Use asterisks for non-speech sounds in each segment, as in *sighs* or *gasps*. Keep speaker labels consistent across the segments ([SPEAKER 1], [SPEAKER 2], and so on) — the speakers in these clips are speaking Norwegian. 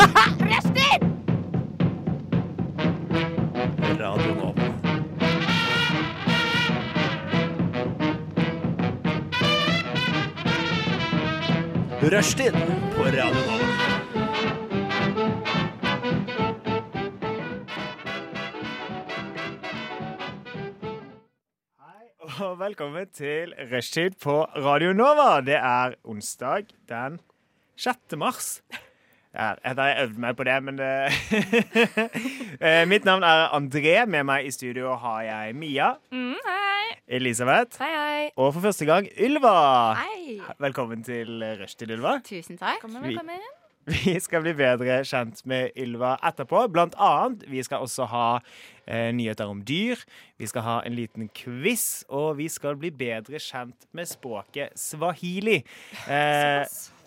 [SPEAKER 1] Rustin!
[SPEAKER 2] Radio Nova. Rushtid på Radio Nova.
[SPEAKER 3] Og velkommen til Rushtid på Radio Nova. Det er onsdag den 6. mars. Der, jeg har øvd meg på det, men det *laughs* Eh, Mitt navn er André. Med meg i studio har jeg Mia,
[SPEAKER 1] Mm, hei.
[SPEAKER 3] Elisabeth
[SPEAKER 1] Hei, hei.
[SPEAKER 3] og for første gang Ylva.
[SPEAKER 4] Hei.
[SPEAKER 3] Velkommen til Rushtid, Ylva.
[SPEAKER 4] Tusen takk.
[SPEAKER 3] Vi- Vi skal bli bedre kjent med Ylva etterpå. Blant annet, vi skal også ha eh, nyheter om dyr. Vi skal ha en liten quiz, og vi skal bli bedre kjent med språket swahili. Eh,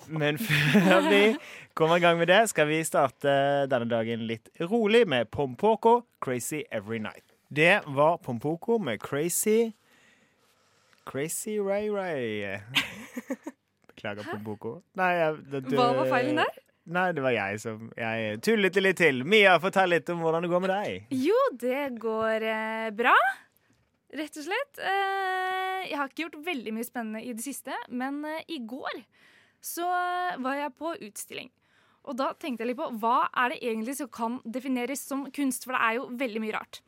[SPEAKER 3] men *laughs* før vi kommer i gang med det, skal vi starte denne dagen litt rolig med Pompoko, 'Crazy Every Night'. Det var Pompoko med 'Crazy Crazy Ray
[SPEAKER 4] *laughs*
[SPEAKER 3] Ray'. Beklager, Pompoko. Nei, jeg- det-
[SPEAKER 4] Hva var feilen der?
[SPEAKER 3] Nei, det var jeg som Jeg tullet det litt til. Mia, fortell litt om hvordan det går med deg.
[SPEAKER 4] Jo, det går eh, bra. Rett og slett. Eh, jeg har ikke gjort veldig mye spennende i det siste, men eh, i går så var jeg på utstilling. Og da tenkte jeg litt på hva er det egentlig som kan defineres som kunst, for det er jo veldig mye rart.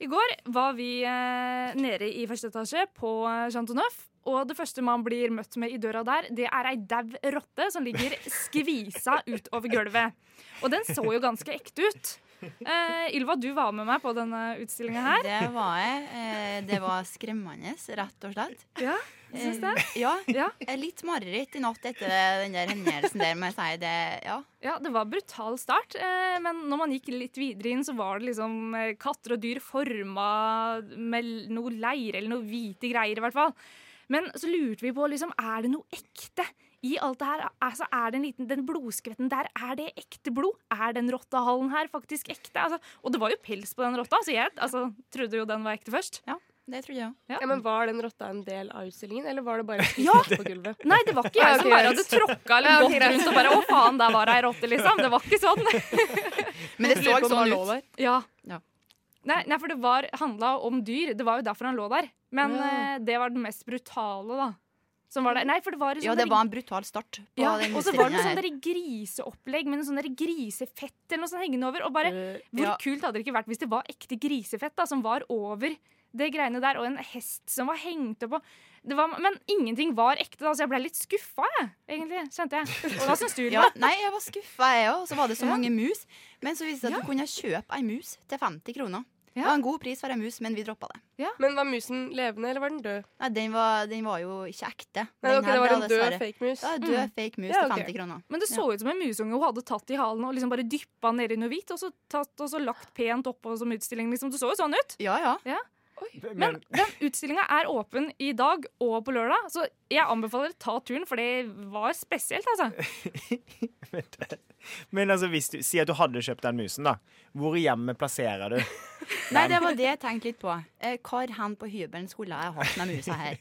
[SPEAKER 4] I går var vi eh, nede i første etasje på eh, Chantoneuf. Og det første man blir møtt med i døra der, det er ei dau rotte som ligger skvisa utover gulvet. Og den så jo ganske ekte ut. Eh, Ylva, du var med meg på denne utstillinga her.
[SPEAKER 1] Det var jeg. Eh, Det var skremmende, rett og slett.
[SPEAKER 4] Ja, syns det?
[SPEAKER 1] Eh, Ja.
[SPEAKER 4] Ja.
[SPEAKER 1] Eh, Litt mareritt i natt etter den der hendelsen der, må jeg si. Det, ja.
[SPEAKER 4] ja, det var brutal start. eh, Men når man gikk litt videre inn, så var det liksom eh, katter og dyr forma med l- noe leir eller noe hvite greier, i hvert fall. Men så lurte vi på, liksom, er det noe ekte? I alt det her, altså er Den liten, den blodskvetten der, er det ekte blod? Er den rottehalen her faktisk ekte? Altså, og det var jo pels på den rotta, så jeg altså, trodde jo den var ekte først.
[SPEAKER 1] Det trodde jeg òg.
[SPEAKER 5] Ja, men Var den rotta en del av utstillingen, eller var det bare
[SPEAKER 4] Ja.
[SPEAKER 5] spist på gulvet?
[SPEAKER 4] Nei, det var ikke jeg
[SPEAKER 5] Ah, ok,
[SPEAKER 4] som bare
[SPEAKER 5] greit.
[SPEAKER 4] hadde tråkka eller gått rundt og bare 'Å, faen, der var det ei rotte', liksom. Det var ikke sånn.
[SPEAKER 1] Men det så
[SPEAKER 5] Lurer på om han
[SPEAKER 1] sånn
[SPEAKER 5] lå
[SPEAKER 1] ut.
[SPEAKER 5] der.
[SPEAKER 4] Ja.
[SPEAKER 1] Ja.
[SPEAKER 4] Nei, nei, for det var, handla om dyr. Det var jo derfor han lå der. Men
[SPEAKER 5] Ja.
[SPEAKER 4] eh, det var den mest brutale, da. Som var der. Nei, for det var
[SPEAKER 1] Ja, det var en brutal start på
[SPEAKER 4] ja,
[SPEAKER 1] den
[SPEAKER 4] Og så var det
[SPEAKER 1] utstillingen
[SPEAKER 4] noe sånn
[SPEAKER 1] her.
[SPEAKER 4] der griseopplegg med noe sånn der grisefett eller noe sånt hengende over. Og bare,
[SPEAKER 5] Eh,
[SPEAKER 4] hvor
[SPEAKER 1] ja.
[SPEAKER 4] kult hadde det ikke vært hvis det var ekte grisefett da, som var over det greiene der, og en hest som var hengt opp og det var, Men ingenting var ekte, da, så jeg ble litt skuffa, jeg, egentlig. Kjente jeg. Og hva syns du,
[SPEAKER 1] Ja,
[SPEAKER 4] Ylva?
[SPEAKER 1] nei, jeg var skuffa, jeg òg. Så var det så mange mus. Men så viste det seg at
[SPEAKER 4] Ja.
[SPEAKER 1] du kunne kjøpe ei mus til 50 kroner. Det
[SPEAKER 4] Ja.
[SPEAKER 1] var en god pris for ei mus, men vi droppa det.
[SPEAKER 5] Men var musen levende, eller var den død?
[SPEAKER 1] Nei, den var, den var jo ikke ekte.
[SPEAKER 5] Nei,
[SPEAKER 1] Den
[SPEAKER 5] ok,
[SPEAKER 1] her
[SPEAKER 5] det var
[SPEAKER 1] ble
[SPEAKER 5] en død
[SPEAKER 1] dessverre-
[SPEAKER 5] fake mus.
[SPEAKER 1] Det var en
[SPEAKER 4] Mm.
[SPEAKER 1] død fake mus
[SPEAKER 5] Ja,
[SPEAKER 1] til
[SPEAKER 5] ok.
[SPEAKER 1] 50 kroner.
[SPEAKER 4] Men det så ut som en musunge hun hadde tatt i halen og liksom bare dyppa ned i noe hvitt og så tatt og så lagt pent oppå som utstilling. liksom. Det så jo sånn ut.
[SPEAKER 1] Ja, ja.
[SPEAKER 4] Men den utstillinga er åpen i dag og på lørdag, så jeg anbefaler å ta turen, for det var spesielt, altså.
[SPEAKER 3] Men, men altså, hvis du Si at du hadde kjøpt den musen, da. Hvor i hjemmet
[SPEAKER 4] *laughs*
[SPEAKER 3] plasserer du?
[SPEAKER 1] Nei, det var det jeg tenkte litt på. Eh, Hvor hen på hybelen skulle jeg hatt den musa her?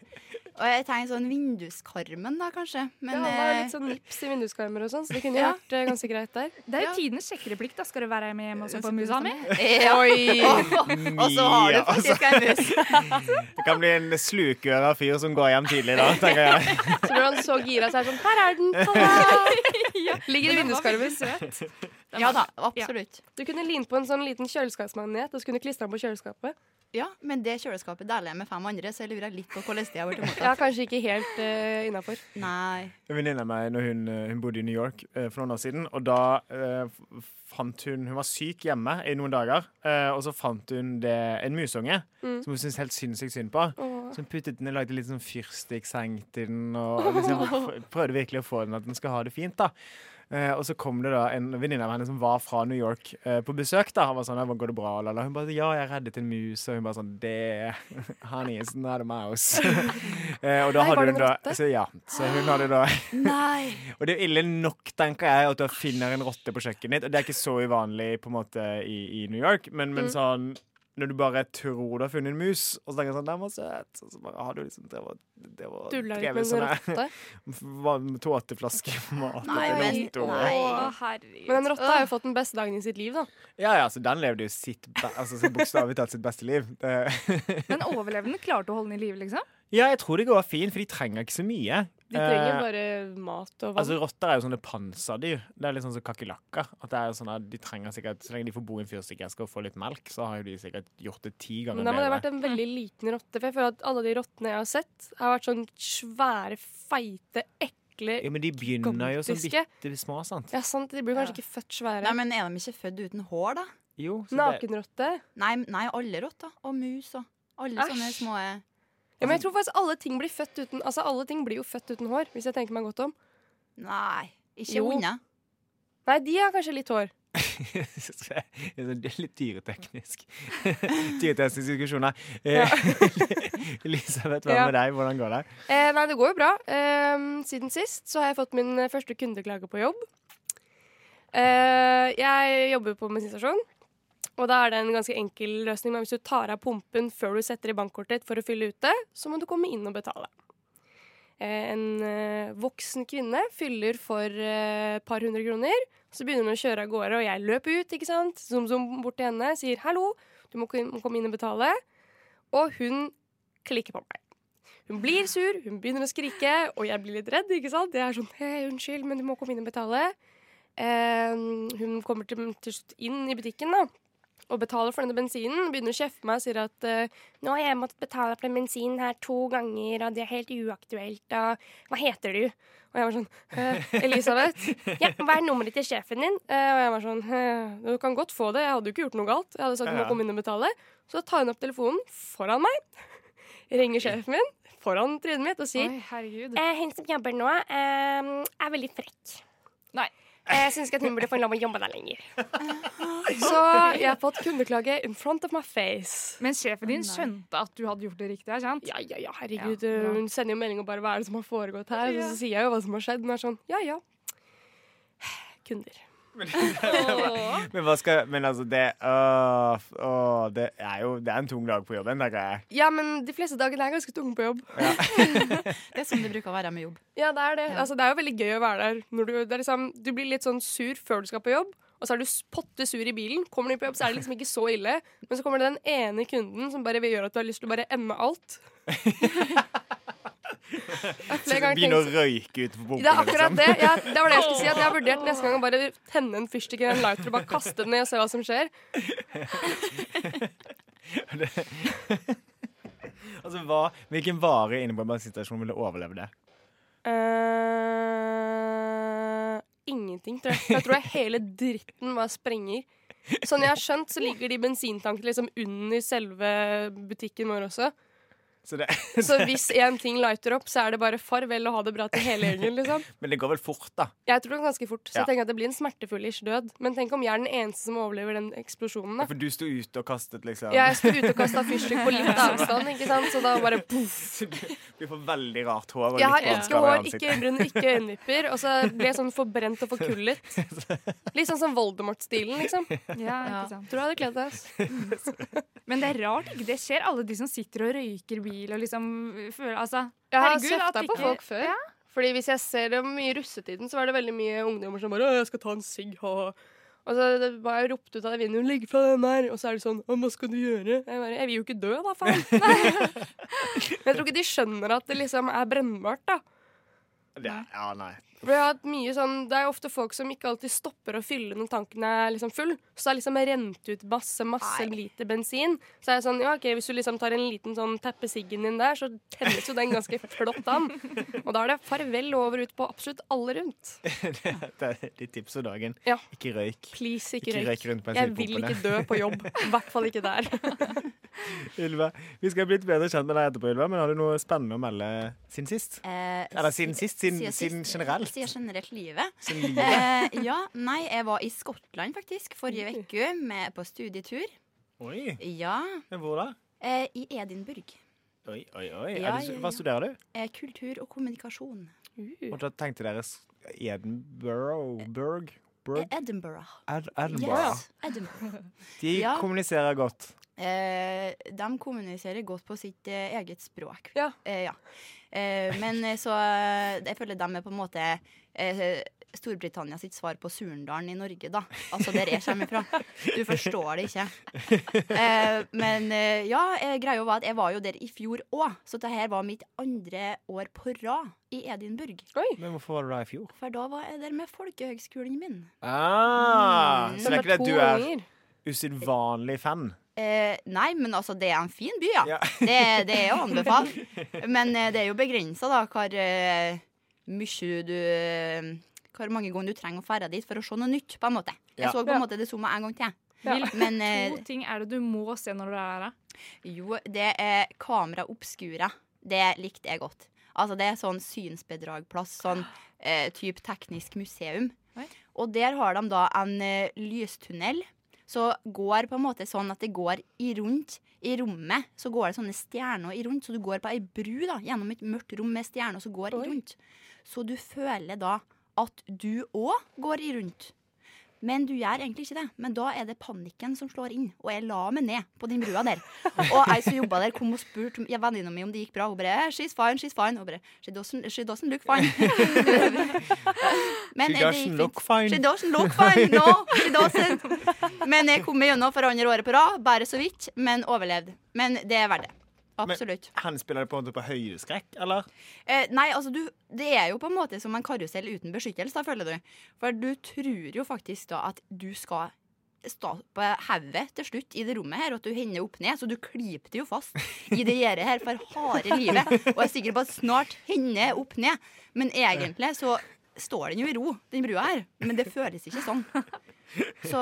[SPEAKER 1] Og jeg tenkte sånn vinduskarmen, da, kanskje.
[SPEAKER 5] Ja,
[SPEAKER 1] Men
[SPEAKER 5] han har
[SPEAKER 1] eh,
[SPEAKER 5] litt sånn nips i vinduskarmer og sånn, så det kunne jo
[SPEAKER 1] Ja.
[SPEAKER 5] vært eh, ganske greit der.
[SPEAKER 4] Det er jo
[SPEAKER 1] Ja.
[SPEAKER 4] tidenes sjekkereplikt. da. Skal du være med hjemme og se på musa mi?
[SPEAKER 1] eh, *laughs* Oi! *laughs* Og så har du
[SPEAKER 3] Mia, altså.
[SPEAKER 1] faktisk ei mus.
[SPEAKER 3] Det kan bli en slukøra fyr som går hjem tidlig da, tenker jeg.
[SPEAKER 5] Så ble han så gira så er det sånn Her er den!
[SPEAKER 1] *laughs*
[SPEAKER 5] ta
[SPEAKER 4] Ja.
[SPEAKER 5] den!» Ligger i
[SPEAKER 4] Men den var
[SPEAKER 5] vinduskarmen.
[SPEAKER 4] veldig søt. Den
[SPEAKER 1] Ja
[SPEAKER 4] var-
[SPEAKER 1] da, absolutt.
[SPEAKER 5] Du kunne lint på en sånn liten kjøleskapsmagnet, og så kunne du klistre den på kjøleskapet.
[SPEAKER 1] Ja, men det kjøleskapet deler jeg med fem andre, så jeg lurer litt på hvordan det har blitt
[SPEAKER 5] Ja,
[SPEAKER 1] mottatt.
[SPEAKER 5] kanskje ikke helt uh, innafor.
[SPEAKER 1] Nei.
[SPEAKER 3] En venninne av meg når hun, eh, hun bodde i New York eh, for noen år siden, og da eh, f- fant hun Hun var syk hjemme i noen dager, eh, og så fant hun det, en musunge
[SPEAKER 5] Mm.
[SPEAKER 3] som hun syntes helt sinnssykt synd på. Så hun puttet den og lagde litt sånn fyrstikkseng til den, og og
[SPEAKER 5] *laughs*
[SPEAKER 3] liksom, f- prøvde virkelig å få den at den skal ha det fint. da. Eh, og så kom det da en venninne av henne som var fra New York eh, på besøk. da Han var sånn, «Ja, går det bra? La, la. Hun bare sånn, ja, jeg reddet en mus. Og hun bare sånn det Honey, it's not a mouse. *laughs* eh, og da
[SPEAKER 5] Nei, var
[SPEAKER 3] hadde
[SPEAKER 5] det
[SPEAKER 3] hun
[SPEAKER 5] en
[SPEAKER 3] da
[SPEAKER 5] rotte?
[SPEAKER 3] så, ja, så hun hadde da
[SPEAKER 1] Nei.
[SPEAKER 3] Og det er jo ille nok, tenker jeg, at du finner en rotte på kjøkkenet ditt. Og det er ikke så uvanlig på en måte i, i New York, men, men sånn når du bare tror du har funnet en mus, og så tenker du sånn 'Den var søt', og så bare har du liksom drevet drevet-
[SPEAKER 5] Dulla ut
[SPEAKER 3] drevet
[SPEAKER 5] med en
[SPEAKER 3] sånn her *laughs*
[SPEAKER 5] rotte.
[SPEAKER 1] eh,
[SPEAKER 3] tåteflaske mat
[SPEAKER 1] Nei,
[SPEAKER 3] etter
[SPEAKER 1] men-
[SPEAKER 3] natt, og-
[SPEAKER 1] nei.
[SPEAKER 4] Å, herregud.
[SPEAKER 5] Men den rotta har jo fått den beste dagen i sitt liv, da.
[SPEAKER 3] Ja, ja, så den levde jo sitt be altså, så bokstavelig talt sitt beste liv. Det-
[SPEAKER 4] Men overlevende klarte å holde den i live, liksom?
[SPEAKER 3] *laughs* ja, jeg tror det går fint, for de trenger ikke så mye.
[SPEAKER 5] De trenger
[SPEAKER 3] Eh,
[SPEAKER 5] bare mat og vann.
[SPEAKER 3] Altså, Rotter er jo sånne panserdyr. Det er litt sånn som kakerlakker. At det er jo sånn at de trenger sikkert, Så lenge de får bo i en fyrstikkeske og få litt melk, så har jo de sikkert gjort det ti ganger
[SPEAKER 5] Men da må det ha
[SPEAKER 3] bedre.
[SPEAKER 5] vært en veldig liten rotte. For jeg føler at alle de rottene jeg har sett, har vært sånn svære, feite, ekle
[SPEAKER 3] Ja, Men de begynner jo som
[SPEAKER 5] gigantiske.
[SPEAKER 3] bitte små, sant?
[SPEAKER 5] Ja, sant. De blir kanskje ikke født
[SPEAKER 1] *laughs* Nei,
[SPEAKER 5] svære.
[SPEAKER 1] men Er de ikke født uten hår, da?
[SPEAKER 3] Jo, så *laughs* det-
[SPEAKER 5] Nakenrotte.
[SPEAKER 1] Nei, nei alle rotter. Og mus og alle
[SPEAKER 4] Æsj.
[SPEAKER 1] sånne små eh,
[SPEAKER 3] Altså-
[SPEAKER 5] Ja, men jeg tror faktisk alle ting blir født uten Altså, alle ting blir jo født uten hår, hvis jeg tenker meg godt om.
[SPEAKER 1] Nei, ikke
[SPEAKER 5] Jo.
[SPEAKER 1] hunder.
[SPEAKER 5] Nei, de har kanskje litt hår.
[SPEAKER 3] Jeg synes det er sånn- det er litt dyreteknisk. *laughs* Dyretekniske diskusjoner.
[SPEAKER 5] Ja.
[SPEAKER 3] Eh, *laughs* Elisabeth, hva
[SPEAKER 5] Ja.
[SPEAKER 3] med deg? Hvordan går det?
[SPEAKER 5] Eh, nei, det går jo bra. Ehm, siden sist så har jeg fått min eh, første kundeklage på jobb. Eh, jeg jobber på bensinstasjon, og da er det en ganske enkel løsning. Men hvis du tar av pumpen før du setter i bankkortet ditt for å fylle ute, så må du komme inn og betale. Eh, en eh, voksen kvinne fyller for eh, et par hundre kroner. Så begynner hun å kjøre av gårde, og jeg løper ut, ikke sant? Zoom, zoom bort til henne, sier 'hallo, du må kom- må komme inn og betale'. Og hun klikker på meg. Hun blir sur, hun begynner å skrike, og jeg blir litt redd. ikke sant? Jeg er sånn hei, 'Unnskyld, men du må komme inn og betale.' Eh, hun kommer til, til slutt inn i butikken da, og betaler for denne bensinen. Begynner å kjefte meg og sier at eh, 'nå har jeg måttet betale for den bensinen her to ganger', og 'det er helt uaktuelt', og 'hva heter du?' Og jeg var sånn «Eh, 'Elisabeth'. 'Ja, hva er nummeret til sjefen din?' Eh, og jeg var sånn «Eh, 'Du kan godt få det, jeg hadde jo ikke gjort noe galt'. Jeg hadde sagt 'du
[SPEAKER 3] Ja,
[SPEAKER 5] må
[SPEAKER 3] ja.
[SPEAKER 5] komme inn og betale'. Så tar hun opp telefonen foran meg, ringer sjefen min foran trynet mitt og sier
[SPEAKER 4] Oi, herregud.
[SPEAKER 5] eh, Hun som jobber nå, eh, er veldig frekk.
[SPEAKER 4] Nei.
[SPEAKER 5] Eh, Jeg syns ikke at hun burde få lov å jobbe der lenger. Så jeg har fått kundeklage in front of my face.
[SPEAKER 4] Men sjefen din
[SPEAKER 1] Å, nei.
[SPEAKER 4] skjønte at du hadde gjort det riktig, er sant?
[SPEAKER 5] Ja, ja, ja, herregud.
[SPEAKER 4] Ja, bra.
[SPEAKER 5] hun sender jo melding og bare 'Hva er det som har foregått her?' Og
[SPEAKER 4] Ja.
[SPEAKER 5] så sier jeg jo hva som har skjedd. Hun er sånn Ja, *sighs* ja.
[SPEAKER 4] *laughs*
[SPEAKER 5] Kunder.
[SPEAKER 4] Åh.
[SPEAKER 3] Men hva skal Men altså, det Åh, f- åh, det er jo Det er en tung dag på jobben, tenker jeg.
[SPEAKER 5] Ja, men de fleste dagene er ganske tunge på jobb.
[SPEAKER 1] Det er sånn det bruker å være med jobb.
[SPEAKER 5] Ja, det er det.
[SPEAKER 1] Ja.
[SPEAKER 5] Altså, det er jo veldig gøy å være der. Når du, det er liksom, du blir litt sånn sur før du skal på jobb, og så er du s- potte sur i bilen. Kommer du på jobb, så er det liksom ikke så ille. Men så kommer det den ene kunden som bare vil gjøre at du har lyst til å bare emme alt. Jeg har flere ganger
[SPEAKER 3] Begynne å
[SPEAKER 5] tenkt-
[SPEAKER 3] røyke liksom. ut på
[SPEAKER 5] det er
[SPEAKER 3] pumpene,
[SPEAKER 5] akkurat det. Ja, det var det jeg skulle si. At jeg har vurdert neste gang å bare tenne en fyrstikk eller en lighter og bare kaste den ned og se hva som skjer.
[SPEAKER 3] *laughs* Altså, hva, hvilken vare inne på en bensinstasjon ville overleve det?
[SPEAKER 5] Eh, ingenting, tror jeg. For jeg tror jeg hele dritten var sprenger. Sånn jeg har skjønt, så ligger de bensintankene liksom under selve butikken vår også.
[SPEAKER 3] Så det, *laughs*
[SPEAKER 5] Så hvis én ting lighter opp, så er det bare farvel og ha det bra til hele gjengen. liksom.
[SPEAKER 3] men det går vel fort, da.
[SPEAKER 5] Jeg tror det går ganske fort, så
[SPEAKER 3] Ja.
[SPEAKER 5] jeg tenker at det blir en smertefull-ish død. Men tenk om jeg er den eneste som overlever den eksplosjonen, da.
[SPEAKER 3] For du sto ute og kastet, liksom.
[SPEAKER 5] Jeg sto ute og kasta fyrstikk på litt avstand, ikke sant? så da bare
[SPEAKER 3] *laughs* Så Du, du får veldig rart hår. og
[SPEAKER 5] Jeg har
[SPEAKER 3] litt sånn
[SPEAKER 5] ikke
[SPEAKER 3] vansker i
[SPEAKER 5] hår,
[SPEAKER 3] ansiktet.
[SPEAKER 5] ikke brun, ikke øyenvipper. Og så ble jeg sånn forbrent og forkullet. Litt sånn som Voldemort-stilen, liksom.
[SPEAKER 4] Ja,
[SPEAKER 1] Ja.
[SPEAKER 4] ikke sant.
[SPEAKER 5] Tror jeg hadde kledd deg. ass.
[SPEAKER 4] Men det er rart ikke det skjer, alle de som sitter og røyker bil og liksom føler Altså,
[SPEAKER 5] Jeg har
[SPEAKER 4] Herregud, at
[SPEAKER 5] kjefta på
[SPEAKER 4] ikke-
[SPEAKER 5] folk før. Fordi hvis jeg ser dem i russetiden, så var det veldig mye ungdommer som bare 'Å, jeg skal ta en sigg', ha-ha. Og så det- var jeg ropt ut av det vinduet 'Legg fra den der', og så er det sånn «Å, 'Hva skal du gjøre?' Jeg bare 'Jeg vil jo ikke dø, da, faen'. *laughs* Men jeg tror ikke de skjønner at det liksom er brennbart, da.
[SPEAKER 3] Det, ja, nei. *laughs*
[SPEAKER 5] For jeg har hatt mye sånn, Det er jo ofte folk som ikke alltid stopper å fylle når tanken er liksom full. Så det er liksom rent ut masse masse
[SPEAKER 1] Nei.
[SPEAKER 5] liter bensin. Så er jeg sånn, ja ok, Hvis du liksom tar en liten sånn tapper siggen din der, så tennes jo den ganske flott an. Og da er det farvel over ut på absolutt alle rundt.
[SPEAKER 3] Det er ditt tips for dagen.
[SPEAKER 5] Ja.
[SPEAKER 3] Ikke røyk.
[SPEAKER 5] Please, ikke,
[SPEAKER 3] Ikke røyk
[SPEAKER 5] røyk.
[SPEAKER 3] rundt
[SPEAKER 5] Jeg vil
[SPEAKER 3] bensinpumpene.
[SPEAKER 5] ikke dø på jobb. I hvert fall ikke der.
[SPEAKER 3] Ylva, vi skal bli litt bedre kjent med deg etterpå, Ylva, men har du noe spennende å melde siden sist?
[SPEAKER 1] Eh,
[SPEAKER 3] Eller siden sist? Siden,
[SPEAKER 1] sier
[SPEAKER 3] siden
[SPEAKER 1] sist-
[SPEAKER 3] generelt?
[SPEAKER 1] Sier generelt
[SPEAKER 3] *laughs*
[SPEAKER 1] livet.
[SPEAKER 3] Siden
[SPEAKER 5] *laughs*
[SPEAKER 3] livet?
[SPEAKER 1] Eh, ja, nei, jeg var i Skottland faktisk forrige uke med- på studietur.
[SPEAKER 3] Oi,
[SPEAKER 1] Ja,
[SPEAKER 3] men hvor da?
[SPEAKER 1] eh, i Edinburgh.
[SPEAKER 3] Oi, oi, oi.
[SPEAKER 1] Ja,
[SPEAKER 3] er du,
[SPEAKER 1] ja, ja.
[SPEAKER 3] hva studerer du?
[SPEAKER 1] Eh, kultur og kommunikasjon.
[SPEAKER 5] Uh.
[SPEAKER 3] Og da tenkte dere s- Edinburgh Berg?
[SPEAKER 1] Eh,
[SPEAKER 3] Berg?
[SPEAKER 1] Edinburgh.
[SPEAKER 3] Ed Edinburgh.
[SPEAKER 1] Yes, Edinburgh.
[SPEAKER 3] De
[SPEAKER 1] Ja.
[SPEAKER 3] kommuniserer godt.
[SPEAKER 1] Eh, de kommuniserer godt på sitt eh, eget språk.
[SPEAKER 5] Ja.
[SPEAKER 1] Eh, ja. Eh, men eh, så eh, Jeg føler de er på en måte eh, Storbritannia sitt svar på Surndalen i Norge, da. Altså der jeg kommer fra. Du forstår det ikke. Eh, men eh, ja, eh, greia var at jeg var jo der i fjor òg, så dette her var mitt andre år på rad i Edinburgh.
[SPEAKER 3] Men hvorfor var du da i fjor?
[SPEAKER 1] For da var jeg der med folkehøgskolen min.
[SPEAKER 3] Ah,
[SPEAKER 1] Mm.
[SPEAKER 3] Så det er ikke det at du er usedvanlig fan?
[SPEAKER 1] Eh, nei, men altså, det er en fin by, ja.
[SPEAKER 3] Ja.
[SPEAKER 1] Det, det er å anbefale. Men eh, det er jo begrensa, da, hvor eh, mye du eh, Hvor mange ganger du trenger å ferde dit for å se noe nytt, på en måte. Jeg
[SPEAKER 3] Ja.
[SPEAKER 1] så på
[SPEAKER 5] Ja.
[SPEAKER 1] en måte det samme en gang til.
[SPEAKER 5] Ja.
[SPEAKER 1] Men
[SPEAKER 4] To
[SPEAKER 1] eh,
[SPEAKER 4] ting er det du må se når du er her. da.
[SPEAKER 1] jo, det er kamera obscura. Det likte jeg godt. Altså, det er sånn synsbedragplass, sånn eh, type teknisk museum.
[SPEAKER 4] Oi.
[SPEAKER 1] Og der har de da en eh, lystunnel. Så går på en måte sånn at det går i rundt i rommet. Så går det sånne stjerner i rundt. Så du går på ei bru da, gjennom et mørkt rom med stjerner som går
[SPEAKER 5] Oi.
[SPEAKER 1] i rundt. Så du føler da at du òg går i rundt. Men du gjør egentlig ikke det. Men da er det panikken som slår inn. Og jeg la meg ned på den brua der. Og ei som jobba der, kom og spurte om- ja, venninna mi om det gikk bra. Hun bare eh, 'She's fine, she's fine'. Og bare She doesn't, she doesn't look
[SPEAKER 3] *laughs*
[SPEAKER 1] fine. *laughs* Men
[SPEAKER 3] She
[SPEAKER 1] eh,
[SPEAKER 3] doesn't
[SPEAKER 1] det gikk fint.
[SPEAKER 3] look fine.
[SPEAKER 1] She doesn't look fine. No, she doesn't. Men jeg kom meg gjennom for andre året på rad. Bare så vidt, men overlevde. Men det er verdt det. Absolutt.
[SPEAKER 3] Han spiller det på en måte på høydeskrekk, eller?
[SPEAKER 1] Eh, nei, altså du, det er jo på en måte som en karusell uten beskyttelse, da, føler du. For du tror jo faktisk da at du skal stå på hodet til slutt i det rommet her, og at du hender opp ned, så du klipte jo fast i det gjerdet her for harde livet. Og jeg er sikker på at snart hender jeg opp ned. Men egentlig så står den jo i ro, den brua her. Men det føles ikke sånn. Så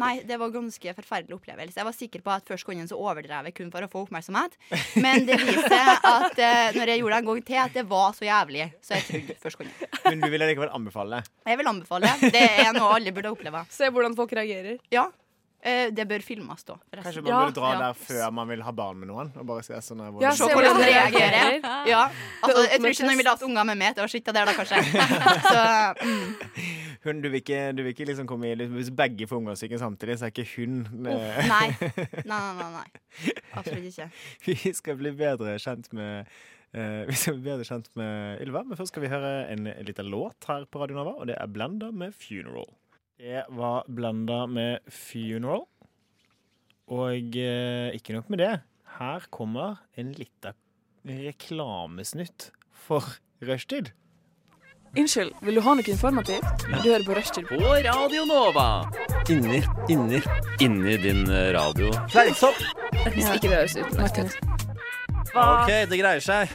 [SPEAKER 1] nei, det var ganske forferdelig opplevelse. Jeg var sikker på at først kom den så overdrev jeg kun for å få oppmerksomhet. Men det viser seg at eh, når jeg gjorde det en gang til, at det var så jævlig. Så jeg trodde først kom den.
[SPEAKER 3] Men du vil likevel anbefale det?
[SPEAKER 1] Jeg vil anbefale. Det er noe alle burde oppleve.
[SPEAKER 5] Se hvordan folk reagerer.
[SPEAKER 1] Ja. Eh, det bør filmes, da.
[SPEAKER 3] Kanskje
[SPEAKER 1] forresten.
[SPEAKER 3] man
[SPEAKER 5] Ja,
[SPEAKER 3] burde dra
[SPEAKER 1] ja.
[SPEAKER 3] der før man vil ha barn med noen? Og bare se sånn her,
[SPEAKER 5] Ja,
[SPEAKER 3] hvordan-
[SPEAKER 1] se
[SPEAKER 5] se
[SPEAKER 1] hvordan
[SPEAKER 5] hvordan
[SPEAKER 1] de
[SPEAKER 5] de
[SPEAKER 1] reagerer.
[SPEAKER 5] reagerer.
[SPEAKER 1] Ja. Altså,
[SPEAKER 5] The
[SPEAKER 1] jeg tror ikke
[SPEAKER 5] ultimate
[SPEAKER 1] noen ville hatt unger med meg til å sitte der, da, kanskje. Så, mm.
[SPEAKER 3] Hun, du, vil ikke, du vil ikke liksom komme i Hvis begge får ungdomssyken samtidig, så er ikke hun eh,
[SPEAKER 1] nei. nei. Nei, nei, nei. Absolutt ikke.
[SPEAKER 3] *laughs* Vi skal bli bedre kjent med eh, Vi skal bli bedre kjent med Ylva, men først skal vi høre en liten låt her på Radio Nova, og det er Blenda med 'Funeral'. Det var Blenda med 'Funeral', og eh, ikke nok med det. Her kommer en liten reklamesnutt for rushtid.
[SPEAKER 6] Unnskyld, vil du ha noe informativt? Du hører på Rushtid.
[SPEAKER 7] På Radio Nova. Inni, inni, inni din eh, radio. Fleipsopp.
[SPEAKER 6] Hvis ikke det høres ut. Martin.
[SPEAKER 7] OK, det greier seg.
[SPEAKER 3] Det er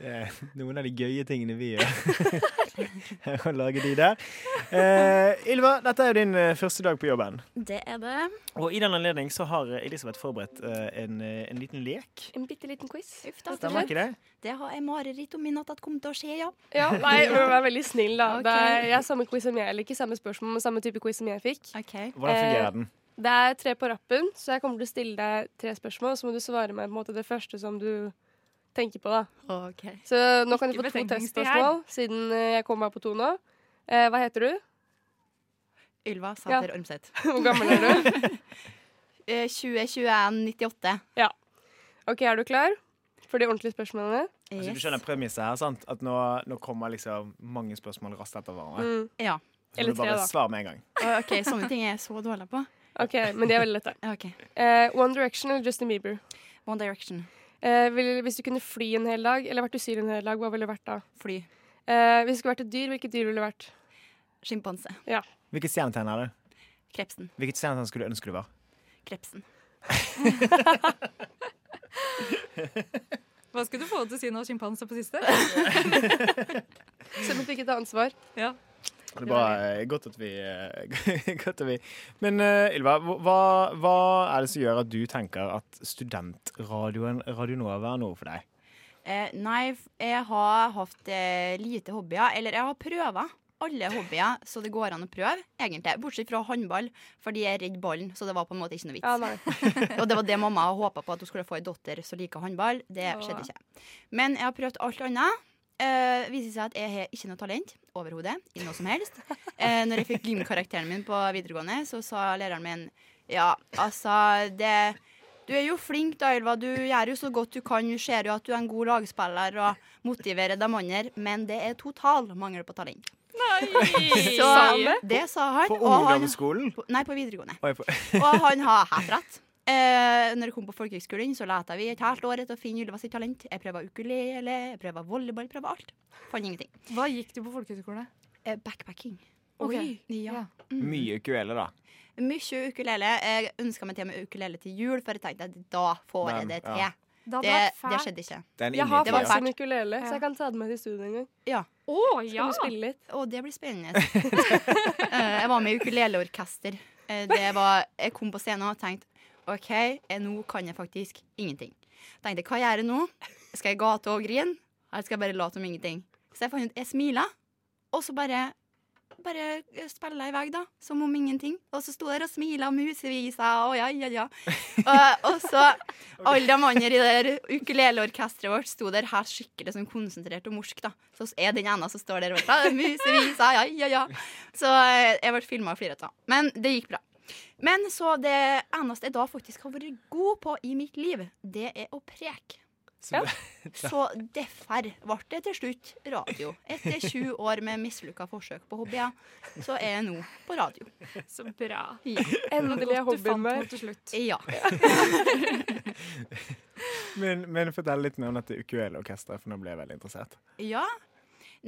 [SPEAKER 3] Eh, noen av de gøye tingene vi gjør. *laughs* Her å lage de der. Eh, Ylva, dette er jo din eh, første dag på jobben.
[SPEAKER 1] Det er det.
[SPEAKER 3] Og i den anledning så har Elisabeth forberedt eh, en, eh, en liten lek.
[SPEAKER 5] En bitte liten quiz.
[SPEAKER 1] Uff da.
[SPEAKER 3] Stemmer ikke det?
[SPEAKER 1] Det har jeg mareritt om i natt at kommer til å skje, ja.
[SPEAKER 5] Ja, nei, men vær veldig snill, da.
[SPEAKER 1] Ok.
[SPEAKER 5] Det er, jeg har samme quiz som jeg, eller ikke samme spørsmål, men samme type quiz som jeg fikk.
[SPEAKER 1] Ok.
[SPEAKER 3] Hvordan
[SPEAKER 5] Eh,
[SPEAKER 3] fungerer den?
[SPEAKER 5] Det er tre på rappen, så jeg kommer til å stille deg tre spørsmål, så må du svare meg på en måte det første som du tenker på, da. Så nå kan du
[SPEAKER 4] Ikke
[SPEAKER 5] få to
[SPEAKER 4] betenkningstid
[SPEAKER 5] testspørsmål, siden eh, jeg kom meg på to nå. Eh, hva heter du? *laughs*
[SPEAKER 1] Ylva Sæther Ormseth.
[SPEAKER 5] Hvor gammel er du?
[SPEAKER 1] Eh, 2021 98.
[SPEAKER 5] OK, er du klar for de ordentlige spørsmålene?
[SPEAKER 3] Altså, du
[SPEAKER 1] Yes.
[SPEAKER 3] skjønner premisset her, sant? At nå, nå kommer liksom mange spørsmål raskt etter hverandre.
[SPEAKER 5] Mm.
[SPEAKER 1] Ja.
[SPEAKER 3] Så
[SPEAKER 5] Eller
[SPEAKER 3] må du bare
[SPEAKER 5] tre, da.
[SPEAKER 3] svare med en gang.
[SPEAKER 1] Å, OK, sånne ting er jeg så dårlig på.
[SPEAKER 5] OK, men de er veldig lette.
[SPEAKER 1] Ok,
[SPEAKER 5] Eh, One Direction eller Justin Bieber?
[SPEAKER 1] One Direction.
[SPEAKER 5] Eh, vil, hvis du kunne fly en hel dag, eller vært usyr en hel dag, hva ville det vært da?
[SPEAKER 1] Fly.
[SPEAKER 5] Eh, hvis du skulle vært et dyr, hvilket dyr ville det vært?
[SPEAKER 1] Sjimpanse.
[SPEAKER 3] Hvilket stjernetegn er det?
[SPEAKER 1] Krepsen.
[SPEAKER 3] Hvilket stjernetegn skulle du ønske du var?
[SPEAKER 1] Krepsen.
[SPEAKER 4] Hva skal du få til å si nå, sjimpanse på *laughs* siste?
[SPEAKER 5] Selv om du ikke tar ansvar.
[SPEAKER 3] Det er bra. eh, Godt at vi, eh, *laughs* godt at vi. Men eh, Ylva, hva- hva, hva er det som gjør at du tenker at studentradioen Radio Nova er noe for deg?
[SPEAKER 1] Eh, nei, f- jeg har hatt eh, lite hobbyer. Eller jeg har prøva alle hobbyer så det går an å prøve, egentlig. Bortsett fra håndball, fordi jeg er redd ballen, så det var på en måte ikke noe vits.
[SPEAKER 5] Ja, nei.
[SPEAKER 1] Og det var det mamma håpa på, at hun skulle få ei datter som liker håndball. Det
[SPEAKER 5] Åh.
[SPEAKER 1] skjedde ikke. Men jeg har prøvd alt annet. Uh, viser seg at jeg har ikke noe talent overhodet i noe som helst. Eh, når jeg fikk gymkarakteren min på videregående, så sa læreren min ja, altså det Du er jo flink, da, Ylva. Du gjør jo så godt du kan. Du ser jo at du er en god lagspiller og motiverer de andre, men det er total mangel på talent. Så det sa han.
[SPEAKER 3] På
[SPEAKER 1] og han
[SPEAKER 3] ungdomsskolen?
[SPEAKER 1] på, nei, på videregående.
[SPEAKER 3] Oi, på- *laughs*
[SPEAKER 1] Og han har helt rett. Eh, når jeg kom på folkehøgskolen, så lette vi et helt år etter å finne Ylva sitt talent. Jeg prøver ukulele, jeg prøver volleyball, jeg prøver alt. Fant ingenting.
[SPEAKER 4] Hva gikk du på folkehøyskole?
[SPEAKER 1] Eh, backpacking.
[SPEAKER 4] Ok.
[SPEAKER 1] Ja.
[SPEAKER 5] Mm.
[SPEAKER 3] Mye QL-er, da.
[SPEAKER 1] Mye ukulele. Jeg ønska meg til med ukulele til jul, for jeg tenkte at da får jeg
[SPEAKER 3] Men,
[SPEAKER 1] det til.
[SPEAKER 3] ja.
[SPEAKER 4] Det hadde
[SPEAKER 1] Det,
[SPEAKER 4] vært
[SPEAKER 1] det
[SPEAKER 4] fælt.
[SPEAKER 1] skjedde ikke.
[SPEAKER 3] Den
[SPEAKER 5] Jeg har
[SPEAKER 1] Det
[SPEAKER 3] innbyggeren.
[SPEAKER 1] var
[SPEAKER 5] faktisk en
[SPEAKER 1] fælt.
[SPEAKER 5] ukulele,
[SPEAKER 4] Ja.
[SPEAKER 5] så jeg kan ta den med til studio en gang.
[SPEAKER 4] Å
[SPEAKER 5] Skal
[SPEAKER 4] ja!
[SPEAKER 5] du spille litt?
[SPEAKER 1] Å, det blir spennende. *laughs* Eh, jeg var med i ukuleleorkester. Eh, det var, jeg kom på scenen og tenkte OK, eh, nå kan jeg faktisk ingenting. Tenkte, hva gjør jeg nå? Skal jeg gate og grine, eller skal jeg bare late som ingenting? Så jeg fant ut jeg smila, og så bare bare spilla i vei, da. Som om ingenting. Og så sto jeg der og smila musevisa, og ja, ja, ja. Og, og så alle de andre i det der ukuleleorkesteret vårt sto der her skikkelig sånn konsentrert og morsk, da. Så er den ene som står der og bare «Ah, Musevisa, ja, ja, ja. Så eh, jeg ble filma og flirete av. Men det gikk bra. Men så det eneste jeg da faktisk har vært god på i mitt liv, det er å preke.
[SPEAKER 3] altså. *laughs*
[SPEAKER 5] Ja.
[SPEAKER 1] Så derfor ble det til slutt radio. Etter 20 år med mislykka forsøk på hobbyer, så er jeg nå på radio.
[SPEAKER 4] Så bra.
[SPEAKER 1] Ja.
[SPEAKER 5] Endelig
[SPEAKER 4] Godt
[SPEAKER 5] er
[SPEAKER 4] du
[SPEAKER 5] hobbyen
[SPEAKER 4] fant
[SPEAKER 5] vår.
[SPEAKER 4] noe til slutt.
[SPEAKER 1] ja.
[SPEAKER 3] Men, men fortell litt mer om dette QL-orkesteret, for nå ble jeg veldig interessert.
[SPEAKER 1] Ja.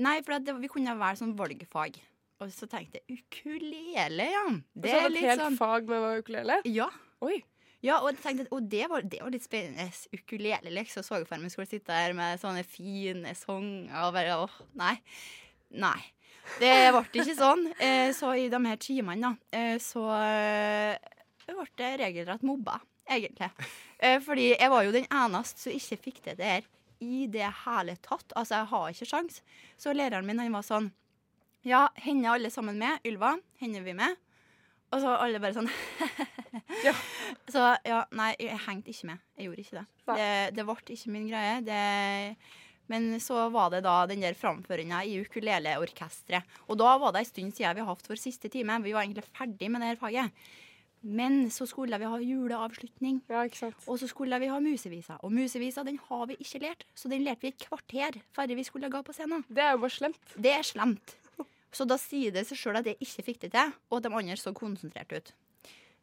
[SPEAKER 1] Nei, for at det, vi kunne velge sånn valgfag. Og så tenkte jeg ukulele, ja.
[SPEAKER 5] Det
[SPEAKER 1] Det
[SPEAKER 5] er
[SPEAKER 1] er
[SPEAKER 5] et
[SPEAKER 1] litt
[SPEAKER 5] helt
[SPEAKER 1] sånn
[SPEAKER 5] fag med å ukulele.
[SPEAKER 1] Ja.
[SPEAKER 5] Oi.
[SPEAKER 1] Ja, og, jeg tenkte, og det, var, det var litt spennende. Ukulele, liksom. Så jeg for meg skulle sitte her med sånne fine sanger og bare åh, nei. Nei. Det ble ikke sånn. Eh, så i de her timene, da, eh, så eh, ble jeg regelrett mobba, egentlig. Eh, fordi jeg var jo den eneste som ikke fikk til det her i det hele tatt. Altså, jeg har ikke sjans. Så læreren min, han var sånn Ja, henne er alle sammen med. Ylva, henne er vi med. Og så alle bare sånn så ja, nei, jeg hengte ikke med. Jeg gjorde ikke det.
[SPEAKER 5] Nei.
[SPEAKER 1] Det, det ble ikke min greie. Det, men så var det da den der framføringa i ukuleleorkesteret. Og da var det en stund siden vi har hatt vår siste time. Vi var egentlig ferdig med det her faget. Men så skulle vi ha juleavslutning,
[SPEAKER 5] Ja, ikke sant.
[SPEAKER 1] og så skulle vi ha musevisa. Og musevisa den har vi ikke lært, så den lærte vi et kvarter før vi skulle gå på scenen.
[SPEAKER 5] Det er jo bare slemt.
[SPEAKER 1] Det er slemt. Så da sier det seg sjøl at jeg ikke fikk det til, og at de andre så konsentrert ut.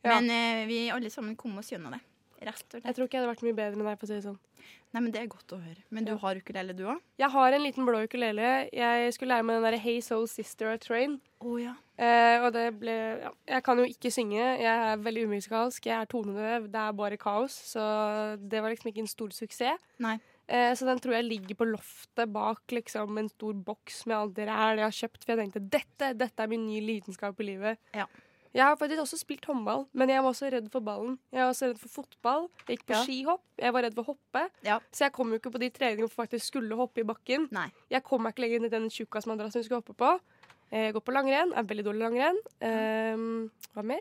[SPEAKER 5] Ja.
[SPEAKER 1] Men eh, vi alle sammen kom oss gjennom det. Rett og
[SPEAKER 5] Jeg
[SPEAKER 1] slett.
[SPEAKER 5] tror ikke jeg hadde vært mye bedre enn deg. på å si det sånn.
[SPEAKER 1] Nei, men Det er godt å høre. Men du
[SPEAKER 5] Ja.
[SPEAKER 1] har ukulele, du òg?
[SPEAKER 5] Jeg har en liten blå ukulele. Jeg skulle lære meg den derre Hey Soul Sister og Train.
[SPEAKER 1] Å ja.
[SPEAKER 5] Eh, og det ble ja. Jeg kan jo ikke synge. Jeg er veldig umusikalsk. Jeg er tonedøv. Det er bare kaos. Så det var liksom ikke en stor suksess.
[SPEAKER 1] Nei.
[SPEAKER 5] Eh, så den tror jeg ligger på loftet bak liksom en stor boks med alt det ræl jeg har kjøpt. For jeg tenkte dette, dette er min nye lidenskap i livet.
[SPEAKER 1] Ja.
[SPEAKER 5] Jeg har faktisk også spilt håndball, men jeg var også redd for ballen. Jeg var også redd for fotball. Jeg gikk på
[SPEAKER 1] Ja.
[SPEAKER 5] skihopp. Jeg var redd for å hoppe.
[SPEAKER 1] Ja.
[SPEAKER 5] Så jeg kom jo ikke på de treningene hvor jeg faktisk skulle hoppe i bakken.
[SPEAKER 1] Nei.
[SPEAKER 5] Jeg kom meg ikke lenger inn i den tjukkasmadrassen vi skulle hoppe på. Eh, Jeg går på langrenn. Er veldig dårlig i langrenn. Ehm, hva mer?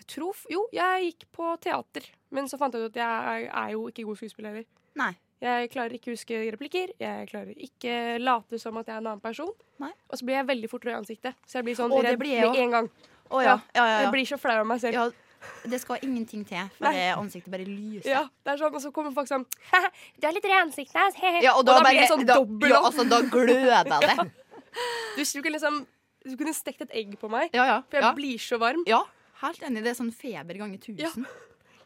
[SPEAKER 5] Jeg tror f- Jo, jeg gikk på teater. Men så fant jeg ut at jeg er- er jo ikke god skuespiller.
[SPEAKER 1] Nei.
[SPEAKER 5] Jeg klarer ikke å huske replikker. Jeg klarer ikke late som at jeg er en annen person.
[SPEAKER 1] Nei.
[SPEAKER 5] Og så blir jeg veldig fort rød i ansiktet. Så jeg blir sånn
[SPEAKER 1] Å, det
[SPEAKER 5] redd
[SPEAKER 1] blir jeg
[SPEAKER 5] med
[SPEAKER 1] også.
[SPEAKER 5] en gang.
[SPEAKER 1] Å ja. Ja, ja,
[SPEAKER 5] Jeg
[SPEAKER 1] ja.
[SPEAKER 5] blir så flau av meg selv.
[SPEAKER 1] ja. Det skal ingenting til, for
[SPEAKER 5] Nei.
[SPEAKER 1] det ansiktet bare lyser.
[SPEAKER 5] Ja, det er sånn, Og så kommer folk sånn Du er litt rød i ansiktet. he-he».
[SPEAKER 1] Ja, og da,
[SPEAKER 5] blir
[SPEAKER 1] bare
[SPEAKER 5] det sånn
[SPEAKER 1] da,
[SPEAKER 5] dobbel
[SPEAKER 1] ja,
[SPEAKER 5] opp.
[SPEAKER 1] altså, da gløder *laughs* det.
[SPEAKER 5] Du, du kunne liksom Du kunne stekt et egg på meg.
[SPEAKER 1] Ja, ja.
[SPEAKER 5] For jeg
[SPEAKER 1] ja.
[SPEAKER 5] blir så varm.
[SPEAKER 1] ja. Helt enig. Det er sånn feber ganger
[SPEAKER 5] Ja.
[SPEAKER 1] tusen.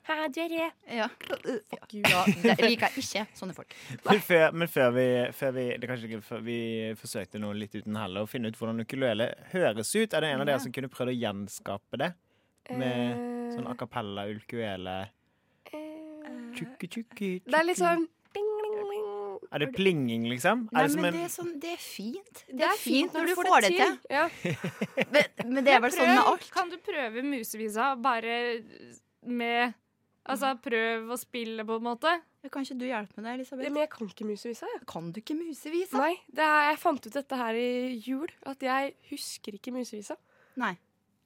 [SPEAKER 5] Hæ, du er rød.
[SPEAKER 1] Ja. Fuck you. Ja, det liker jeg ikke sånne folk.
[SPEAKER 3] Men før, men før vi, før vi det er kanskje ikke før vi forsøkte noe litt uten helle, å finne ut hvordan ukulele høres ut. Er det en av dere som kunne prøvd å gjenskape det? Med
[SPEAKER 1] Eh,
[SPEAKER 3] sånn
[SPEAKER 5] Eh.
[SPEAKER 3] a cappella ukulele tjukki, tjukki,
[SPEAKER 5] Det er litt
[SPEAKER 3] tjukki.
[SPEAKER 5] sånn ding, ding, ding.
[SPEAKER 3] Er det plinging, liksom?
[SPEAKER 1] Nei,
[SPEAKER 3] er det som
[SPEAKER 1] men
[SPEAKER 3] en,
[SPEAKER 1] det er, sånn, det er fint. Det er fint når du får det til.
[SPEAKER 5] Ja.
[SPEAKER 1] Men, men det er vel sånn med alt.
[SPEAKER 4] Kan du prøve musevisa bare med Altså, prøv å spille, på en måte.
[SPEAKER 1] Kanskje du hjelper med det,
[SPEAKER 5] Ja,
[SPEAKER 1] Elisabeth?
[SPEAKER 5] Men jeg kan ikke musevisa. jeg.
[SPEAKER 1] Kan du ikke musevisa?
[SPEAKER 5] Nei, det er, jeg fant ut dette her i jul, at jeg husker ikke musevisa.
[SPEAKER 1] Nei.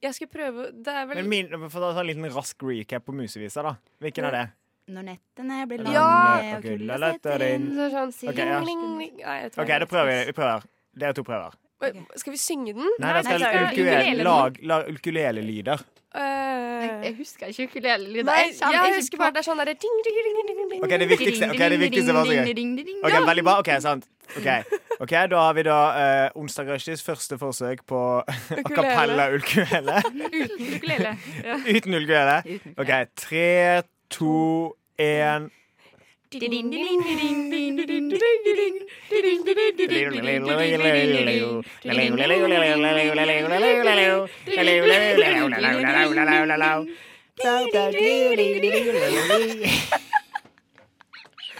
[SPEAKER 5] Jeg skal prøve Det er vel
[SPEAKER 3] men min, for å ta en liten rask recap på musevisa, da. Hvilken er det?
[SPEAKER 1] Når nettene blir lange
[SPEAKER 5] Ja!
[SPEAKER 3] eh,
[SPEAKER 1] og kulda setter inn
[SPEAKER 5] det er sånn
[SPEAKER 1] Ok,
[SPEAKER 5] ding,
[SPEAKER 1] ja.
[SPEAKER 5] ding, ding. Nei, jeg tror
[SPEAKER 3] OK,
[SPEAKER 5] jeg
[SPEAKER 3] da prøver vi. Vi prøver. Dere to prøver.
[SPEAKER 5] Oi, Skal vi synge den?
[SPEAKER 3] Nei, da skal
[SPEAKER 4] Nei,
[SPEAKER 3] jeg
[SPEAKER 4] skal ukulele.
[SPEAKER 3] ukulele, lag, lag ukulelelyder.
[SPEAKER 1] Jeg,
[SPEAKER 5] Eh,
[SPEAKER 1] jeg husker ikke ukulelelyden.
[SPEAKER 5] Nei,
[SPEAKER 1] kommer
[SPEAKER 5] jeg
[SPEAKER 1] ikke
[SPEAKER 5] husker
[SPEAKER 1] på-
[SPEAKER 5] bare det er sånn derre ding, ding, ding, ding, ding, ding.
[SPEAKER 3] OK, det viktigste, ok, det viktigste var sikkert. Ok, Veldig bra. OK, sant. Ok, Ok, Da har vi da eh, Onsdag Rushies første forsøk på *laughs* a cappella ukulele.
[SPEAKER 4] Uten ukulele. Ja.
[SPEAKER 3] Uten ukulele. OK, tre, to, én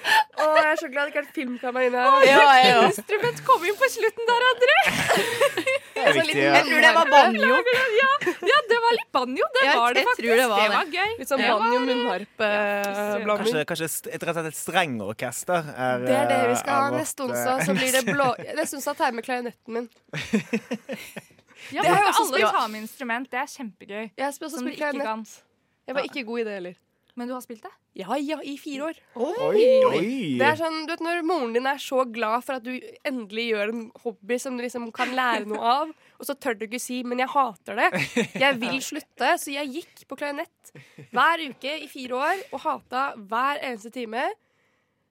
[SPEAKER 5] Å, jeg er så glad det ikke er et filmkamera inne her.
[SPEAKER 4] Instrument kom inn på slutten der, André!
[SPEAKER 3] Det er viktig. Ja.
[SPEAKER 1] Jeg tror det var banjo.
[SPEAKER 4] Ja, ja, det var litt banjo. Det
[SPEAKER 1] Jeg-
[SPEAKER 4] var det
[SPEAKER 1] jeg
[SPEAKER 4] faktisk.
[SPEAKER 1] tror det var det.
[SPEAKER 4] gøy.
[SPEAKER 5] Litt sånn banjo, munnharpe, blanding.
[SPEAKER 3] Kanskje, kanskje st- rett og slett et strengorkester er
[SPEAKER 5] Det er det vi
[SPEAKER 3] eh,
[SPEAKER 5] skal ha
[SPEAKER 3] er vårt,
[SPEAKER 5] neste
[SPEAKER 3] eh,
[SPEAKER 5] onsdag. Så blir det blå Neste onsdag tar jeg med klarinetten min.
[SPEAKER 4] Ja,
[SPEAKER 5] Det har jeg
[SPEAKER 4] men
[SPEAKER 5] også
[SPEAKER 4] alle
[SPEAKER 5] spilt.
[SPEAKER 4] tar med instrument. Det er kjempegøy.
[SPEAKER 5] Jeg skal også
[SPEAKER 4] Som du
[SPEAKER 5] spille
[SPEAKER 4] ikke
[SPEAKER 5] klarinett.
[SPEAKER 4] kan.
[SPEAKER 5] Jeg var ikke god i det heller.
[SPEAKER 4] Men du har spilt det?
[SPEAKER 5] Ja, ja, i fire år.
[SPEAKER 3] *laughs* Oi, oi.
[SPEAKER 5] Det er sånn, du vet Når moren din er så glad for at du endelig gjør en hobby som du liksom kan lære noe av, og så tør du ikke si 'men jeg hater det', 'jeg vil slutte', så jeg gikk på klarinett hver uke i fire år og hata hver eneste time.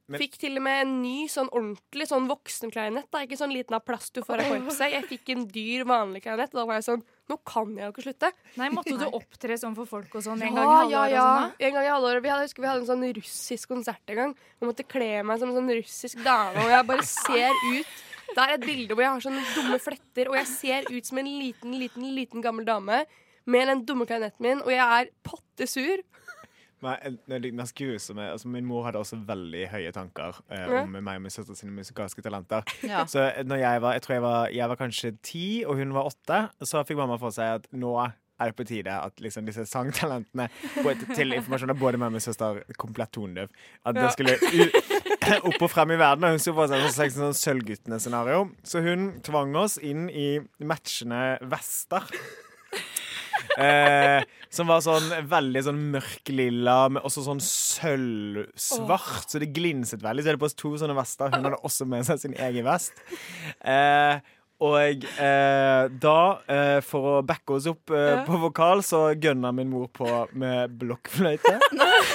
[SPEAKER 3] Men-
[SPEAKER 5] fikk til og med en ny sånn ordentlig sånn voksenklarinett. da, Ikke sånn liten av plast du får av korpset. Jeg fikk en dyr, vanlig klarinett, og da var jeg sånn Nå kan jeg jo ikke slutte.
[SPEAKER 4] Nei, måtte du opptre sånn for folk og sånn en
[SPEAKER 5] Ja,
[SPEAKER 4] gang i halvåret?
[SPEAKER 5] ja, ja.
[SPEAKER 4] og sånn da?
[SPEAKER 5] En gang i halvåret. Vi hadde, jeg husker vi hadde en sånn russisk konsert en gang. Jeg måtte kle meg som en sånn russisk dame, og jeg bare ser ut Det er et bilde hvor jeg har sånne dumme fletter, og jeg ser ut som en liten, liten, liten gammel dame med den dumme klarinetten min, og jeg er pottesur.
[SPEAKER 3] Men, men det mest grusomme altså Min mor hadde også veldig høye tanker eh,
[SPEAKER 5] Ja.
[SPEAKER 3] om meg og min søster sine musikalske talenter.
[SPEAKER 1] Ja.
[SPEAKER 3] Så når jeg var, jeg tror jeg var, jeg var kanskje ti, og hun var åtte, så fikk mamma for seg at nå er det på tide at liksom disse sangtalentene både, til informasjon av både meg og min søster komplett tonedøv. At det skulle u opp og frem i verden. Og hun så for seg et slags sånn Sølvguttene-scenario. Så hun tvang oss inn i matchende vester. Eh, som var sånn veldig sånn mørklilla, men også sånn sølvsvart, så det glinset veldig. Så hadde på oss to sånne vester. Hun hadde også med seg sin egen vest. Eh, og eh, da, eh, for å backe oss opp eh, på vokal, så gønna min mor på med blokkfløyte.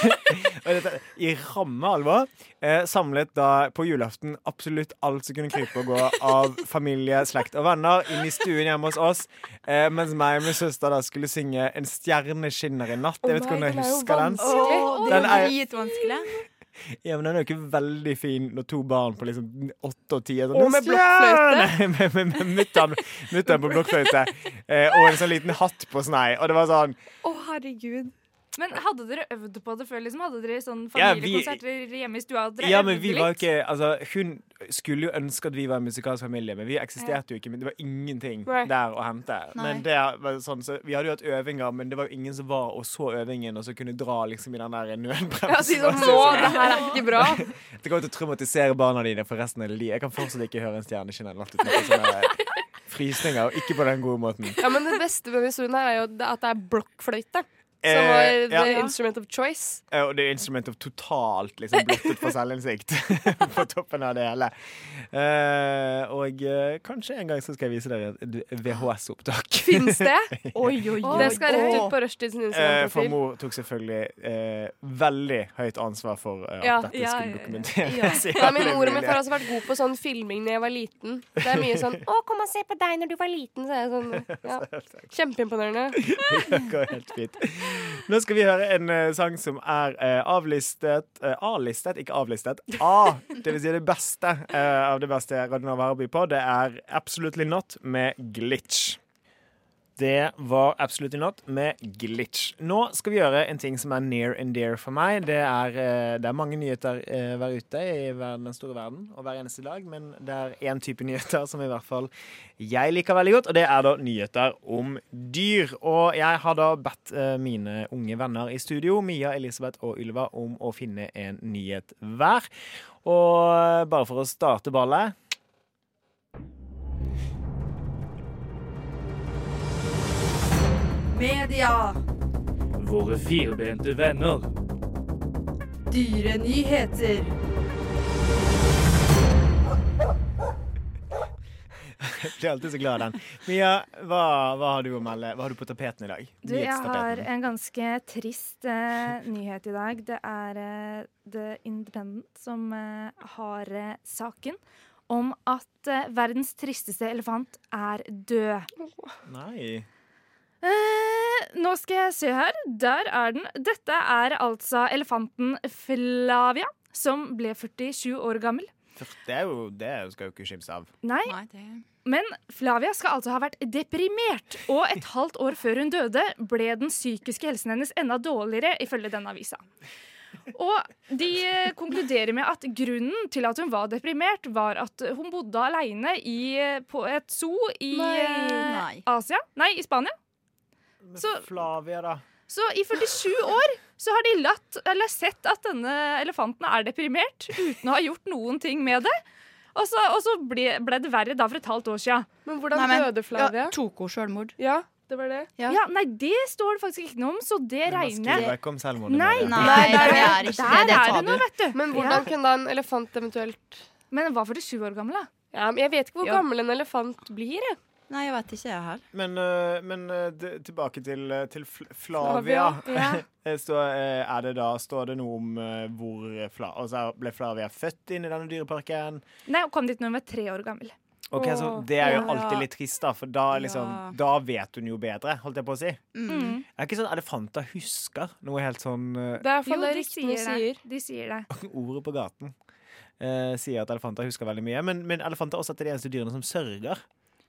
[SPEAKER 3] *laughs* og dette i ramme alvor. Eh, samlet da på julaften absolutt alt som kunne krype og gå av familie, slekt og venner inn i stuen hjemme hos oss. Eh, mens meg og min søster da skulle synge 'En stjerne skinner i natt'. Jeg vet ikke om dere husker den.
[SPEAKER 1] Å, det
[SPEAKER 3] Den
[SPEAKER 1] var
[SPEAKER 3] er-
[SPEAKER 1] dritvanskelig.
[SPEAKER 3] Ja, men Den er jo ikke veldig fin når to barn på liksom åtte og ti er sånn
[SPEAKER 5] Og med
[SPEAKER 3] *laughs*
[SPEAKER 5] blokkfløyte.
[SPEAKER 3] «Stjerne!» med, med, med mutter'n mutter'n på blokkfløyte. Eh, og en sånn liten hatt på snei. Og det var sånn
[SPEAKER 5] Å, herregud.
[SPEAKER 4] Men hadde dere øvd på det før? liksom? Hadde dere sånn
[SPEAKER 3] Ja, vi-
[SPEAKER 4] familiekonserter hjemme i stua? og Dere
[SPEAKER 3] Ja, men
[SPEAKER 4] øvde
[SPEAKER 3] vi
[SPEAKER 4] litt?
[SPEAKER 3] var ikke Altså, hun skulle jo ønske at vi var en musikalsk familie, men vi eksisterte jo ikke. Men det var ingenting
[SPEAKER 5] Nei.
[SPEAKER 3] der å hente.
[SPEAKER 1] Nei.
[SPEAKER 3] Men det var sånn, så vi hadde jo hatt øvinger, men det var jo ingen som var og så øvingen, og så kunne dra liksom i den der nødbremsen.
[SPEAKER 5] Ja, si
[SPEAKER 3] *laughs*
[SPEAKER 5] sånn nå, det her er ikke bra.
[SPEAKER 3] Det kommer til å traumatisere barna dine for resten av livet. Jeg kan fortsatt ikke høre en stjerne skinne natt uten noen sånne sånn eh, frysninger, og ikke på den gode måten.
[SPEAKER 5] Ja, men det beste med historien her er jo at det er blokkfløyte. Som
[SPEAKER 3] Eh,
[SPEAKER 5] var the
[SPEAKER 3] ja.
[SPEAKER 5] instrument of choice.
[SPEAKER 3] Eh, Og det er instrument of totalt liksom, blottet for selvinnsikt *laughs* på toppen av det hele. Eh, og eh, kanskje en gang så skal jeg vise dere et VHS-opptak.
[SPEAKER 5] Fins det?
[SPEAKER 1] Oi, oi, oi.
[SPEAKER 5] Det skal rett ut på Rushdie sin
[SPEAKER 3] *laughs* Eh, for
[SPEAKER 5] Instagram-profil.
[SPEAKER 3] mor tok selvfølgelig eh, veldig høyt ansvar for eh, at
[SPEAKER 5] Ja,
[SPEAKER 3] dette
[SPEAKER 4] ja,
[SPEAKER 3] skulle
[SPEAKER 4] ja, ja.
[SPEAKER 3] dokumenteres. i
[SPEAKER 5] Ja, min
[SPEAKER 3] alle
[SPEAKER 5] mor og min
[SPEAKER 3] mulige-
[SPEAKER 5] far har også vært god på sånn filming da jeg var liten. Det er mye sånn 'Å, kom og se på deg når du var liten', så er jeg *laughs* sånn. Ja. Kjempeimponerende.
[SPEAKER 3] *laughs* Det går helt fint. Nå skal vi høre en eh, sang som er eh, avlistet eh, A-listet, ikke avlistet. A, det vil si det beste eh, av det beste Radionova har å by på. Det er Absolutely Not med Glitch. Det var Absolutely Not med Glitch. Nå skal vi gjøre en ting som er near and dear for meg. Det er, eh, det er mange nyheter eh, hver ute i verden, den store verden og hver eneste dag, men det er én type nyheter som i hvert fall jeg liker veldig godt, og det er da nyheter om dyr. Og jeg har da bedt eh, mine unge venner i studio, Mia, Elisabeth og Ylva, om å finne en nyhet hver. Og eh, bare for å starte *laughs* ballet
[SPEAKER 8] Media,
[SPEAKER 9] Våre firbente venner.
[SPEAKER 8] dyre nyheter.
[SPEAKER 3] Blir alltid så glad av den. Mia, hva, hva har du å melde? Hva har du på tapeten i dag?
[SPEAKER 4] Du, jeg har
[SPEAKER 3] Nyhetstapeten.
[SPEAKER 4] en ganske trist eh, nyhet i dag. Det er eh, The Independent som eh, har eh, saken om at eh, verdens tristeste elefant er død.
[SPEAKER 3] Nei.
[SPEAKER 4] Eh, nå skal jeg se her. Der er den. Dette er altså elefanten Flavia, som ble 47 år gammel.
[SPEAKER 3] Det, er jo, det er jo- skal jo ikke skimse av.
[SPEAKER 4] Nei,
[SPEAKER 1] Nei, det
[SPEAKER 4] Men Flavia skal altså ha vært deprimert, og et halvt år før hun døde, ble den psykiske helsen hennes enda dårligere, ifølge denne avisa. Og de eh, konkluderer med at grunnen til at hun var deprimert, var at hun bodde aleine i, eh, på et zoo i
[SPEAKER 5] Nei.
[SPEAKER 4] eh,
[SPEAKER 1] Nei.
[SPEAKER 4] Asia. Nei, i Spania. Så-
[SPEAKER 3] Flavia, da.
[SPEAKER 4] Så i 47 år så har de latt, eller sett at denne elefanten er deprimert, uten å ha gjort noen ting med det. Og så, og så ble, ble det verre da for et halvt år sia.
[SPEAKER 5] Men hvordan
[SPEAKER 1] Nei, men-
[SPEAKER 5] døde Flavia?
[SPEAKER 1] Ja, Toko selvmord.
[SPEAKER 5] Ja, det var det.
[SPEAKER 1] Ja.
[SPEAKER 4] Ja, nei, det står det faktisk ikke noe om, så det
[SPEAKER 3] Man
[SPEAKER 4] regner
[SPEAKER 3] skriver
[SPEAKER 4] jeg
[SPEAKER 3] ikke om selvmord. i
[SPEAKER 4] Nei,
[SPEAKER 3] media.
[SPEAKER 1] Nei,
[SPEAKER 5] Nei,
[SPEAKER 1] det
[SPEAKER 5] der
[SPEAKER 4] Der
[SPEAKER 1] er ikke det. Det er
[SPEAKER 4] er det noe,
[SPEAKER 1] tabu.
[SPEAKER 4] vet du.
[SPEAKER 5] Men hvordan kunne da en elefant eventuelt
[SPEAKER 4] Men den var 47 år gammel, da.
[SPEAKER 5] Ja, men Jeg vet ikke hvor
[SPEAKER 4] Ja.
[SPEAKER 5] gammel en elefant blir. jeg.
[SPEAKER 1] Nei, jeg vet ikke, jeg her.
[SPEAKER 3] Men, øh, men øh, det- tilbake til, øh, til Fl- Flavia.
[SPEAKER 5] Flavia,
[SPEAKER 3] *laughs* Eh, Så, eh, er det da, står det noe om eh, hvor Fla altså, Ble Flavia født inn i denne dyreparken?
[SPEAKER 4] Nei, hun kom dit når hun var tre år gammel.
[SPEAKER 3] Ok, så
[SPEAKER 5] Åh.
[SPEAKER 3] Det er jo
[SPEAKER 1] Ja.
[SPEAKER 3] alltid litt trist, da, for da, er liksom,
[SPEAKER 1] Ja.
[SPEAKER 3] da vet hun jo bedre, holdt jeg på å si.
[SPEAKER 1] Mm.
[SPEAKER 3] Er det ikke sånn elefanter husker noe helt sånn eh,
[SPEAKER 5] Det er i hvert
[SPEAKER 4] Jo,
[SPEAKER 5] fall det
[SPEAKER 4] de
[SPEAKER 5] ryktene
[SPEAKER 4] sier
[SPEAKER 5] sier.
[SPEAKER 4] det. De sier det.
[SPEAKER 3] Ordet på gaten eh, sier at elefanter husker veldig mye, men, men elefanter er også et av de eneste dyrene som sørger.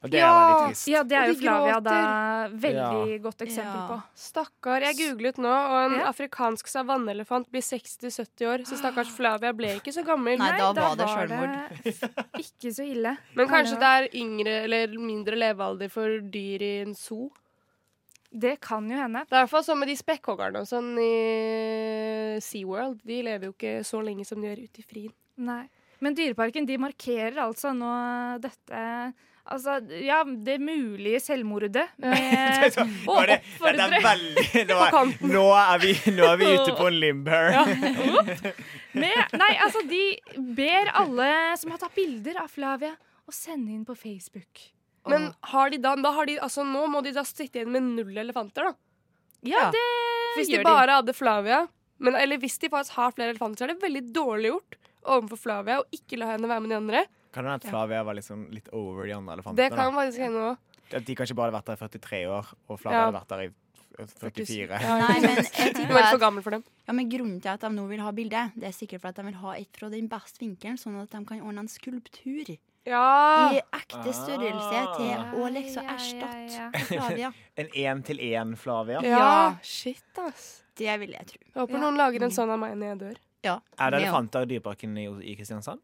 [SPEAKER 3] Og det er
[SPEAKER 5] Ja.
[SPEAKER 3] veldig trist.
[SPEAKER 4] Ja, det er
[SPEAKER 5] Og
[SPEAKER 4] jo
[SPEAKER 5] de
[SPEAKER 4] Flavia da veldig
[SPEAKER 3] Ja.
[SPEAKER 4] godt eksempel
[SPEAKER 1] Ja.
[SPEAKER 4] på.
[SPEAKER 5] Stakkar. Jeg googlet nå, og en
[SPEAKER 4] Ja.
[SPEAKER 5] afrikansk savanneelefant blir 60-70 år. Så stakkars Flavia ble ikke så gammel.
[SPEAKER 1] Nei, da var det
[SPEAKER 4] det ikke så ille.
[SPEAKER 5] Men kanskje det er yngre eller mindre levealder for dyr i en zoo?
[SPEAKER 4] eh, Det kan jo hende.
[SPEAKER 5] Det er i hvert fall sånn med de spekkhoggerne og sånn i SeaWorld. De lever jo ikke så lenge som de gjør ute i frien.
[SPEAKER 4] Nei. Men Dyreparken de markerer altså nå dette Altså, ja, det mulige selvmordet
[SPEAKER 3] *laughs*
[SPEAKER 5] *laughs*
[SPEAKER 4] med
[SPEAKER 5] Eh,
[SPEAKER 4] å
[SPEAKER 3] Var det, dette er
[SPEAKER 4] oppfordre
[SPEAKER 3] veldig, nå, er, nå, er vi, nå er vi ute på en
[SPEAKER 5] *laughs*
[SPEAKER 3] limb her.
[SPEAKER 4] med, Nei, altså, de ber alle som har tatt bilder av Flavia, å sende inn på Facebook.
[SPEAKER 5] Men har de da, da har de, altså nå må de da sitte igjen med null elefanter, da.
[SPEAKER 4] Ja, det
[SPEAKER 5] Hvis de
[SPEAKER 4] gjør de.
[SPEAKER 5] bare hadde Flavia, men, eller hvis de faktisk har flere elefanter, så er det veldig dårlig gjort overfor Flavia å ikke la henne være med de andre.
[SPEAKER 3] Kan det hende at Flavia var liksom litt over de andre
[SPEAKER 5] Det
[SPEAKER 3] elefantene?
[SPEAKER 5] kan faktisk hende òg.
[SPEAKER 3] da? At de kanskje bare hadde vært der i 43 år, og Flavia
[SPEAKER 5] Ja.
[SPEAKER 3] hadde vært der i 44.
[SPEAKER 1] Nei, men jeg
[SPEAKER 5] Hun var
[SPEAKER 1] tipper
[SPEAKER 5] litt
[SPEAKER 1] at
[SPEAKER 5] for gammel for dem.
[SPEAKER 1] Ja, men Grunnen til at de nå vil ha bilde, det er sikkert for at de vil ha et fra den beste vinkelen, sånn at de kan ordne en skulptur
[SPEAKER 5] Ja.
[SPEAKER 1] i ekte størrelse
[SPEAKER 3] Ah.
[SPEAKER 1] til å liksom
[SPEAKER 4] Ja, ja, ja,
[SPEAKER 1] erstatte Flavia.
[SPEAKER 3] En én-til-én Flavia.
[SPEAKER 1] *laughs* Ja.
[SPEAKER 5] Shit, ass.
[SPEAKER 1] Det vil jeg tro.
[SPEAKER 5] Jeg håper
[SPEAKER 4] Ja.
[SPEAKER 5] noen lager en sånn av meg når jeg dør.
[SPEAKER 1] Ja,
[SPEAKER 3] Er det
[SPEAKER 1] med-
[SPEAKER 3] elefanter i Dyreparken i, i Kristiansand?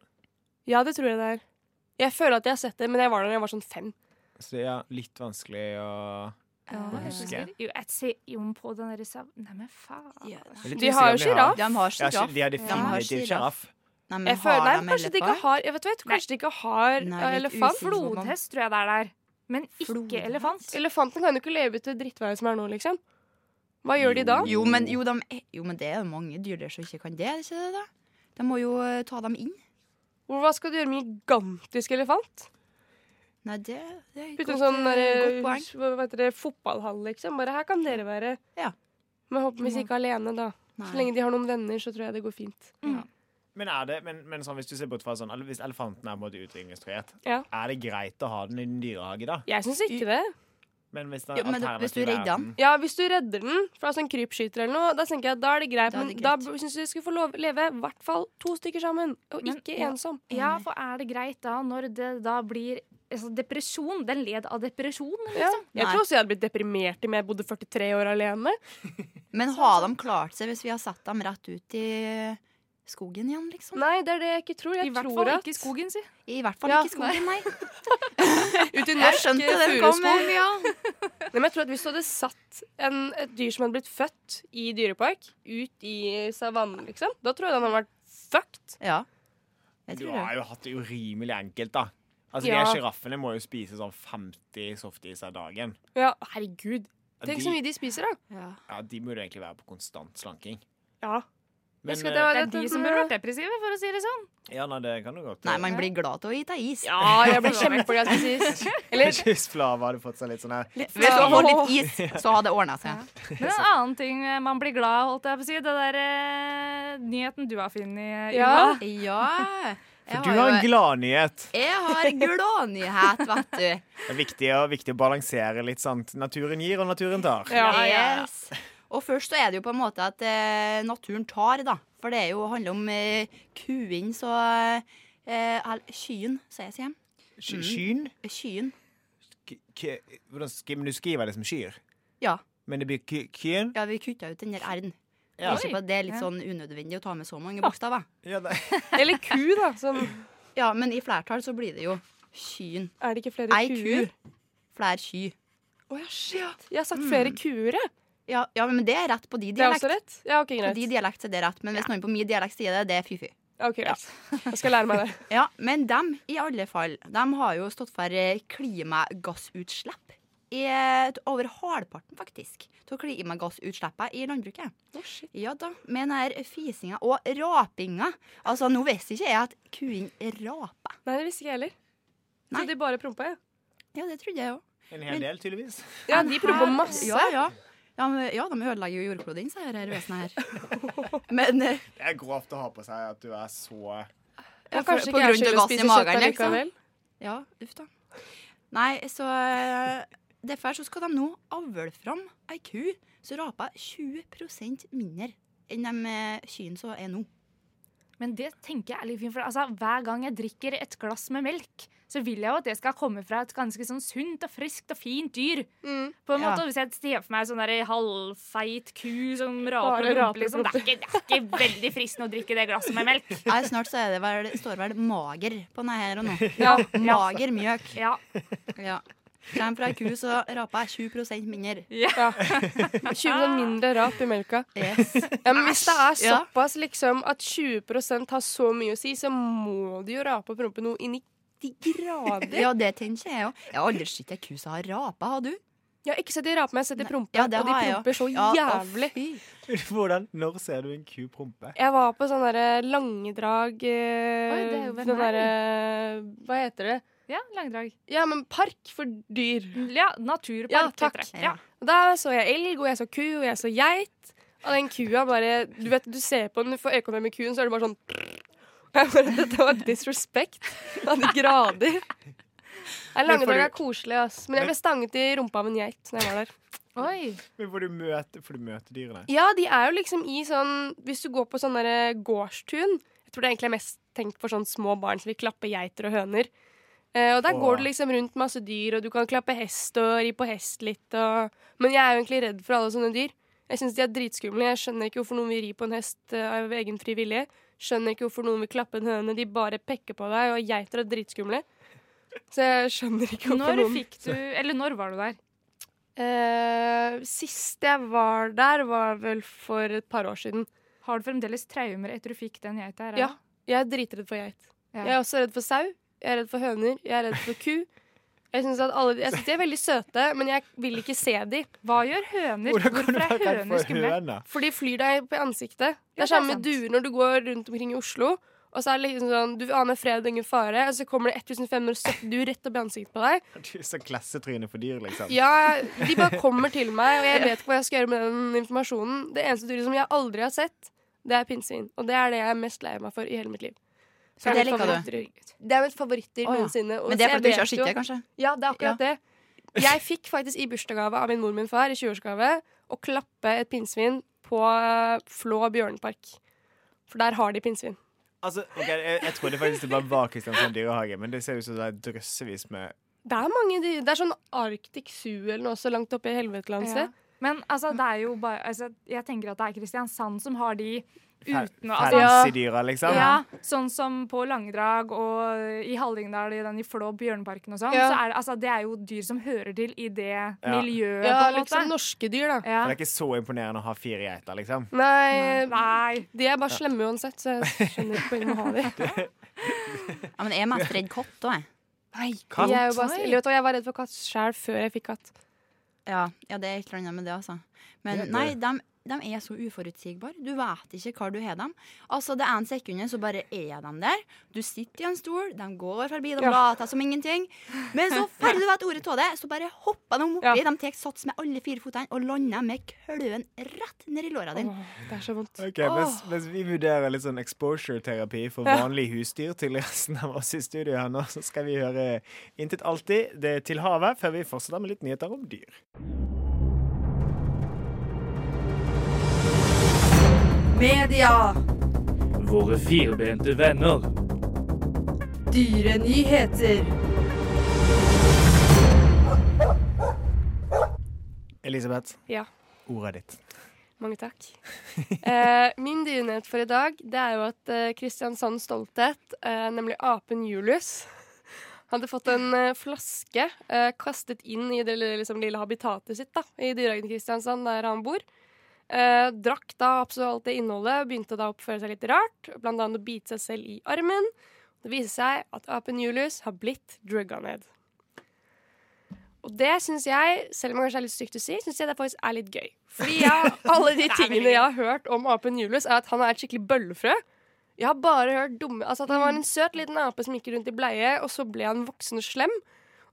[SPEAKER 5] Ja, det tror jeg det er. Jeg føler at jeg har sett det, men jeg var der da jeg var sånn fem.
[SPEAKER 3] Så det er litt vanskelig å
[SPEAKER 1] Ja,
[SPEAKER 3] jeg husker.
[SPEAKER 4] sånn. Jo, jeg ser jo på den der sav... Neimen, faen.
[SPEAKER 1] ja.
[SPEAKER 3] Jeg er litt
[SPEAKER 5] De
[SPEAKER 3] usikker
[SPEAKER 5] har
[SPEAKER 3] om
[SPEAKER 5] jo
[SPEAKER 3] de
[SPEAKER 5] giraff.
[SPEAKER 1] De har
[SPEAKER 3] Ja,
[SPEAKER 1] sjiraff.
[SPEAKER 3] de har
[SPEAKER 1] har
[SPEAKER 3] definitivt
[SPEAKER 1] giraff.
[SPEAKER 3] sjiraff.
[SPEAKER 1] Nei, men
[SPEAKER 5] Jeg føler,
[SPEAKER 1] har
[SPEAKER 5] nei,
[SPEAKER 1] de
[SPEAKER 5] kanskje de ikke
[SPEAKER 1] elefant?
[SPEAKER 5] har Jeg vet, vet,
[SPEAKER 4] Nei.
[SPEAKER 5] kanskje de ikke har
[SPEAKER 1] Nei,
[SPEAKER 5] eh,
[SPEAKER 1] litt
[SPEAKER 5] elefant.
[SPEAKER 1] usikker.
[SPEAKER 5] Flod.
[SPEAKER 4] Flodhest tror jeg det er der. Men
[SPEAKER 1] Flodhest?
[SPEAKER 4] ikke elefant.
[SPEAKER 5] Elefanten kan jo ikke leve ut det drittværet som er nå, liksom. Hva gjør de da?
[SPEAKER 1] Jo, men, jo, de, jo, men det er jo mange dyrdyr som ikke kan det. er det ikke det da? De må jo eh, ta dem inn.
[SPEAKER 5] Hvor- Hva skal du gjøre med en gigantisk elefant?
[SPEAKER 1] Nei, det, det er et
[SPEAKER 5] Putte
[SPEAKER 1] godt,
[SPEAKER 5] en sånn
[SPEAKER 1] eh,
[SPEAKER 5] der,
[SPEAKER 1] godt poeng.
[SPEAKER 5] hva hva heter det, fotballhall, liksom. Bare her kan dere være.
[SPEAKER 1] Ja.
[SPEAKER 5] Men håpeligvis ikke alene, da.
[SPEAKER 1] Nei.
[SPEAKER 5] Så lenge de har noen venner, så tror jeg det går fint.
[SPEAKER 3] Men, er det, men, men sånn, hvis du ser bort fra sånn, eller hvis elefanten er på en måte utrydningstruet,
[SPEAKER 5] Ja.
[SPEAKER 3] er det greit å ha den i en dyrehage, da?
[SPEAKER 5] Jeg syns ikke det.
[SPEAKER 3] Men hvis, den,
[SPEAKER 1] Jo, men da- hvis du
[SPEAKER 3] alternativet er
[SPEAKER 1] redder
[SPEAKER 3] at
[SPEAKER 1] den.
[SPEAKER 5] Ja, Hvis du redder den fra en krypskyter eller noe, da tenker jeg at da er det greit.
[SPEAKER 1] Da er
[SPEAKER 5] Men
[SPEAKER 1] det
[SPEAKER 5] da
[SPEAKER 1] greit.
[SPEAKER 5] syns jeg du skulle få lov leve i hvert fall to stykker sammen, og
[SPEAKER 4] Men-
[SPEAKER 5] ikke
[SPEAKER 4] ja.
[SPEAKER 5] ensom.
[SPEAKER 4] Ja, for er det greit da når det da blir altså, depresjon? Den led av depresjon,
[SPEAKER 5] Ja.
[SPEAKER 4] liksom.
[SPEAKER 5] Jeg
[SPEAKER 1] Nei.
[SPEAKER 5] tror også jeg hadde blitt deprimert om jeg bodde 43 år alene.
[SPEAKER 1] Men har de klart seg hvis vi har satt dem rett ut i skogen igjen, liksom?
[SPEAKER 5] Nei, det er det jeg ikke tror. Jeg
[SPEAKER 4] I hvert
[SPEAKER 5] tror
[SPEAKER 4] fall
[SPEAKER 5] at
[SPEAKER 4] ikke i skogen, si.
[SPEAKER 1] I hvert fall
[SPEAKER 5] Ja,
[SPEAKER 1] ikke i skogen, nei. *laughs*
[SPEAKER 5] Ut i
[SPEAKER 1] Jeg
[SPEAKER 5] norsk
[SPEAKER 1] skjønte det den kom
[SPEAKER 5] furuskog.
[SPEAKER 1] med. Ja.
[SPEAKER 5] Nei, men jeg tror at Hvis du hadde satt en, et dyr som hadde blitt født i dyrepark, ut i savannen, liksom, da tror jeg den hadde vært fucked.
[SPEAKER 1] ja. Jeg
[SPEAKER 3] Du
[SPEAKER 1] tror det.
[SPEAKER 3] har jo hatt det urimelig enkelt, da. Altså,
[SPEAKER 5] Ja.
[SPEAKER 3] De sjiraffene må jo spise sånn 50 softis av dagen.
[SPEAKER 5] Ja, herregud.
[SPEAKER 3] Ja,
[SPEAKER 5] Tenk
[SPEAKER 3] de-
[SPEAKER 5] så mye de spiser, da.
[SPEAKER 1] Ja.
[SPEAKER 3] Ja, De burde egentlig være på konstant slanking.
[SPEAKER 5] Ja.
[SPEAKER 3] Men
[SPEAKER 5] Husk at jeg var
[SPEAKER 4] eh, Det er
[SPEAKER 5] redd
[SPEAKER 4] de som burde vært depressive, for å si det *laughs* sånn.
[SPEAKER 3] eh, ja, nei, det kan du godt. eh,
[SPEAKER 1] Nei,
[SPEAKER 3] *laughs*
[SPEAKER 1] man blir glad til å gi deg is.
[SPEAKER 5] Ja, jeg ble kjempeglad presis. Eller
[SPEAKER 3] Kyssflava hadde fått seg litt sånn her.
[SPEAKER 1] Hvis du hadde fått litt is, så hadde det ordna seg.
[SPEAKER 4] Men en annen ting eh, man blir glad av, holdt jeg på å si, det der eh, nyheten du har funnet, eh,
[SPEAKER 5] Ja.
[SPEAKER 4] Ylva.
[SPEAKER 1] Ja. Jeg
[SPEAKER 3] Du har en gladnyhet.
[SPEAKER 1] Jeg har gladnyhet, vet *laughs* du.
[SPEAKER 3] Det er viktig, å- viktig å balansere litt, sant. Naturen gir, og naturen tar.
[SPEAKER 5] Ja, ja, ja.
[SPEAKER 1] Yes. Og først så er det jo på en måte at eh, naturen tar, da. For det er jo handler om eh, kuen, så eh, Eller kyen, sier jeg. sier jeg.
[SPEAKER 3] Sky- Skyn?
[SPEAKER 1] Kyen.
[SPEAKER 3] K- k- Hvordan skriver men du skriver det som skyr?
[SPEAKER 1] Ja.
[SPEAKER 3] Men det blir k- kyn?
[SPEAKER 1] Ja, vi kutta ut den der r-en.
[SPEAKER 3] Ja. altså,
[SPEAKER 1] Ikke på at Det er litt sånn unødvendig å ta med så mange bokstaver.
[SPEAKER 3] Ja, det-
[SPEAKER 5] Eller ku, da. Som,
[SPEAKER 1] Ja, men i flertall så blir det jo kyen.
[SPEAKER 5] er det ikke flere
[SPEAKER 1] Ei ku,
[SPEAKER 5] kuer?
[SPEAKER 1] fler ky.
[SPEAKER 5] Å, ja, shit. Jeg har
[SPEAKER 4] Mm.
[SPEAKER 5] sagt flere kuer, jeg.
[SPEAKER 1] Ja, ja, men det er rett på de
[SPEAKER 5] Det er også
[SPEAKER 1] dialekt.
[SPEAKER 5] rett? Ja, OK,
[SPEAKER 1] På
[SPEAKER 5] greit.
[SPEAKER 1] de dialekt er det rett, men hvis noen på min dialekt sier det, det er fy-fy.
[SPEAKER 5] Ok, greit. Jeg skal lære meg det.
[SPEAKER 4] *laughs*
[SPEAKER 1] Ja, men dem, i alle fall, dem har jo stått for eh, klimagassutslipp. I, eh, over halvparten, faktisk, av klimagassutslippet i landbruket.
[SPEAKER 4] Oh,
[SPEAKER 1] Ja da, med den her fisinga og rapinga. Altså, nå visste ikke jeg at kuene raper.
[SPEAKER 5] Nei, det visste ikke jeg heller.
[SPEAKER 1] Nei.
[SPEAKER 5] Så de bare prompa, ja.
[SPEAKER 1] Ja, det trodde jeg òg.
[SPEAKER 3] En hel del, tydeligvis.
[SPEAKER 5] Ja, de prompa masse.
[SPEAKER 1] Ja, ja. Ja, men, ja, de ødelegger jo jordkloden, sier det her vesenet her.
[SPEAKER 5] *laughs*
[SPEAKER 1] Men eh,
[SPEAKER 3] Det er grovt å ha på seg at du er så *laughs*
[SPEAKER 5] Ja,
[SPEAKER 1] for-
[SPEAKER 5] kanskje
[SPEAKER 1] på
[SPEAKER 5] ikke jeg
[SPEAKER 1] grunn til
[SPEAKER 5] skulle
[SPEAKER 1] gassen i
[SPEAKER 5] spise
[SPEAKER 1] magen,
[SPEAKER 5] kjøtt
[SPEAKER 1] liksom.
[SPEAKER 5] allikevel.
[SPEAKER 1] Ja, uff da. Nei, så eh, Derfor så skal de nå avle fram ei ku som raper 20 mindre enn de eh, kyrne som er nå.
[SPEAKER 4] Men det tenker jeg er litt fint, for altså, hver gang jeg drikker et glass med melk, så vil jeg jo at det skal komme fra et ganske sånn sunt og friskt og fint dyr.
[SPEAKER 5] Mm.
[SPEAKER 4] På en
[SPEAKER 1] Ja.
[SPEAKER 4] måte, og Hvis jeg ser for meg sånn der halvfeit ku som
[SPEAKER 5] Bare
[SPEAKER 4] raper og
[SPEAKER 5] raper
[SPEAKER 4] rumper, liksom, det, er ikke, det er ikke veldig fristende å drikke det glasset med melk. *laughs*
[SPEAKER 1] Nei, snart så er det vel, står vel 'mager' på denne her og nå.
[SPEAKER 5] *laughs* Ja.
[SPEAKER 1] Mager mjøk.
[SPEAKER 4] Ja,
[SPEAKER 1] Ja. Kommer fra ei ku som raper 20 mindre.
[SPEAKER 5] Ja. *laughs* 20 mindre rap i melka.
[SPEAKER 1] Yes.
[SPEAKER 5] Ja, men hvis det er
[SPEAKER 1] Ja.
[SPEAKER 5] såpass liksom at 20 har så mye å si, så må de jo rape og prompe noe inn i de grader.
[SPEAKER 1] *laughs* Ja, det tenker jeg òg. Jeg har aldri sett ei ku som har rapa, har du?
[SPEAKER 5] Jeg har ikke sett de rape, men jeg har sett de
[SPEAKER 1] Nei.
[SPEAKER 5] prompe.
[SPEAKER 1] Ja, det
[SPEAKER 5] og de
[SPEAKER 1] har jeg
[SPEAKER 5] promper så
[SPEAKER 1] Ja, å,
[SPEAKER 5] jævlig.
[SPEAKER 1] fy.
[SPEAKER 3] Hvordan? Når ser du en ku prompe?
[SPEAKER 5] Jeg var på sånn derre langedrag eh,
[SPEAKER 4] Oi, det er jo ved
[SPEAKER 5] Den
[SPEAKER 4] meg.
[SPEAKER 5] derre Hva heter det?
[SPEAKER 4] ja langdrag.
[SPEAKER 5] Ja, men park for dyr.
[SPEAKER 4] Ja, naturpark.
[SPEAKER 5] Ja, takk.
[SPEAKER 4] heter det.
[SPEAKER 1] Ja.
[SPEAKER 4] Ja.
[SPEAKER 5] Og da så jeg elg, og jeg så ku, og jeg så geit. Og den kua bare Du vet, du ser på den, du får øyekontakt med kuen, så er det bare sånn *laughs* Og jeg bare, Dette var disrespect av de grader. Nei, Langedrag er koselig, ass. Men jeg ble stanget i rumpa av en geit når jeg var der.
[SPEAKER 4] Oi.
[SPEAKER 3] Men får du møte, får du møte dyrene?
[SPEAKER 5] Ja, de er jo liksom i sånn Hvis du går på sånn derre gårdstun Jeg tror det er egentlig mest tenkt for sånn små barn som vil klappe geiter og høner. Eh, og der
[SPEAKER 3] Åh.
[SPEAKER 5] går du liksom rundt masse dyr, og du kan klappe hest og ri på hest litt og Men jeg er jo egentlig redd for alle sånne dyr. Jeg syns de er dritskumle. Jeg skjønner ikke hvorfor noen vil ri på en hest eh, av egen fri vilje. Skjønner ikke hvorfor noen vil klappe en høne. De bare pekker på deg, og geiter er dritskumle. Så jeg skjønner ikke hvorfor
[SPEAKER 4] Når
[SPEAKER 5] noen
[SPEAKER 4] fikk du Eller når var du der?
[SPEAKER 5] Eh, Sist jeg var der, var vel for et par år siden.
[SPEAKER 4] Har du fremdeles traumer etter du fikk den geita? her,
[SPEAKER 5] Ja.
[SPEAKER 4] eller?
[SPEAKER 5] Jeg er dritredd for geit.
[SPEAKER 4] Ja.
[SPEAKER 5] Jeg er også redd for sau. Jeg er redd for høner. Jeg er redd for ku. Jeg syns alle jeg synes de er veldig søte, men jeg vil ikke se de.
[SPEAKER 4] Hva gjør høner?
[SPEAKER 3] Hvordan kan du
[SPEAKER 4] Hvorfor
[SPEAKER 3] være
[SPEAKER 4] er
[SPEAKER 3] redd
[SPEAKER 4] høner
[SPEAKER 3] for
[SPEAKER 4] skumle?
[SPEAKER 3] høna?
[SPEAKER 5] For de flyr deg på ansiktet.
[SPEAKER 4] Ja,
[SPEAKER 5] Det er samme med
[SPEAKER 4] det er
[SPEAKER 5] duer når du går rundt omkring i Oslo. Og så er det liksom sånn, Du aner fred og ingen fare, og så kommer det 1570 duer rett opp i ansiktet på deg.
[SPEAKER 3] Du er så klassetryne for dyr, liksom.
[SPEAKER 5] Ja, De bare kommer til meg, og jeg vet ikke hva jeg skal gjøre med den informasjonen. Det eneste dyret som jeg aldri har sett, det er pinnsvin. Og det er det jeg er mest lei meg for i hele mitt liv.
[SPEAKER 1] Så det liker du?
[SPEAKER 5] du? Det er mitt
[SPEAKER 1] Å,
[SPEAKER 5] favorittdyr
[SPEAKER 1] ja.
[SPEAKER 5] noensinne. og
[SPEAKER 1] Men det
[SPEAKER 5] så
[SPEAKER 1] er
[SPEAKER 5] jeg
[SPEAKER 1] fordi du ikke har
[SPEAKER 5] vet jo-
[SPEAKER 1] sett det, kanskje?
[SPEAKER 5] Ja, det er akkurat det. Jeg fikk faktisk i bursdagsgave av min mor og min far i 20-årsgave å klappe et pinnsvin på eh, Flå bjørnepark. For der har de pinnsvin.
[SPEAKER 3] Altså, ok, jeg, jeg trodde faktisk det bare var Kristiansand dyrehage, men det ser ut som det er drøssevis med
[SPEAKER 5] Det er mange dyr. Det er sånn Arctic Zoo eller noe så langt oppe i helveteland.
[SPEAKER 4] Ja.
[SPEAKER 5] Ja.
[SPEAKER 4] Men altså, det er jo bare altså, Jeg tenker at det er Kristiansand som har de
[SPEAKER 3] fa-
[SPEAKER 4] uten å altså,
[SPEAKER 3] fancy dyra, liksom.
[SPEAKER 4] ja, Sånn som på Langedrag og i Hallingdal, i den i Flå Bjørneparken og sånn.
[SPEAKER 5] Ja.
[SPEAKER 4] Så er det, altså, det er jo dyr som hører til i det miljøet,
[SPEAKER 5] Ja,
[SPEAKER 4] på en måte.
[SPEAKER 5] liksom norske dyr, da.
[SPEAKER 4] ja.
[SPEAKER 3] Men Det er ikke så imponerende å ha fire geiter, liksom.
[SPEAKER 5] Nei,
[SPEAKER 4] Nei.
[SPEAKER 5] de er bare slemme uansett, så jeg skjønner ikke poenget med å ha de.
[SPEAKER 1] Ja, men jeg er mest redd katt òg, jeg.
[SPEAKER 5] Nei,
[SPEAKER 3] Katt?
[SPEAKER 5] Jeg, er jo bare, eller, vet du, hva, jeg var redd for katt sjæl før jeg fikk katt.
[SPEAKER 1] Ja, ja, det er et eller annet med det, altså. Men
[SPEAKER 3] Det er det.
[SPEAKER 1] nei, dem- de er så uforutsigbare. Du vet ikke hvor du har dem. Altså, det ene sekundet så bare er de der. Du sitter i en stol, de går forbi, de
[SPEAKER 5] Ja.
[SPEAKER 1] later som ingenting. Men så før du vet ordet av det, så bare hopper de oppi.
[SPEAKER 5] Ja.
[SPEAKER 1] De tar sats med alle fire føttene og lander med kløen rett ned i låra dine.
[SPEAKER 5] Åh, det er så vondt.
[SPEAKER 3] Ok, mens, mens vi vurderer litt sånn exposure-terapi for vanlige husdyr til resten av oss i studio her nå, så skal vi høre Intet alltid det er til havet, før vi fortsetter med litt nyheter om dyr.
[SPEAKER 8] Media.
[SPEAKER 9] Våre firbente venner.
[SPEAKER 8] Dyrenyheter.
[SPEAKER 3] Elisabeth,
[SPEAKER 5] Ja.
[SPEAKER 3] ordet ditt.
[SPEAKER 5] Mange takk. *laughs* Eh, min dyrenyhet for i dag det er jo at eh, Kristiansands stolthet, eh, nemlig apen Julius, *laughs* hadde fått en eh, flaske eh, kastet inn i det lille- liksom, lille habitatet sitt da, i dyrehagen i Kristiansand, der han bor. Eh, drakk da absolutt alt det innholdet, begynte da å oppføre seg litt rart, blant annet å bite seg selv i armen. Det viser seg at apen Julius har blitt drugga ned. Og det syns jeg, selv om det kanskje er litt stygt å si, synes jeg det faktisk er litt gøy. Fordi jeg, alle de tingene jeg har hørt om apen Julius, er at han er et skikkelig bøllefrø. Jeg har bare hørt dumme Altså at han var en søt liten ape som gikk rundt i bleie, og så ble han voksen og slem.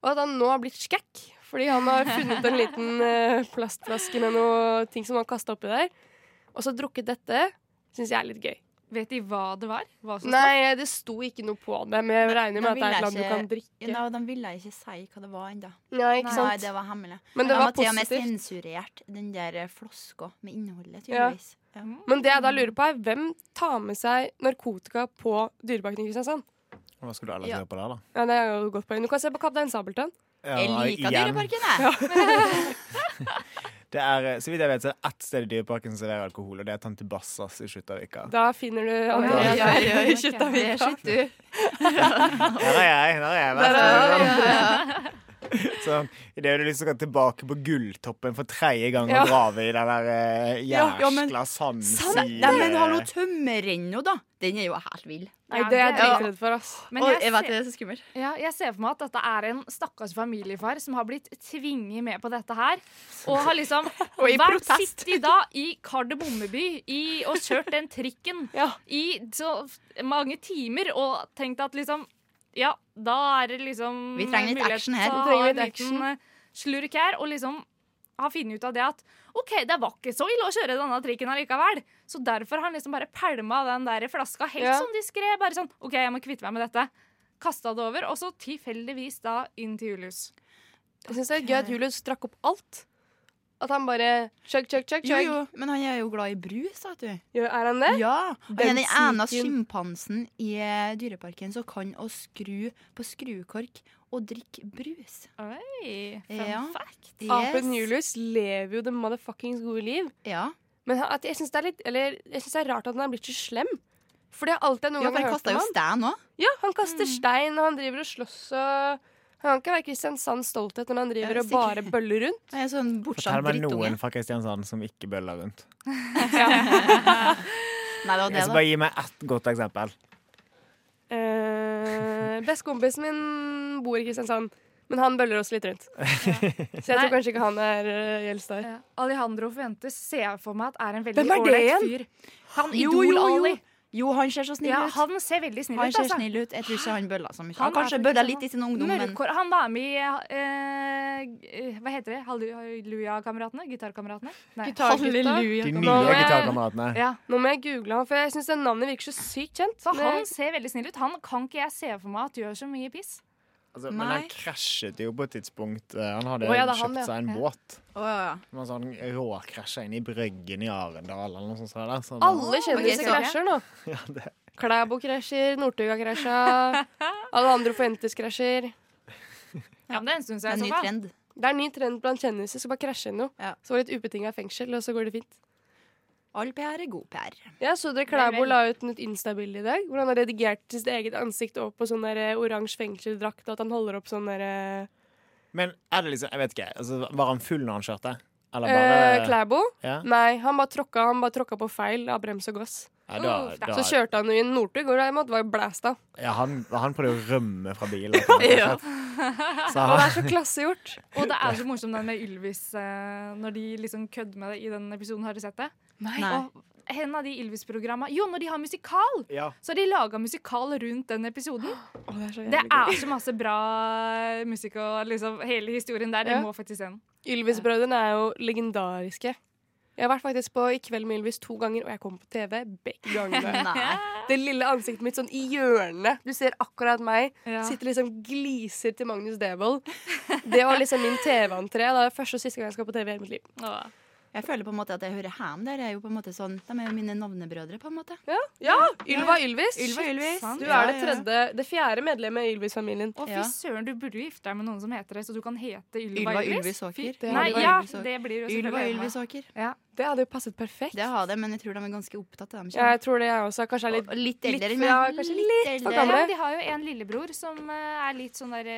[SPEAKER 5] Og at han nå har blitt skekk fordi han har funnet en *laughs* liten eh, plastflaske med noe ting som han kasta oppi der. Og så drukket dette. Syns jeg er litt gøy.
[SPEAKER 4] Vet de hva det var? Hva som står?
[SPEAKER 5] Nei, det sto ikke noe på det, men jeg regner med
[SPEAKER 1] Da
[SPEAKER 5] at det er et
[SPEAKER 1] vil
[SPEAKER 5] land du
[SPEAKER 1] jeg
[SPEAKER 5] kan
[SPEAKER 1] Ja,
[SPEAKER 5] drikke.
[SPEAKER 1] da- de ville ikke si hva det var ennå.
[SPEAKER 5] Nei, ikke
[SPEAKER 1] Nei,
[SPEAKER 5] sant?
[SPEAKER 1] det var hemmelig.
[SPEAKER 5] Men
[SPEAKER 1] De
[SPEAKER 5] det
[SPEAKER 1] har
[SPEAKER 5] var
[SPEAKER 1] til og med
[SPEAKER 5] positivt.
[SPEAKER 1] sensurert den der eh, flaska med innholdet,
[SPEAKER 5] Ja.
[SPEAKER 1] tydeligvis. Ja.
[SPEAKER 5] Men det jeg da lurer på er, hvem tar med seg narkotika på dyrebakken i Kristiansand?
[SPEAKER 3] Hva skulle du ellers
[SPEAKER 1] Ja.
[SPEAKER 3] gjøre på der, da?
[SPEAKER 5] Ja, det er jo et godt poeng. Du kan se på Kaptein Sabeltann.
[SPEAKER 1] Jeg liker Dyreparken, jeg.
[SPEAKER 3] Det er, eh, så vidt jeg vet, så er det ett sted i Dyreparken som serverer alkohol, og det er Tante Bassas i Skjuttavika.
[SPEAKER 5] Da finner du
[SPEAKER 1] Oi,
[SPEAKER 5] Andreas
[SPEAKER 1] oi, oi,
[SPEAKER 5] der
[SPEAKER 1] oi.
[SPEAKER 5] i
[SPEAKER 1] Det
[SPEAKER 5] Kjøttavika.
[SPEAKER 1] sitter du.
[SPEAKER 3] Der er jeg! Der er jeg
[SPEAKER 5] Der er
[SPEAKER 3] vært. *laughs* Sånn, Idet du liksom skal tilbake på Gulltoppen for tredje gang og
[SPEAKER 5] Ja.
[SPEAKER 3] grave i den der eh,
[SPEAKER 1] Ja, ja, men-
[SPEAKER 3] jæskla
[SPEAKER 1] Nei,
[SPEAKER 3] sandside...
[SPEAKER 1] nei, men hallo, tømmerrenna, da. Den er jo helt vill.
[SPEAKER 5] Nei, det er jeg
[SPEAKER 4] Ja.
[SPEAKER 5] dritredd for, ass.
[SPEAKER 4] Men
[SPEAKER 1] Og
[SPEAKER 4] jeg,
[SPEAKER 1] jeg vet
[SPEAKER 4] ser,
[SPEAKER 1] det er så skummelt.
[SPEAKER 4] ja, jeg ser for meg at dette er en stakkars familiefar som har blitt tvinget med på dette her. Og har liksom
[SPEAKER 1] *laughs* Og i
[SPEAKER 4] vært
[SPEAKER 1] protest.
[SPEAKER 4] sittet da i Kardemommeby i- og kjørt den
[SPEAKER 1] *laughs*
[SPEAKER 4] trikken
[SPEAKER 5] Ja.
[SPEAKER 4] i så mange timer og tenkt at liksom Ja, da er det liksom
[SPEAKER 1] Vi trenger litt
[SPEAKER 4] mulighet
[SPEAKER 1] action her.
[SPEAKER 4] til å
[SPEAKER 5] Vi trenger
[SPEAKER 4] ha
[SPEAKER 5] litt
[SPEAKER 4] en
[SPEAKER 5] action.
[SPEAKER 4] liten, eh, Slurk her. Og liksom har funnet ut av det at OK, det var ikke så ille å kjøre denne trikken allikevel. Så derfor har han liksom bare pælma den der flaska helt
[SPEAKER 5] Ja.
[SPEAKER 4] sånn diskré. Bare sånn OK, jeg må kvitte meg med dette. Kasta det over, og så tilfeldigvis da inn til Julius.
[SPEAKER 5] Jeg syns det er gøy at Julius drakk opp alt. At han bare chug, chug, chug,
[SPEAKER 1] Jo,
[SPEAKER 5] chug.
[SPEAKER 1] jo, men han er jo glad i brus, vet du.
[SPEAKER 5] Jo, Er han det?
[SPEAKER 1] Ja. Han er den
[SPEAKER 5] Den
[SPEAKER 1] eneste
[SPEAKER 5] sniken.
[SPEAKER 1] sjimpansen i eh, Dyreparken som kan å skru på skrukork og drikke brus.
[SPEAKER 4] Oi, fun
[SPEAKER 1] Ja.
[SPEAKER 4] fact.
[SPEAKER 1] Yes.
[SPEAKER 5] Apen Julius lever jo det motherfuckings gode liv.
[SPEAKER 1] Ja.
[SPEAKER 5] Men han- at jeg syns det, er litt- eller, jeg synes det er rart at han er blitt så slem. For det er alt jeg noen
[SPEAKER 1] ja, for han
[SPEAKER 5] gang har hørt
[SPEAKER 1] kasta
[SPEAKER 5] om
[SPEAKER 1] jo
[SPEAKER 5] han.
[SPEAKER 1] stand òg.
[SPEAKER 5] Ja, han kaster stein, og han driver og slåss og Han kan ikke være Kristiansands stolthet når han driver
[SPEAKER 1] Ja,
[SPEAKER 5] og bare
[SPEAKER 1] sikkert.
[SPEAKER 5] bøller rundt.
[SPEAKER 1] Han er sånn bortskjemt
[SPEAKER 3] Fortell meg noen
[SPEAKER 1] drittunge.
[SPEAKER 3] fra Kristiansand som ikke bøller rundt.
[SPEAKER 1] Nei, det var
[SPEAKER 3] Jeg
[SPEAKER 1] det,
[SPEAKER 3] skal
[SPEAKER 1] da.
[SPEAKER 3] bare gi meg ett godt eksempel.
[SPEAKER 5] Eh, Bestekompisen min bor i Kristiansand, men han bøller også litt
[SPEAKER 3] *laughs*
[SPEAKER 5] rundt. Så jeg
[SPEAKER 4] Nei.
[SPEAKER 5] tror kanskje ikke han er eh, Gjelstad.
[SPEAKER 4] Ja. Alejandro Fuentes ser jeg for meg at er en veldig
[SPEAKER 5] Hvem er det
[SPEAKER 4] ålreit
[SPEAKER 5] igjen?
[SPEAKER 4] fyr. Han
[SPEAKER 1] Jo,
[SPEAKER 4] Idol
[SPEAKER 1] jo, jo.
[SPEAKER 4] Ali.
[SPEAKER 1] Jo, han ser så snill
[SPEAKER 4] Ja,
[SPEAKER 1] ut.
[SPEAKER 4] han ser veldig snill
[SPEAKER 1] Han
[SPEAKER 4] ut.
[SPEAKER 1] ser
[SPEAKER 4] Altså.
[SPEAKER 1] snill ut. Jeg tror ikke han bøller så mye.
[SPEAKER 4] Han
[SPEAKER 1] Han kanskje
[SPEAKER 4] er faktisk
[SPEAKER 1] bøller
[SPEAKER 4] sånn
[SPEAKER 1] litt i sin ungdom, men
[SPEAKER 4] Mørkhår. Han var med i eh, eh, Hva heter det? Halleluja-kameratene? Gitarkameratene? Nei.
[SPEAKER 5] Gitargutta.
[SPEAKER 3] De
[SPEAKER 5] Nå må
[SPEAKER 3] nye
[SPEAKER 5] jeg-
[SPEAKER 3] gitarkameratene.
[SPEAKER 4] Ja.
[SPEAKER 5] Nå må jeg google han, for jeg syns navnet virker så sykt kjent.
[SPEAKER 4] Så
[SPEAKER 5] Men-
[SPEAKER 4] han ser veldig snill ut. Han kan ikke jeg se for meg at gjør så mye piss.
[SPEAKER 3] Altså, men han
[SPEAKER 1] Nei.
[SPEAKER 3] krasjet jo på et tidspunkt. Eh, Han hadde
[SPEAKER 5] Å, ja, det er han,
[SPEAKER 3] kjøpt
[SPEAKER 5] ja.
[SPEAKER 3] seg en
[SPEAKER 5] Ja.
[SPEAKER 3] båt.
[SPEAKER 1] Å, ja, ja.
[SPEAKER 3] Men så han råkrasja sånn inn i Brøggen i Arendal eller noe sånt. Så der, så han-
[SPEAKER 5] Alle
[SPEAKER 1] Ok,
[SPEAKER 5] kjendiser
[SPEAKER 1] så-
[SPEAKER 5] krasjer nå.
[SPEAKER 3] *laughs* ja, det,
[SPEAKER 5] Klæbo krasjer, Northuga krasja, Alejandro Fuentes krasjer.
[SPEAKER 4] Ja, men det er en stund
[SPEAKER 1] Det er en
[SPEAKER 4] siden. i så
[SPEAKER 1] ny
[SPEAKER 4] fall.
[SPEAKER 1] trend.
[SPEAKER 5] Det er en ny trend blant kjendiser. Skal bare krasje inn noe.
[SPEAKER 1] Ja.
[SPEAKER 5] Så var det et ubetinga fengsel, og så går det fint.
[SPEAKER 1] All PR er god PR.
[SPEAKER 5] Ja, så dere
[SPEAKER 4] Vel,
[SPEAKER 5] Klæbo
[SPEAKER 4] vel.
[SPEAKER 5] la ut et Insta-bilde i dag hvor han har redigert sitt eget ansikt over på sånn der, eh, oransje fengselsdrakt, og at han holder opp sånn derre
[SPEAKER 3] Men er det liksom, jeg vet ikke, altså, var han full når han kjørte? Eller bare
[SPEAKER 5] Eh, Klæbo?
[SPEAKER 3] Ja.
[SPEAKER 5] Nei, han bare tråkka, han bare tråkka på feil av brems og gass.
[SPEAKER 3] Ja, da,
[SPEAKER 1] Uff, da.
[SPEAKER 3] da,
[SPEAKER 5] Så kjørte han jo inn Northug, og derimot var jo blæsta.
[SPEAKER 3] ja, han, han prøvde å rømme fra
[SPEAKER 5] *laughs*
[SPEAKER 3] bilen. rett og slett.
[SPEAKER 1] Ja.
[SPEAKER 3] Så
[SPEAKER 5] Og det *laughs*
[SPEAKER 3] han,
[SPEAKER 5] er så klassegjort.
[SPEAKER 4] Og
[SPEAKER 1] *laughs*
[SPEAKER 4] det er så morsomt den med Ylvis, eh, når de liksom kødder med det i den episoden. Har dere sett det?
[SPEAKER 1] Nei.
[SPEAKER 4] Og en av de Ylvis-programma Jo, når de har musikal!
[SPEAKER 3] ja.
[SPEAKER 4] Så har de laga musikal rundt den
[SPEAKER 1] *gasps*
[SPEAKER 4] episoden.
[SPEAKER 5] Å, det er så
[SPEAKER 4] Det
[SPEAKER 5] jævlig gøy.
[SPEAKER 4] er så masse bra musikk og liksom hele historien der.
[SPEAKER 5] Ja.
[SPEAKER 4] Dere må faktisk se den.
[SPEAKER 5] Ylvis-brødrene er jo legendariske. Jeg har vært faktisk på I kveld med Ylvis to ganger, og jeg kom på TV begge gangene.
[SPEAKER 1] *laughs* Nei.
[SPEAKER 5] Det lille ansiktet mitt sånn i hjørnet. Du ser akkurat meg.
[SPEAKER 4] Ja.
[SPEAKER 5] Sitter liksom gliser til Magnus Devold. Det var liksom min TV-entré. Det er første og siste gang jeg skal på TV i hele mitt liv.
[SPEAKER 4] Åh.
[SPEAKER 1] Jeg føler på en måte at jeg hører hjem der. Jeg er jo på en måte sånn, De er jo mine navnebrødre, på en måte.
[SPEAKER 5] Ja, Ylva Ylvis.
[SPEAKER 1] Ylva Ylvis.
[SPEAKER 4] sant.
[SPEAKER 5] Du
[SPEAKER 1] Ja,
[SPEAKER 5] er
[SPEAKER 1] ja,
[SPEAKER 5] det
[SPEAKER 1] ja.
[SPEAKER 5] tredje, det fjerde medlemmet i Ylvis-familien.
[SPEAKER 4] Å, fy
[SPEAKER 1] Ja.
[SPEAKER 4] søren, du burde jo gifte deg med noen som heter det, så du kan hete Ylva
[SPEAKER 1] Ylva
[SPEAKER 4] Ylvis.
[SPEAKER 1] Ylvisåker.
[SPEAKER 5] det
[SPEAKER 4] Nei,
[SPEAKER 5] Ylva
[SPEAKER 4] ja,
[SPEAKER 1] Ylvisåker.
[SPEAKER 4] det blir jo
[SPEAKER 1] Ylva
[SPEAKER 4] selvfølgelig Ylva.
[SPEAKER 1] Ylvisåker.
[SPEAKER 5] Det hadde jo passet perfekt.
[SPEAKER 1] Det har det, men jeg tror de er ganske opptatt av dem.
[SPEAKER 5] Ja, jeg tror det jeg også. Kanskje jeg er litt
[SPEAKER 1] Og litt eldre enn
[SPEAKER 5] litt- ja, kanskje
[SPEAKER 1] litt
[SPEAKER 5] for
[SPEAKER 1] eldre.
[SPEAKER 5] gamle.
[SPEAKER 4] Ja, de har jo en lillebror som eh, er litt sånn derre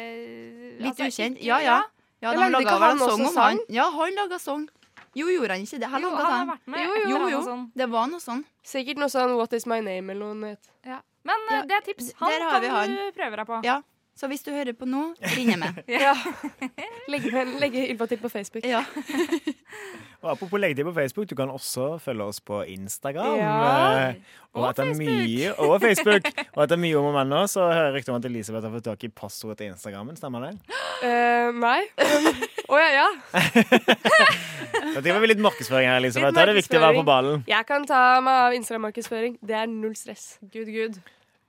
[SPEAKER 4] Altså,
[SPEAKER 1] Litt ukjent. Ja, ja. ja de
[SPEAKER 5] Lagde
[SPEAKER 1] laget
[SPEAKER 5] ikke
[SPEAKER 1] vel
[SPEAKER 5] han
[SPEAKER 1] en
[SPEAKER 5] også
[SPEAKER 1] sang om
[SPEAKER 5] sang?
[SPEAKER 1] han. Ja, han laga sang. Jo, gjorde han ikke det? Han
[SPEAKER 4] Jo, han
[SPEAKER 1] laget
[SPEAKER 4] har
[SPEAKER 1] den.
[SPEAKER 4] vært med.
[SPEAKER 5] Jo,
[SPEAKER 4] et
[SPEAKER 5] jo,
[SPEAKER 4] eller
[SPEAKER 1] Jo,
[SPEAKER 4] annet
[SPEAKER 1] jo.
[SPEAKER 4] sånn.
[SPEAKER 1] Det var noe sånn.
[SPEAKER 5] Sikkert noe sånn What is my name eller noe. nytt.
[SPEAKER 4] Ja. Men eh, det er tips.
[SPEAKER 1] d-
[SPEAKER 4] Han
[SPEAKER 1] der har
[SPEAKER 4] kan
[SPEAKER 1] vi han.
[SPEAKER 4] du prøve deg på.
[SPEAKER 1] Ja. Så hvis du hører på nå, ring jeg med.
[SPEAKER 4] *laughs*
[SPEAKER 5] Legge, med- legge Ylva til på Facebook.
[SPEAKER 1] Ja.
[SPEAKER 3] Og apropos legge til på Facebook, du kan også følge oss på Instagram.
[SPEAKER 5] Ja.
[SPEAKER 3] eh, Og etter mye Og Facebook. Og etter mye om og men nå, så hører jeg rykter om at Elisabeth har fått tak i passordet til Instagrammen. Stemmer det?
[SPEAKER 5] Eh, nei. Å ja, ja.
[SPEAKER 3] Da driver vi litt markedsføring her, Elisabeth.
[SPEAKER 5] Litt
[SPEAKER 3] Da er det viktig å være
[SPEAKER 5] markedsføring.
[SPEAKER 3] på ballen.
[SPEAKER 5] Jeg kan ta meg av Instagram-markedsføring. Det er null stress.
[SPEAKER 4] Good, good.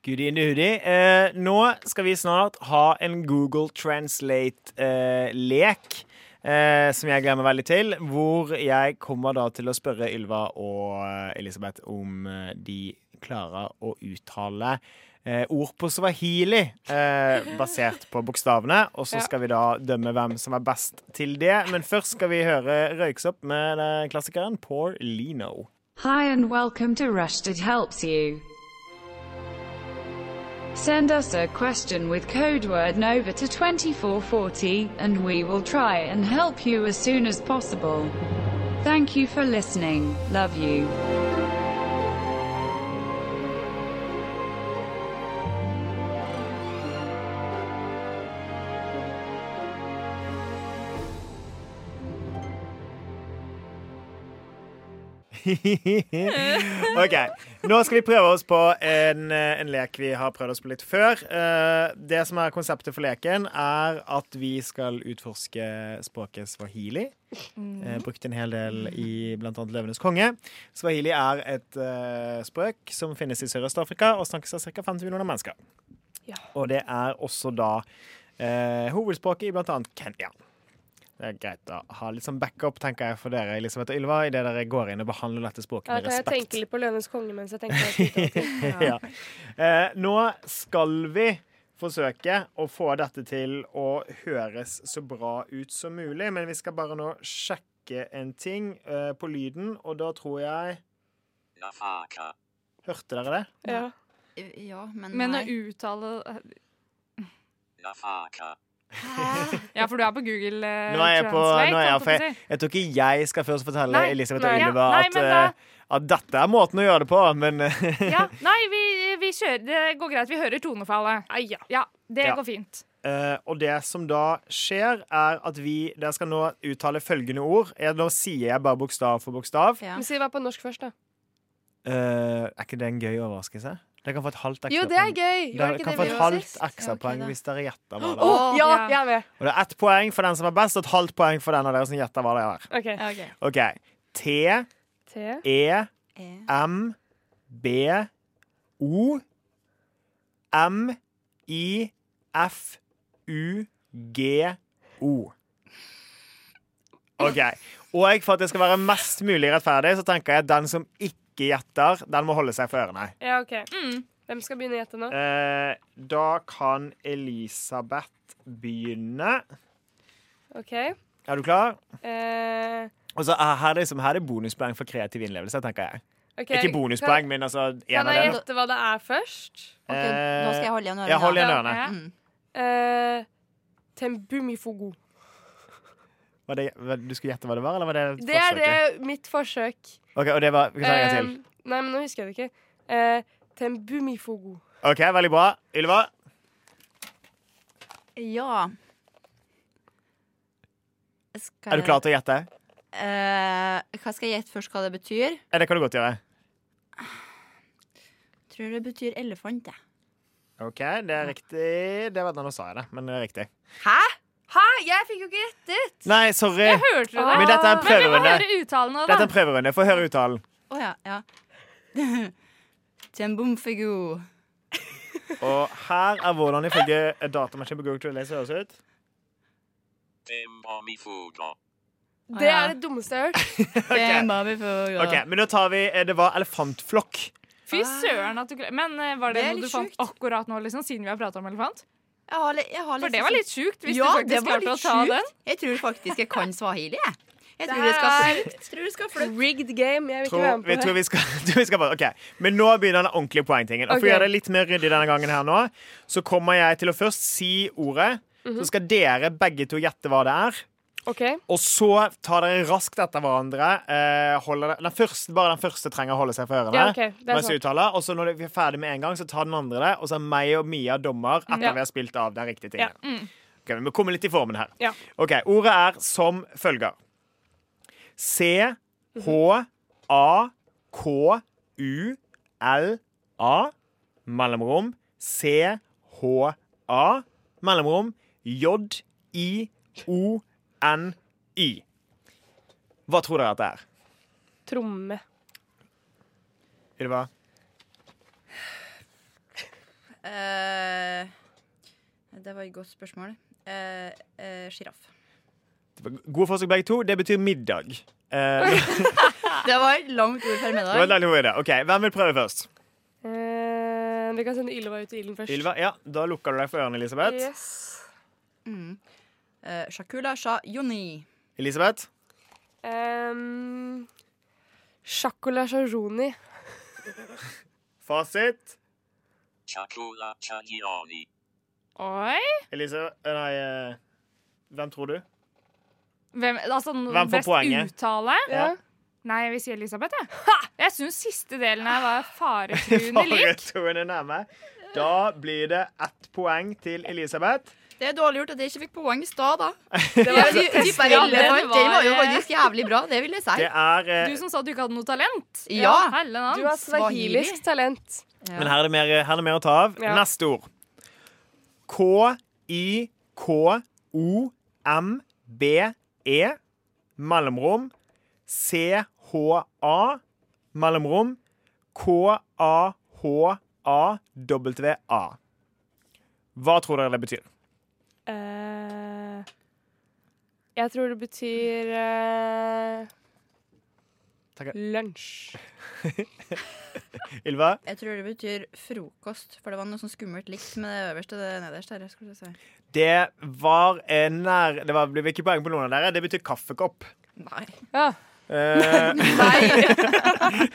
[SPEAKER 3] Goody in the hoodie. Eh, nå skal vi snart ha en Google Translate-lek. Eh, som jeg gleder meg veldig til. Hvor jeg kommer da til å spørre Ylva og eh, Elisabeth om eh, de klarer å uttale eh, ord på swahili eh, basert på bokstavene. Og så
[SPEAKER 5] Ja.
[SPEAKER 3] skal vi da dømme hvem som er best til det. Men først skal vi høre Røyksopp med eh, klassikeren Poor Lino. *laughs*
[SPEAKER 10] Hi and welcome to Rushdid Helps You. Send us a question with code word NOVA to 2440, and we will try and help you as soon as possible. Thank you for listening. Love you.
[SPEAKER 3] OK. Nå skal vi prøve oss på en, eh, en lek vi har prøvd oss på litt før. Eh, Det som er konseptet for leken, er at vi skal utforske språket swahili.
[SPEAKER 5] Mm.
[SPEAKER 3] Eh, Brukt en hel del i bl.a. Løvenes konge. Swahili er et eh, språk som finnes i Sørøst-Afrika og snakkes av ca. 50 millioner mennesker. Og det er også da eh, hovedspråket i bl.a. Kenya. Det er greit å ha litt sånn backup, tenker jeg, for dere Elisabeth og Ylva, idet dere går inn og behandler dette språket
[SPEAKER 5] Ja,
[SPEAKER 3] med
[SPEAKER 5] kan jeg
[SPEAKER 3] respekt.
[SPEAKER 5] tenke litt på Løvenes konge mens jeg tenker på det?
[SPEAKER 3] *laughs* ja. eh, nå skal vi forsøke å få dette til å høres så bra ut som mulig, men vi skal bare nå sjekke en ting eh, på lyden, og da tror jeg Hørte dere det?
[SPEAKER 5] Ja.
[SPEAKER 1] Ja, men,
[SPEAKER 4] Men å
[SPEAKER 1] nei.
[SPEAKER 4] uttale eh, Ja, for du er på Google eh,
[SPEAKER 3] Nå er jeg på-
[SPEAKER 4] Translate.
[SPEAKER 3] nå er jeg
[SPEAKER 4] holdt
[SPEAKER 3] på-
[SPEAKER 4] på å si.
[SPEAKER 3] Jeg tror ikke jeg skal først fortelle
[SPEAKER 4] Nei,
[SPEAKER 3] Elisabeth
[SPEAKER 5] nei.
[SPEAKER 3] og
[SPEAKER 4] Ja,
[SPEAKER 3] Ylva
[SPEAKER 4] nei,
[SPEAKER 3] at,
[SPEAKER 4] men da-
[SPEAKER 3] eh, at dette er måten å gjøre det på, men *laughs*
[SPEAKER 4] Ja, nei, vi, vi kjører. Det går greit. Vi hører tonefallet.
[SPEAKER 5] Ah, ja.
[SPEAKER 4] Ja, det
[SPEAKER 3] Ja.
[SPEAKER 4] går fint.
[SPEAKER 3] Eh, og det som da skjer, er at vi Dere skal nå uttale følgende ord. Jeg, nå sier jeg bare bokstav for bokstav.
[SPEAKER 1] Ja.
[SPEAKER 5] Men si hva på norsk først, da.
[SPEAKER 3] Eh, er ikke det en gøy overraskelse? Dere kan få et halvt
[SPEAKER 5] Jo,
[SPEAKER 3] ekstrapoeng.
[SPEAKER 5] det er gøy! Var
[SPEAKER 3] Dere
[SPEAKER 5] det ikke
[SPEAKER 3] kan få
[SPEAKER 5] det vi
[SPEAKER 3] et
[SPEAKER 5] gjorde
[SPEAKER 3] halvt
[SPEAKER 5] sist?
[SPEAKER 3] ekstrapoeng
[SPEAKER 1] Ja, ok, da.
[SPEAKER 3] hvis dere gjetter hva det
[SPEAKER 5] Å,
[SPEAKER 3] er.
[SPEAKER 4] Ja.
[SPEAKER 5] ja, jeg er med.
[SPEAKER 3] Og det er ett poeng for den som er best, og et halvt poeng for den av dere som gjetter hva det er.
[SPEAKER 5] OK.
[SPEAKER 1] OK.
[SPEAKER 3] OK.
[SPEAKER 5] T.
[SPEAKER 1] Eh,
[SPEAKER 3] T-E-M-B-O M-I-F-U-G-O. OK. Og for at det skal være mest mulig rettferdig, så tenker jeg at den som ikke gjetter, den må holde seg for ørene.
[SPEAKER 5] Ja, ok. Hvem skal begynne å gjette nå?
[SPEAKER 3] Eh, da kan Elisabeth begynne.
[SPEAKER 5] OK.
[SPEAKER 3] Er du klar?
[SPEAKER 5] Eh,
[SPEAKER 3] Og så er her, er det, liksom, her er det bonuspoeng for kreativ innlevelse, tenker jeg.
[SPEAKER 5] ok.
[SPEAKER 3] Ikke bonuspoeng, men altså en
[SPEAKER 5] Kan,
[SPEAKER 3] av
[SPEAKER 5] kan jeg
[SPEAKER 3] dem.
[SPEAKER 5] gjette hva det er først?
[SPEAKER 1] OK, nå skal jeg holde igjen
[SPEAKER 3] Eh,
[SPEAKER 1] Mm.
[SPEAKER 3] Jeg holder
[SPEAKER 1] ørene.
[SPEAKER 3] igjen
[SPEAKER 4] Ja.
[SPEAKER 3] ørene.
[SPEAKER 1] Mm.
[SPEAKER 5] Eh, tembumifugu.
[SPEAKER 3] Var det, var- du skulle gjette hva det var, eller var det
[SPEAKER 5] Det er det
[SPEAKER 3] forsøket?
[SPEAKER 5] mitt forsøk.
[SPEAKER 3] Ok, og det var, vi kan ta en gang til.
[SPEAKER 5] Eh, nei, men nå husker jeg det ikke. Eh, tembumifogo.
[SPEAKER 3] Ok, veldig bra. Ylva?
[SPEAKER 1] Ja Skal
[SPEAKER 3] Er du klar til å gjette?
[SPEAKER 1] Eh, hva skal jeg gjette først hva det betyr?
[SPEAKER 3] Eh, Det kan du godt gjøre.
[SPEAKER 1] Tror det betyr elefant, jeg.
[SPEAKER 3] OK, det er riktig. Det var Nå sa jeg det, men det er riktig.
[SPEAKER 1] Hæ?
[SPEAKER 4] Hæ? Jeg fikk jo ikke gjettet!
[SPEAKER 3] Nei, sorry.
[SPEAKER 4] Jeg hørte det.
[SPEAKER 3] Men dette er en
[SPEAKER 4] Men vi må
[SPEAKER 3] prøverunde.
[SPEAKER 4] høre uttalen nå,
[SPEAKER 3] Dette er en
[SPEAKER 4] da.
[SPEAKER 3] prøverunde. Få høre uttalen.
[SPEAKER 1] Å ja. *laughs* ja. Tjembomfigu.
[SPEAKER 3] Og her er hvordan ifølge datamaskinen på Google Translate høres ut.
[SPEAKER 5] Det er det dummeste jeg har hørt.
[SPEAKER 3] OK, men da tar vi eh, Det var elefantflokk.
[SPEAKER 4] Fy søren at du klarte Men eh, var det,
[SPEAKER 1] Ah. Det er
[SPEAKER 4] noe du
[SPEAKER 1] litt
[SPEAKER 4] fant
[SPEAKER 1] sjukt.
[SPEAKER 4] akkurat nå, liksom, siden vi har prata om elefant?
[SPEAKER 1] Jeg har, li- jeg har
[SPEAKER 4] For det var litt sjukt, hvis
[SPEAKER 1] Ja,
[SPEAKER 4] du
[SPEAKER 1] det
[SPEAKER 4] faktisk
[SPEAKER 1] var
[SPEAKER 4] klarte å
[SPEAKER 1] litt
[SPEAKER 4] ta
[SPEAKER 1] sjukt.
[SPEAKER 4] den.
[SPEAKER 1] Jeg tror faktisk jeg kan swahili, jeg. Jeg tror
[SPEAKER 4] Der
[SPEAKER 1] det skal Jeg tror det skal flytte.
[SPEAKER 5] *laughs* Rigged game. Jeg vil ikke være
[SPEAKER 3] Tror,
[SPEAKER 5] med
[SPEAKER 3] vi
[SPEAKER 5] på
[SPEAKER 3] tror
[SPEAKER 5] det.
[SPEAKER 3] vi skal, *laughs* tror vi skal bare, ok. Men nå begynner den ordentlige poengtingen. Og for å
[SPEAKER 5] Ok.
[SPEAKER 3] gjøre det litt mer ryddig denne gangen her nå, så kommer jeg til å først si ordet.
[SPEAKER 5] Mhm.
[SPEAKER 3] Så skal dere begge to gjette hva det er.
[SPEAKER 5] OK.
[SPEAKER 3] Og så tar dere raskt etter hverandre. Eh, holder det- den første, bare den første trenger å holde seg for ørene.
[SPEAKER 5] Ja, ok. Det er sånn
[SPEAKER 3] mens jeg
[SPEAKER 5] sant.
[SPEAKER 3] uttaler, og så når vi er ferdig med en gang, så tar den andre det. Og så er meg og Mia dommer etter vi har spilt av den riktige tingen. Ok, vi må komme litt i formen her.
[SPEAKER 5] mm. Ja.
[SPEAKER 3] Ok, Ordet er som følger. C-H-A-K-U-L-A mellomrom C-H-A mellomrom J-I-O-N-I. Hva tror dere at det er?
[SPEAKER 5] Tromme.
[SPEAKER 3] Ylva?
[SPEAKER 1] Eh, det var et godt spørsmål. Eh, Sjiraff.
[SPEAKER 3] Gode forsøk begge to. Det betyr middag. *laughs* Eh,
[SPEAKER 1] det var et langt ord for
[SPEAKER 3] det var et
[SPEAKER 1] middag.
[SPEAKER 3] deilig ord i det. Ok, Hvem vil prøve først?
[SPEAKER 5] Eh, vi kan sende Ylva ut i ilden først.
[SPEAKER 3] Ylva, ja, Da lukker du deg for ørene, Elisabeth.
[SPEAKER 5] Yes.
[SPEAKER 1] Mm. Eh, Shakula sha yoni.
[SPEAKER 3] Elisabeth?
[SPEAKER 5] Um, Sjakola Sharoni.
[SPEAKER 3] Fasit?
[SPEAKER 4] Oi.
[SPEAKER 3] Elisa Nei, eh, hvem tror du?
[SPEAKER 4] Hvem, altså, den
[SPEAKER 3] Hvem får
[SPEAKER 4] best
[SPEAKER 3] poenget?
[SPEAKER 4] uttale?
[SPEAKER 5] Ja.
[SPEAKER 4] Nei, jeg vil si Elisabeth, jeg. Ha! Jeg syns siste delen her
[SPEAKER 3] *laughs*
[SPEAKER 4] var faretruende lik.
[SPEAKER 3] Faretruende nærme. Da blir det ett poeng til Elisabeth.
[SPEAKER 1] Det er dårlig gjort at jeg ikke fikk poeng i stad,
[SPEAKER 3] *laughs*
[SPEAKER 1] da.
[SPEAKER 4] Det var
[SPEAKER 1] De, de bare
[SPEAKER 4] Ja, den
[SPEAKER 1] elefant, den var jo
[SPEAKER 4] var-
[SPEAKER 1] faktisk jævlig bra, det vil jeg si.
[SPEAKER 3] Det er eh,
[SPEAKER 4] Du som sa du ikke hadde noe talent.
[SPEAKER 1] Ja.
[SPEAKER 4] helle navn.
[SPEAKER 5] Du har
[SPEAKER 1] Swahili.
[SPEAKER 5] swahilisk talent.
[SPEAKER 3] Men her er det mer, her er det mer å ta av.
[SPEAKER 5] Ja.
[SPEAKER 3] Neste ord. K-I-K-O-M-B-E E. mellomrom C-H-A mellomrom K-A-H-A-W-A. Hva tror dere det betyr?
[SPEAKER 5] Eh, jeg tror det betyr eh,
[SPEAKER 3] Takk.
[SPEAKER 5] lunsj.
[SPEAKER 3] Ylva?
[SPEAKER 1] Jeg tror det betyr frokost, for det var noe sånn skummelt likt med det øverste og det nederste. Her, skulle jeg si.
[SPEAKER 3] Det var eh, nær Det var, blir ikke poeng på noen av dere. Det betyr kaffekopp.
[SPEAKER 1] Nei.
[SPEAKER 5] Ja,
[SPEAKER 3] Eh,
[SPEAKER 1] Nei.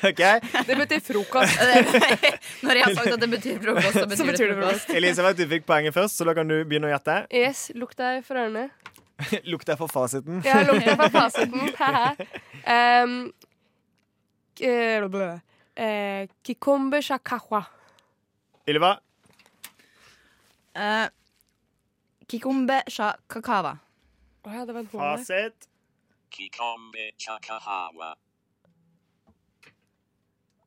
[SPEAKER 3] OK?
[SPEAKER 5] det betyr frokost.
[SPEAKER 1] Når jeg har sagt at det betyr frokost, så betyr,
[SPEAKER 5] Så betyr
[SPEAKER 1] det
[SPEAKER 5] det
[SPEAKER 1] frokost.
[SPEAKER 3] Elisabeth, du fikk poenget først, så da kan du begynne å gjette.
[SPEAKER 5] Yes, Lukk deg for ørene.
[SPEAKER 3] Lukt deg for fasiten.
[SPEAKER 5] Ja, lukk deg for fasiten. *laughs* Haha. Em, k- eh, blø. Eh, Kikombe shakawa.
[SPEAKER 3] Ylva?
[SPEAKER 1] Eh, kikombe sha kakawa.
[SPEAKER 5] Å ja, det var en H der.
[SPEAKER 3] Fasit.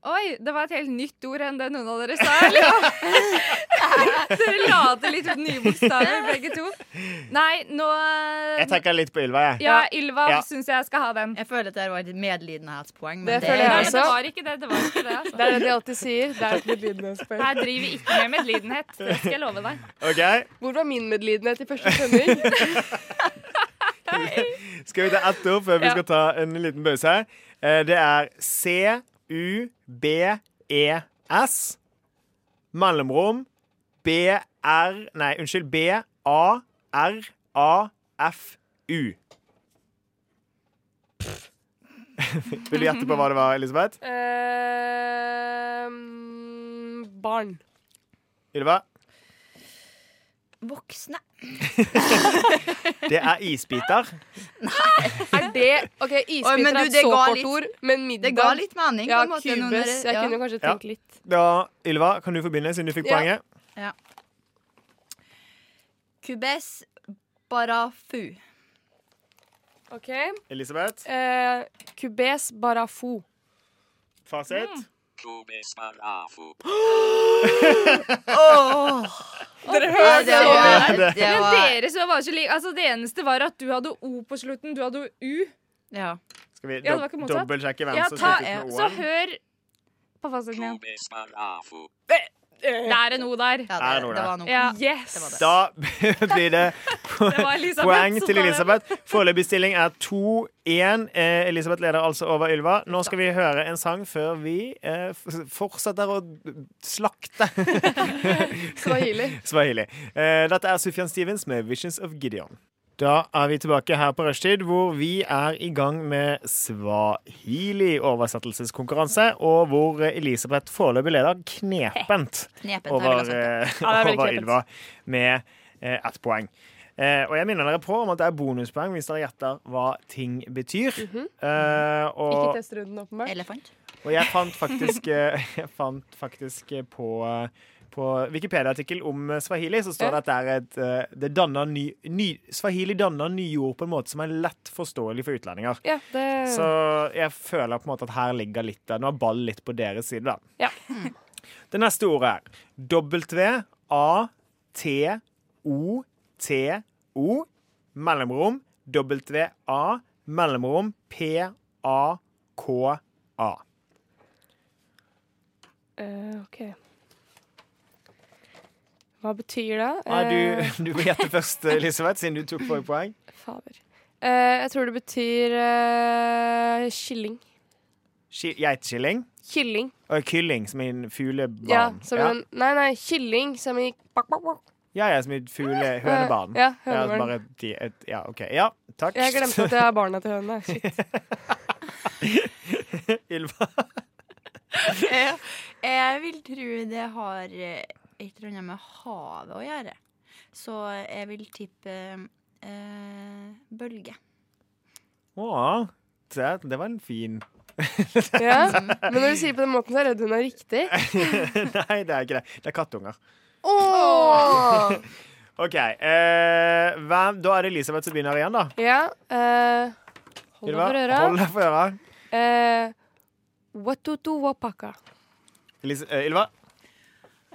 [SPEAKER 4] Oi, det var et helt nytt ord enn det noen av dere sa.
[SPEAKER 3] *laughs*
[SPEAKER 4] Eller? *laughs* dere later litt ut nye bokstaver, begge to. Nei, nå eh,
[SPEAKER 3] Jeg trekker litt på Ylva, jeg.
[SPEAKER 4] Ja, Ylva
[SPEAKER 3] Ja.
[SPEAKER 4] synes syns jeg skal ha den.
[SPEAKER 1] Jeg føler at det var et medlidenhetspoeng. Men
[SPEAKER 5] Det
[SPEAKER 1] det, altså
[SPEAKER 5] føler
[SPEAKER 4] Nei,
[SPEAKER 5] jeg
[SPEAKER 4] men
[SPEAKER 5] også.
[SPEAKER 4] det var ikke det. det, var ikke det altså.
[SPEAKER 5] Det er det de alltid sier. Det er et medlidenhetspoeng.
[SPEAKER 4] Her driver vi ikke med medlidenhet. Det skal jeg love deg.
[SPEAKER 3] Ok,
[SPEAKER 5] Hvor var min medlidenhet i første *laughs* sending?
[SPEAKER 3] Skal vi ta ett ord før vi skal ta en liten pause? Eh, Det er C-U-B-E-S E mellomrom B-R Nei, unnskyld. B-A-R-A-F-U. *laughs* Vil du gjette på hva det var, Elisabeth?
[SPEAKER 5] Ehm, barn.
[SPEAKER 3] Ylva?
[SPEAKER 1] Voksne.
[SPEAKER 3] Det er isbiter.
[SPEAKER 5] Er det OK,
[SPEAKER 1] Oi, men du, det
[SPEAKER 5] isbiter er et
[SPEAKER 1] ga
[SPEAKER 5] såkalt
[SPEAKER 1] litt-
[SPEAKER 5] ord, men middag
[SPEAKER 1] Det ga litt mening. på
[SPEAKER 5] Ja,
[SPEAKER 1] en måte, nå når
[SPEAKER 5] kubes.
[SPEAKER 1] det-
[SPEAKER 5] Jeg
[SPEAKER 1] ja.
[SPEAKER 5] kunne kanskje
[SPEAKER 3] Ja.
[SPEAKER 5] tenkt litt.
[SPEAKER 3] Da, Ylva, kan du få begynne, siden du fikk
[SPEAKER 5] Ja.
[SPEAKER 3] poenget?
[SPEAKER 1] Kubes barafu.
[SPEAKER 5] OK.
[SPEAKER 3] Elisabeth,
[SPEAKER 5] Eh, kubes barafo.
[SPEAKER 3] fasit?
[SPEAKER 4] Dere
[SPEAKER 1] Ja, det var, det
[SPEAKER 4] Men
[SPEAKER 1] var,
[SPEAKER 4] dere så var ikke like Altså Det eneste var at du hadde O på slutten, du hadde U.
[SPEAKER 1] ja.
[SPEAKER 3] Skal vi
[SPEAKER 4] Ja, det var
[SPEAKER 3] dob
[SPEAKER 4] ikke motsatt.
[SPEAKER 3] dobbeltsjekke hvem
[SPEAKER 4] Ja,
[SPEAKER 3] som
[SPEAKER 4] ta, eh,
[SPEAKER 3] sluttet med
[SPEAKER 4] så
[SPEAKER 3] O-en?
[SPEAKER 4] hør på fasiten igjen.
[SPEAKER 5] Eh,
[SPEAKER 4] Det er en O der.
[SPEAKER 1] ja
[SPEAKER 3] Er det
[SPEAKER 1] det,
[SPEAKER 3] noe
[SPEAKER 1] det
[SPEAKER 3] der?
[SPEAKER 1] var noe.
[SPEAKER 4] Ja.
[SPEAKER 5] Yes!
[SPEAKER 1] Det var det.
[SPEAKER 3] Da *laughs* blir
[SPEAKER 4] *laughs*
[SPEAKER 3] det
[SPEAKER 4] Det var Elisabeth
[SPEAKER 3] poeng
[SPEAKER 4] som
[SPEAKER 3] til
[SPEAKER 4] sa det.
[SPEAKER 3] Elisabeth. Foreløpig stilling er 2-1. Eh, Elisabeth leder altså over Ylva. Nå skal vi høre en sang før vi eh, f- fortsetter å slakte *laughs*
[SPEAKER 5] Swahili.
[SPEAKER 3] swahili. Eh, dette er Sufjan Stevens med 'Visions of Gideon'. Da er vi tilbake her på rushtid, hvor vi er i gang med swahili-oversettelseskonkurranse, og hvor Elisabeth foreløpig leder knepent
[SPEAKER 1] Knepent. har jeg
[SPEAKER 3] over,
[SPEAKER 1] vel sagt.
[SPEAKER 3] eh, *laughs*
[SPEAKER 5] Ja, det er veldig
[SPEAKER 3] over
[SPEAKER 5] knepent.
[SPEAKER 3] Ylva med eh, ett poeng. Eh, og jeg minner dere på om at det er bonuspoeng hvis dere gjetter hva ting betyr. eh,
[SPEAKER 5] *laughs* Mhm. Ikke
[SPEAKER 3] og,
[SPEAKER 5] testrunden, åpenbart.
[SPEAKER 1] Elefant.
[SPEAKER 3] og jeg fant
[SPEAKER 5] *laughs*
[SPEAKER 3] faktisk, eh, *laughs* jeg fant faktisk eh, på eh, på Wikipedia-artikkel om eh, swahili så står det at det er et eh, det danner ny, ny, Swahili danner nye ord på en måte som er lett forståelig for utlendinger.
[SPEAKER 5] Ja, det
[SPEAKER 3] Så jeg føler på en måte at her ligger litt der. Nå er ballen litt på deres side, da.
[SPEAKER 5] Ja.
[SPEAKER 3] *laughs* Det neste ordet er W-A-T-O-T-O, mellomrom W-A, mellomrom P-A-K-A.
[SPEAKER 5] eh, OK. Hva betyr det?
[SPEAKER 3] Nei,
[SPEAKER 5] Eh,
[SPEAKER 3] Du, du må gjette først, Elisabeth, siden du tok forrige poeng.
[SPEAKER 5] Fader. Eh, jeg tror det betyr eh, kylling.
[SPEAKER 3] Ki- Geitkilling.
[SPEAKER 5] Kylling.
[SPEAKER 3] Og kylling, som i en
[SPEAKER 5] Ja,
[SPEAKER 3] fuglebarn.
[SPEAKER 5] som
[SPEAKER 3] ja.
[SPEAKER 5] en Nei, nei, kylling som i bak, bak, bak.
[SPEAKER 3] ja, ja, som i et fugle...
[SPEAKER 5] Eh,
[SPEAKER 3] Hønebarn.
[SPEAKER 5] Ja,
[SPEAKER 3] Ja,
[SPEAKER 5] hønebarn.
[SPEAKER 3] bare de, et, ja, OK. Ja, takk.
[SPEAKER 5] Jeg glemte at jeg er barna til hønene.
[SPEAKER 3] *laughs*
[SPEAKER 5] Shit.
[SPEAKER 3] Ylva.
[SPEAKER 1] Eh, *laughs* Jeg vil tro det har eh, et eller annet med havet å gjøre. Så jeg vil tippe eh, eh, bølge.
[SPEAKER 3] Å, det, det var en fin *laughs*
[SPEAKER 5] Ja. *laughs* Men når du sier det på den måten, så er jeg redd hun er riktig.
[SPEAKER 3] Nei, det er ikke det. Det er kattunger.
[SPEAKER 5] Åh!
[SPEAKER 3] OK. Eh, hvem, da er det Elisabeth som begynner igjen, da.
[SPEAKER 5] Ja. eh, hold deg
[SPEAKER 3] Ylva,
[SPEAKER 5] for
[SPEAKER 3] hold
[SPEAKER 5] øra.
[SPEAKER 3] deg for øra.
[SPEAKER 5] Eh, Watutu wapaka.
[SPEAKER 3] Elis eh, Ylva.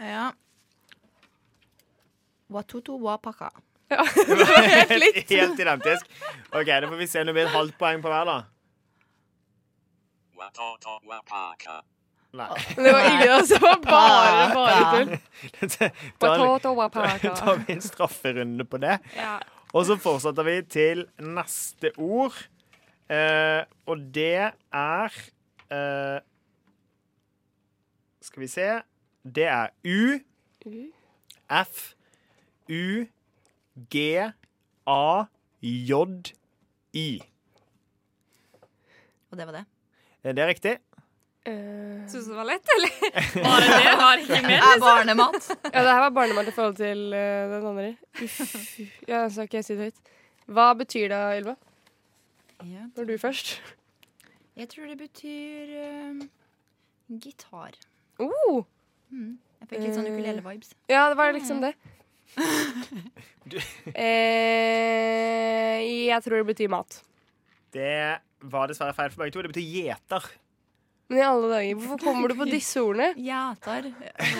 [SPEAKER 1] Ja. Watutu wapaka.
[SPEAKER 3] *laughs* Helt identisk. OK, da får vi se om det blir et halvt poeng på hver, da.
[SPEAKER 5] *laughs*
[SPEAKER 3] Nei.
[SPEAKER 5] *laughs*
[SPEAKER 3] *laughs*
[SPEAKER 5] Det var ingen av oss. *laughs* Det var bare, bare tull.
[SPEAKER 3] *laughs* Da
[SPEAKER 5] Watoto wapaka.
[SPEAKER 3] tar vi en strafferunde på det.
[SPEAKER 4] Ja.
[SPEAKER 3] Og så fortsetter vi til neste ord. Eh, og det er eh, Skal vi se Det er U, F, U, G, A, J, I.
[SPEAKER 1] Og det var det.
[SPEAKER 3] Er det riktig?
[SPEAKER 5] Eh,
[SPEAKER 4] Syns du det var lett, eller? Bare det var ikke mer.
[SPEAKER 1] Er barnemat.
[SPEAKER 5] Ja, det her var barnemat i forhold til eh, den andre. Uff. Ja, så skal jeg si det høyt. Hva betyr det, Ylva?
[SPEAKER 1] Ja.
[SPEAKER 5] Når du først.
[SPEAKER 1] Jeg tror det betyr eh, gitar.
[SPEAKER 5] Oh,
[SPEAKER 1] Jeg fikk litt sånn ukulele-vibes.
[SPEAKER 5] ja, det var liksom det. eh, jeg tror det betyr mat.
[SPEAKER 3] Det var dessverre feil for begge to. Det betyr gjeter.
[SPEAKER 5] Men i alle dager, hvorfor kommer du på disse ordene?
[SPEAKER 1] Gjetar. Eh,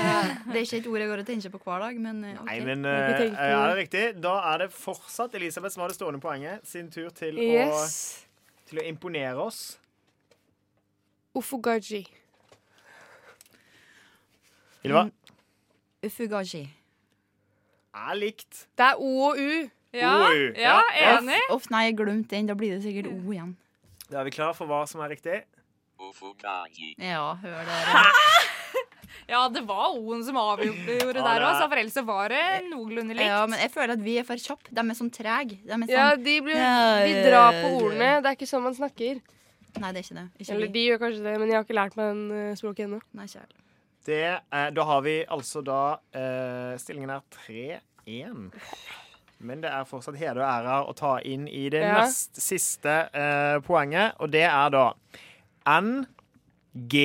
[SPEAKER 1] Det er ikke et ord jeg går og tenker på hver dag, men eh, OK.
[SPEAKER 3] Nei, men
[SPEAKER 5] Jeg
[SPEAKER 3] eh,
[SPEAKER 5] kan tenke
[SPEAKER 3] er
[SPEAKER 5] meg.
[SPEAKER 3] det riktig? Da er det fortsatt Elisabeth som har det stående poenget. Sin tur til,
[SPEAKER 5] Yes.
[SPEAKER 3] å, til å imponere oss.
[SPEAKER 5] Ofugaji.
[SPEAKER 3] Ylva?
[SPEAKER 1] Mm. Ufugaji.
[SPEAKER 3] Er likt.
[SPEAKER 5] Det er O og U.
[SPEAKER 4] Ja,
[SPEAKER 3] Oi,
[SPEAKER 4] ja,
[SPEAKER 3] ja.
[SPEAKER 4] enig.
[SPEAKER 1] Uff, nei, jeg glemte den. Da blir det sikkert O igjen.
[SPEAKER 3] Da er vi klar for hva som er riktig.
[SPEAKER 1] Ja, hør dere.
[SPEAKER 4] Ja, det var O-en som avgjorde der òg, så for ellers så var det noenlunde likt.
[SPEAKER 1] Ja, men jeg føler at vi er for kjappe. De er sånn trege. De er sånn
[SPEAKER 5] Ja, de, blir,
[SPEAKER 1] Ja,
[SPEAKER 5] de
[SPEAKER 1] ja,
[SPEAKER 5] drar
[SPEAKER 1] ja,
[SPEAKER 5] på
[SPEAKER 1] ja.
[SPEAKER 5] ordene. Det er ikke sånn man snakker.
[SPEAKER 1] Nei, det er ikke det. Ikke
[SPEAKER 5] Eller
[SPEAKER 1] vi.
[SPEAKER 5] de gjør kanskje det, men jeg har ikke lært meg den eh, språket ennå.
[SPEAKER 1] Nei, ikke jeg.
[SPEAKER 3] Det, eh, da har vi altså da eh, Stillingen er 3-1 1. Men det er fortsatt heder og ære å ta inn i det
[SPEAKER 5] Ja.
[SPEAKER 3] nest siste eh, poenget, og det er da N, G,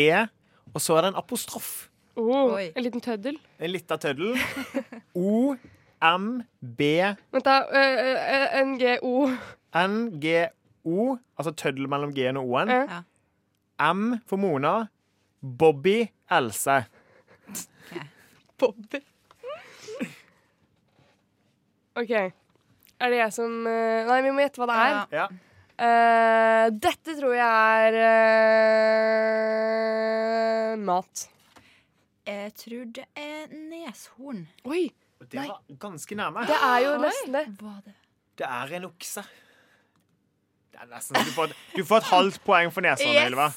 [SPEAKER 3] og så er det en apostrof.
[SPEAKER 5] Oh,
[SPEAKER 1] Oi.
[SPEAKER 5] en liten tøddel.
[SPEAKER 3] En lita
[SPEAKER 5] *laughs*
[SPEAKER 3] tøddel. O, M, B,
[SPEAKER 5] Vent, da. eh, eh, NGO.
[SPEAKER 3] N, G, O, altså tøddel mellom G-en og O-en.
[SPEAKER 5] Ja.
[SPEAKER 1] Ja.
[SPEAKER 3] M for Mona, Bobby, Else.
[SPEAKER 5] Bobby. OK. Er det jeg som eh, Nei, vi må gjette hva det er.
[SPEAKER 1] Ja.
[SPEAKER 3] Ja.
[SPEAKER 5] Eh, dette tror jeg er eh, mat.
[SPEAKER 1] Jeg tror det er neshorn.
[SPEAKER 5] Oi!
[SPEAKER 3] Og Det var ganske nærme.
[SPEAKER 5] Det er jo nesten det.
[SPEAKER 1] Hva det?
[SPEAKER 3] Det er en okse. Det er nesten så du får, du får et halvt poeng for nesa, yes. Sånn, Ylva.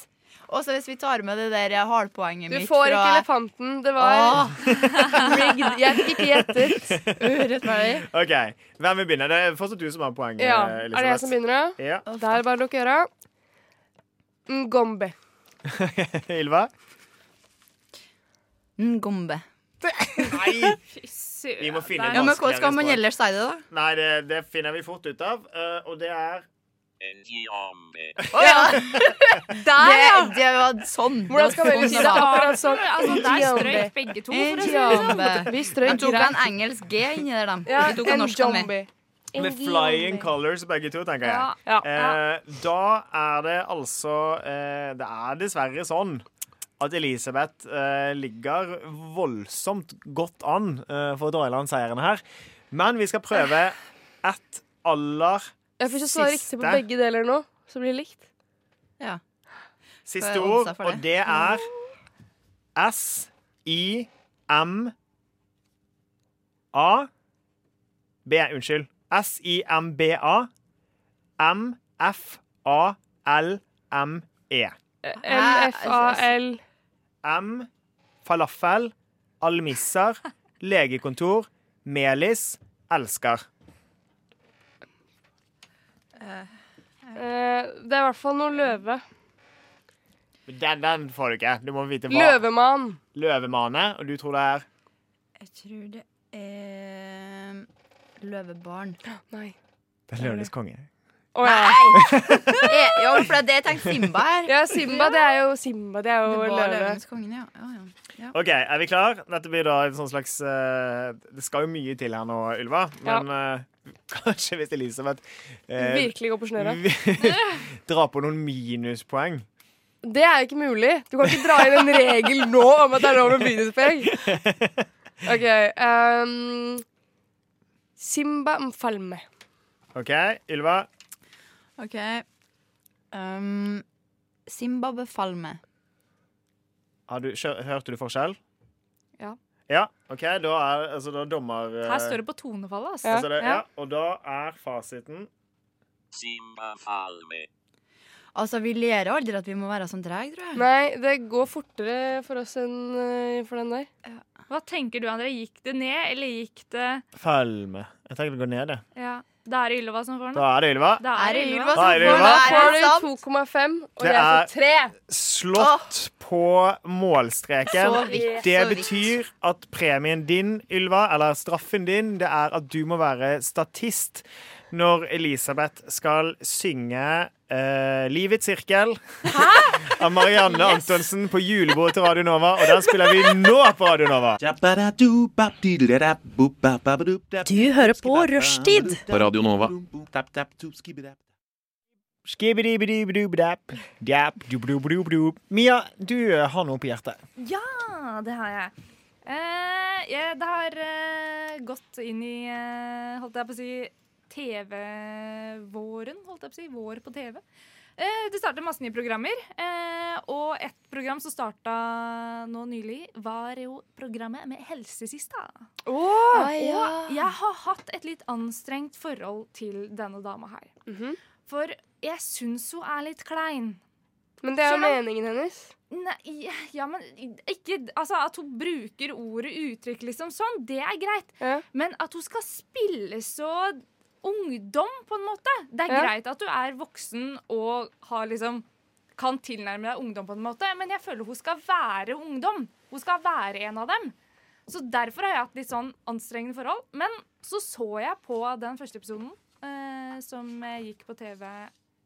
[SPEAKER 1] Og så hvis vi tar med det der eh, halvpoenget
[SPEAKER 5] Du
[SPEAKER 1] mitt
[SPEAKER 5] får ikke
[SPEAKER 1] fra
[SPEAKER 5] elefanten. Det var *laughs* rigged. Jeg fikk ikke
[SPEAKER 1] *laughs*
[SPEAKER 5] gjettet.
[SPEAKER 1] Urettferdig.
[SPEAKER 3] OK, hvem vil begynne? Det er fortsatt du som har eh, poenget.
[SPEAKER 5] Ja. Er det jeg som begynner, da?
[SPEAKER 3] begynner?
[SPEAKER 5] Da er det bare å lukke øra. Ngombe.
[SPEAKER 3] Ja. *laughs* Ylva?
[SPEAKER 1] Ngombe.
[SPEAKER 3] Nei,
[SPEAKER 4] Fysur.
[SPEAKER 3] vi må finne
[SPEAKER 1] Ja,
[SPEAKER 3] et
[SPEAKER 1] men
[SPEAKER 3] vanskeligere
[SPEAKER 1] hvordan skal man
[SPEAKER 3] språk.
[SPEAKER 1] ellers si det, da?
[SPEAKER 3] Nei, det, det finner vi fort ut av, eh, og det er
[SPEAKER 1] *laughs* Der, ja! Det, det var sånn.
[SPEAKER 5] Hvordan skal vi
[SPEAKER 1] Det var sånn det
[SPEAKER 5] vite
[SPEAKER 1] var.
[SPEAKER 5] akkurat sånn?
[SPEAKER 4] Altså, der strøyk begge to. For å si det sånn.
[SPEAKER 1] Ngombe.
[SPEAKER 5] Vi
[SPEAKER 1] De
[SPEAKER 5] strøk
[SPEAKER 1] tok
[SPEAKER 5] greit.
[SPEAKER 1] en engelsk G inni der, de.
[SPEAKER 5] Ja,
[SPEAKER 1] Vi tok en
[SPEAKER 5] en
[SPEAKER 1] norsk med.
[SPEAKER 5] zombie.
[SPEAKER 3] Med flying colors, begge to, tenker jeg.
[SPEAKER 4] Ja.
[SPEAKER 5] Ja.
[SPEAKER 3] Eh, da er det altså eh, Det er dessverre sånn at Elisabeth eh, ligger voldsomt godt an eh, for Dryland-seieren her. Men vi skal prøve ett aller
[SPEAKER 5] Jeg får ikke svare
[SPEAKER 3] Siste.
[SPEAKER 5] riktig på begge deler nå, så blir det likt.
[SPEAKER 3] siste
[SPEAKER 1] Får jeg
[SPEAKER 3] ord,
[SPEAKER 1] ansvar for
[SPEAKER 3] og det er S-I-M-A B, unnskyld. S-I-M-B-A M-F-A-L-M-E.
[SPEAKER 5] MFAL.
[SPEAKER 3] M, falafel, almisser, legekontor, melis, elsker.
[SPEAKER 5] Eh, Det er i hvert fall noe løve.
[SPEAKER 3] Den, den får du ikke. Du må vite hva.
[SPEAKER 5] Løvemann.
[SPEAKER 3] Løvemane, og du tror det er
[SPEAKER 1] Jeg tror det er *laughs* løvebarn.
[SPEAKER 5] Nei.
[SPEAKER 3] Det er Løvenes konge.
[SPEAKER 5] Å ja.
[SPEAKER 1] Eh, Ja, for det er det jeg tenkte Simba er.
[SPEAKER 5] ja. Simba, det er jo Simba. Det er
[SPEAKER 1] Det
[SPEAKER 5] jo
[SPEAKER 1] var
[SPEAKER 5] løve.
[SPEAKER 1] Løvenes konge, ja. ja, ja. ja.
[SPEAKER 3] OK, er vi klar? Dette blir da en sånn slags eh, Det skal jo mye til her nå, Ylva,
[SPEAKER 5] Ja.
[SPEAKER 3] men eh, *laughs* kanskje hvis Elisabeth eh,
[SPEAKER 5] Virkelig gå på snøra.
[SPEAKER 3] *laughs* drar på noen minuspoeng.
[SPEAKER 5] Det er jo ikke mulig. Du kan ikke dra inn en regel nå om at det er lov med minuspoeng. OK. ehm, Simba mfalme.
[SPEAKER 3] OK, Ylva?
[SPEAKER 1] OK. Um, Simba befaler meg.
[SPEAKER 3] Har du, kjør- hørte du forskjell?
[SPEAKER 5] Ja.
[SPEAKER 3] Ja, OK, da er altså da dommer eh,
[SPEAKER 4] Her står det på tonefallet. Altså.
[SPEAKER 3] altså, det,
[SPEAKER 5] Ja.
[SPEAKER 3] ja, og da er fasiten
[SPEAKER 1] Altså, vi ler aldri at vi må være sånn treg, tror jeg.
[SPEAKER 5] Nei, det går fortere for oss enn eh, for den der.
[SPEAKER 4] Hva tenker du, André? Gikk det ned, eller gikk det
[SPEAKER 3] Falme. Jeg tenker det går ned, det.
[SPEAKER 4] Ja. Da er det Ylva som
[SPEAKER 1] Mm.
[SPEAKER 4] får den.
[SPEAKER 3] Da er det Ylva.
[SPEAKER 4] Da
[SPEAKER 1] Er det
[SPEAKER 3] Da
[SPEAKER 1] Ylva
[SPEAKER 3] er
[SPEAKER 1] som
[SPEAKER 3] det
[SPEAKER 1] får
[SPEAKER 3] Ylva.
[SPEAKER 5] Da
[SPEAKER 1] det? Er
[SPEAKER 5] får
[SPEAKER 1] det
[SPEAKER 5] du
[SPEAKER 1] sant?
[SPEAKER 5] 2,5, og
[SPEAKER 3] Det
[SPEAKER 5] jeg
[SPEAKER 3] er-
[SPEAKER 5] får 3.
[SPEAKER 3] Slått på målstreken.
[SPEAKER 1] Så vidt,
[SPEAKER 3] det
[SPEAKER 1] så vidt.
[SPEAKER 3] betyr at premien din, Ylva, eller straffen din, det er at du må være statist når Elisabeth skal synge eh, Livets sirkel *laughs* av Marianne Antonsen på julebordet til Radio Nova, og den spiller vi nå på Radio Nova.
[SPEAKER 11] Du hører på Rushtid
[SPEAKER 7] På Radio Nova.
[SPEAKER 3] Skibidi-bidi-bidi-bidap. Dap, dubidubidubidub. Mia, du eh, har noe på hjertet.
[SPEAKER 4] Ja, Ah, det har jeg. Eh, jeg det har eh, gått inn i eh, holdt jeg på å si TV-våren. Holdt jeg på å si. Vår på TV. Eh, det startet masse nye programmer. Eh, og et program som starta nå nylig, var jo programmet med Helsesista.
[SPEAKER 1] Ah, ja.
[SPEAKER 4] Og jeg har hatt et litt anstrengt forhold til denne dama her.
[SPEAKER 5] Mhm.
[SPEAKER 4] For jeg syns hun er litt klein.
[SPEAKER 5] Men det er jo
[SPEAKER 4] Skjønner.
[SPEAKER 5] meningen hennes.
[SPEAKER 4] Nei, ja, men ikke, altså At hun bruker ordet uttrykk liksom sånn, det er greit.
[SPEAKER 5] Ja.
[SPEAKER 4] Men at hun skal spille så ungdom, på en måte Det er
[SPEAKER 5] Ja.
[SPEAKER 4] greit at du er voksen og har liksom kan tilnærme deg ungdom, på en måte men jeg føler hun skal være ungdom. Hun skal være en av dem. Så derfor har jeg hatt litt sånn anstrengende forhold. Men så så jeg på den første episoden eh, som eh, gikk på TV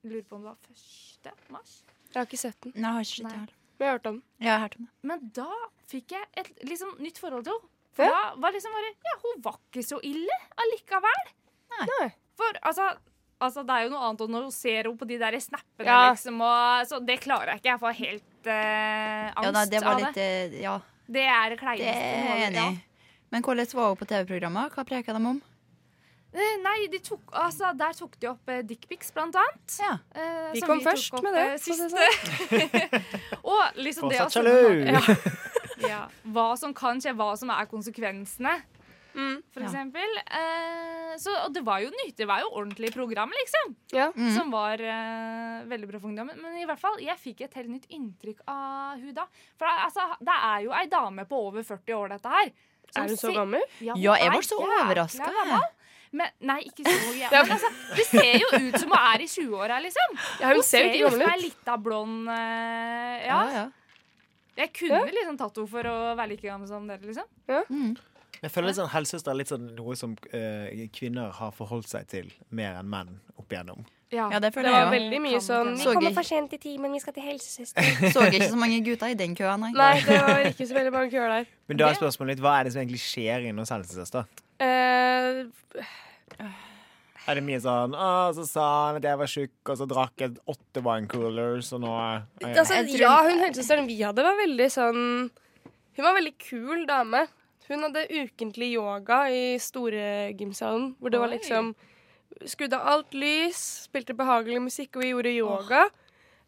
[SPEAKER 4] Lurer på om det var 1. mars.
[SPEAKER 5] Jeg har ikke sett den.
[SPEAKER 1] Nei, jeg har ikke sett den.
[SPEAKER 5] Men jeg har hørt om den.
[SPEAKER 1] Jeg har hørt om det.
[SPEAKER 4] Men da fikk jeg et liksom, nytt forhold til henne. For da var liksom bare Ja, hun var ikke så ille allikevel.
[SPEAKER 5] Nei.
[SPEAKER 4] For altså, altså Det er jo noe annet når hun ser henne på de der snappene,
[SPEAKER 5] Ja.
[SPEAKER 4] liksom. Og, så det klarer jeg ikke. Jeg får helt eh, angst
[SPEAKER 1] Ja, nei, det var
[SPEAKER 4] av
[SPEAKER 1] litt
[SPEAKER 4] det.
[SPEAKER 1] eh, Ja,
[SPEAKER 4] Det er det
[SPEAKER 1] det
[SPEAKER 4] kleineste.
[SPEAKER 1] er jeg enig i. Men hvordan var hun på TV-programmet? Hva preka de om?
[SPEAKER 4] Eh, Nei, de tok, altså, der tok de opp eh, dickpics, blant annet. Eh,
[SPEAKER 5] Vi
[SPEAKER 4] som
[SPEAKER 5] kom
[SPEAKER 4] tok
[SPEAKER 5] først
[SPEAKER 4] opp,
[SPEAKER 5] med det,
[SPEAKER 4] eh,
[SPEAKER 5] for å si det sånn.
[SPEAKER 4] siste. og liksom det
[SPEAKER 3] Fortsatt
[SPEAKER 4] altså,
[SPEAKER 3] sjalu. *laughs*
[SPEAKER 4] Ja, ja, hva som kan skje, hva som er konsekvensene. For
[SPEAKER 5] Mm.
[SPEAKER 1] Ja.
[SPEAKER 4] eksempel. Eh, så, og det var jo nytt, det var jo ordentlig program, liksom.
[SPEAKER 1] Mm.
[SPEAKER 4] Som var eh, veldig bra for ungdommen. Men i hvert fall, jeg fikk et helt nytt inntrykk av hun da. For altså, det er jo ei dame på over 40 år, dette her. som
[SPEAKER 5] Er hun så
[SPEAKER 4] si-
[SPEAKER 5] gammel?
[SPEAKER 4] Ja, hun
[SPEAKER 1] Ja, jeg
[SPEAKER 4] er
[SPEAKER 1] var så
[SPEAKER 4] jækla
[SPEAKER 1] overraska, jeg.
[SPEAKER 4] gammel. Men, nei, ikke så jævlig. Altså, det ser jo ut som hun er i 20-åra, liksom.
[SPEAKER 5] Ja, hun ser jo ikke
[SPEAKER 4] ut som
[SPEAKER 5] gammel
[SPEAKER 4] ei
[SPEAKER 5] ut.
[SPEAKER 4] lita blond eh, ja.
[SPEAKER 1] Ja, ja.
[SPEAKER 4] Jeg kunne liksom tatt henne for å være like gammel som dere, liksom.
[SPEAKER 3] Jeg føler litt sånn helsesøster er litt sånn noe som eh, kvinner har forholdt seg til mer enn menn opp igjennom.
[SPEAKER 1] ja, det
[SPEAKER 5] Det
[SPEAKER 1] føler
[SPEAKER 5] var
[SPEAKER 1] jeg òg.
[SPEAKER 5] veldig mye sånn
[SPEAKER 1] Så gøy.
[SPEAKER 5] sent i timen, vi skal til *laughs* helsesøster.
[SPEAKER 1] Så ikke så mange gutter i den køa, nei.
[SPEAKER 5] Nei, det var ikke så veldig mange køer der.
[SPEAKER 3] Men da er spørsmålet litt, hva er det som egentlig skjer inne hos helsesøster?
[SPEAKER 5] Eh,
[SPEAKER 3] Er det mye sånn Å, så sa han at jeg var tjukk, og så drakk jeg åtte winecoolers, og nå er jeg
[SPEAKER 5] altså, ja, hun helsesøsteren vi hadde, var veldig sånn Hun var en veldig kul dame. Hun hadde ukentlig yoga i store gymsalen, hvor det var
[SPEAKER 4] Oi.
[SPEAKER 5] liksom Skrudde av alt lys, spilte behagelig musikk, og vi gjorde yoga.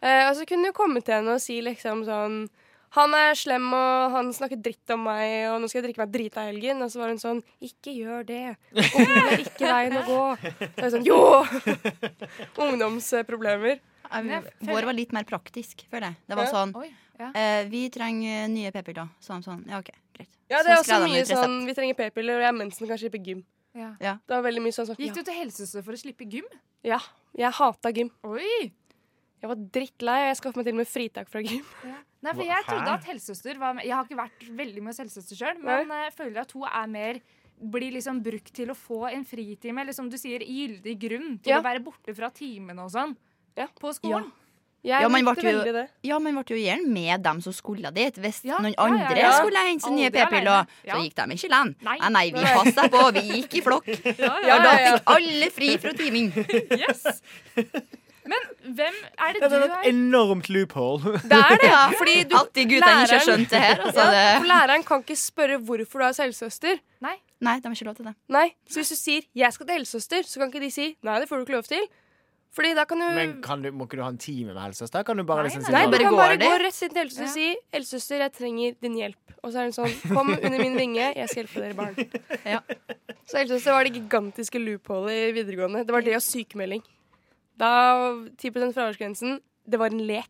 [SPEAKER 5] Eh, og så kunne du komme til henne og si liksom sånn Han er slem, og han snakker dritt om meg, og nå skal jeg drikke meg drita i helgen. Og så var hun sånn Ikke gjør det. Ungdom er ikke veien å gå. Så er jeg sånn Jo! Ungdomsproblemer.
[SPEAKER 1] Jeg-
[SPEAKER 4] jeg føler-
[SPEAKER 1] Vår var litt mer praktisk, føler jeg. Det var
[SPEAKER 5] Ja.
[SPEAKER 1] sånn
[SPEAKER 4] Oi, ja.
[SPEAKER 1] eh, Vi trenger eh, nye p-piller. Så han sånn Ja, OK, greit.
[SPEAKER 5] Ja,
[SPEAKER 1] Så
[SPEAKER 5] det er også
[SPEAKER 1] skrev de
[SPEAKER 5] mye
[SPEAKER 1] ut resept.
[SPEAKER 5] sånn Vi trenger p-piller, og jeg har mensen, kanskje på gym.
[SPEAKER 4] Ja.
[SPEAKER 5] Det var veldig mye sånn snakk.
[SPEAKER 4] Gikk du til helsesøster for å slippe gym?
[SPEAKER 5] Ja, jeg hata gym.
[SPEAKER 4] Oi!
[SPEAKER 5] Jeg var drittlei. Jeg skaffet meg til og med fritak fra gym. *laughs*
[SPEAKER 4] Nei, for
[SPEAKER 3] Hva-
[SPEAKER 4] jeg trodde
[SPEAKER 3] hæ?
[SPEAKER 4] at helsesøster var med. Jeg har ikke vært veldig med hos helsesøster sjøl, men eh, jeg føler at hun er mer blir liksom brukt til å få en fritime, eller som du sier, gyldig grunn til
[SPEAKER 5] Ja.
[SPEAKER 4] å være borte fra timene og sånn.
[SPEAKER 5] Ja.
[SPEAKER 4] På skolen.
[SPEAKER 5] Jeg
[SPEAKER 1] Ja, man
[SPEAKER 5] likte
[SPEAKER 1] ble jo-
[SPEAKER 5] veldig det.
[SPEAKER 1] Ja, man ble jo gjerne med dem som skulle dit. Hvis
[SPEAKER 4] Ja,
[SPEAKER 1] noen
[SPEAKER 4] ja, ja,
[SPEAKER 1] andre
[SPEAKER 4] ja.
[SPEAKER 1] skulle hente seg nye
[SPEAKER 4] Aldri
[SPEAKER 1] p-piller,
[SPEAKER 4] alene. Ja.
[SPEAKER 1] så gikk de ikke land.
[SPEAKER 4] Nei.
[SPEAKER 1] Nei, nei, vi passa på. Vi gikk i flokk.
[SPEAKER 5] Ja,
[SPEAKER 1] Ja, da
[SPEAKER 5] ja, ja.
[SPEAKER 1] fikk alle fri fra timing.
[SPEAKER 4] Yes. Men hvem er det
[SPEAKER 3] Det
[SPEAKER 4] du
[SPEAKER 3] er et
[SPEAKER 4] er?
[SPEAKER 3] enormt loophole.
[SPEAKER 5] Det er
[SPEAKER 1] *laughs*
[SPEAKER 5] det.
[SPEAKER 1] Ja,
[SPEAKER 5] Fordi du
[SPEAKER 1] At de gutta ikke har
[SPEAKER 5] læreren-
[SPEAKER 1] skjønt det her. Altså,
[SPEAKER 5] ja, for
[SPEAKER 1] det.
[SPEAKER 5] Læreren kan ikke spørre hvorfor du har helsesøster.
[SPEAKER 1] Nei, de har ikke lov til det.
[SPEAKER 5] Nei, Så hvis du sier 'jeg skal til helsesøster', så kan ikke de si 'nei, det får du ikke lov til'. Fordi da kan du
[SPEAKER 3] Men kan du, må ikke du ha en time med helsesøster? Kan du bare
[SPEAKER 4] Nei,
[SPEAKER 3] liksom
[SPEAKER 4] nei.
[SPEAKER 3] si
[SPEAKER 5] Nei,
[SPEAKER 3] sånn,
[SPEAKER 5] du
[SPEAKER 1] bare
[SPEAKER 5] kan
[SPEAKER 1] går
[SPEAKER 5] bare
[SPEAKER 1] dit.
[SPEAKER 5] gå rett inn til helsesøster og si 'helsesøster, jeg trenger din hjelp'. Og så er hun sånn 'kom under min vinge, jeg skal hjelpe dere barn'.
[SPEAKER 1] Ja.
[SPEAKER 5] Så helsesøster var det gigantiske loopholet i videregående. Det var det og sykemelding. Da 10 fraværsgrensen, det var en lek.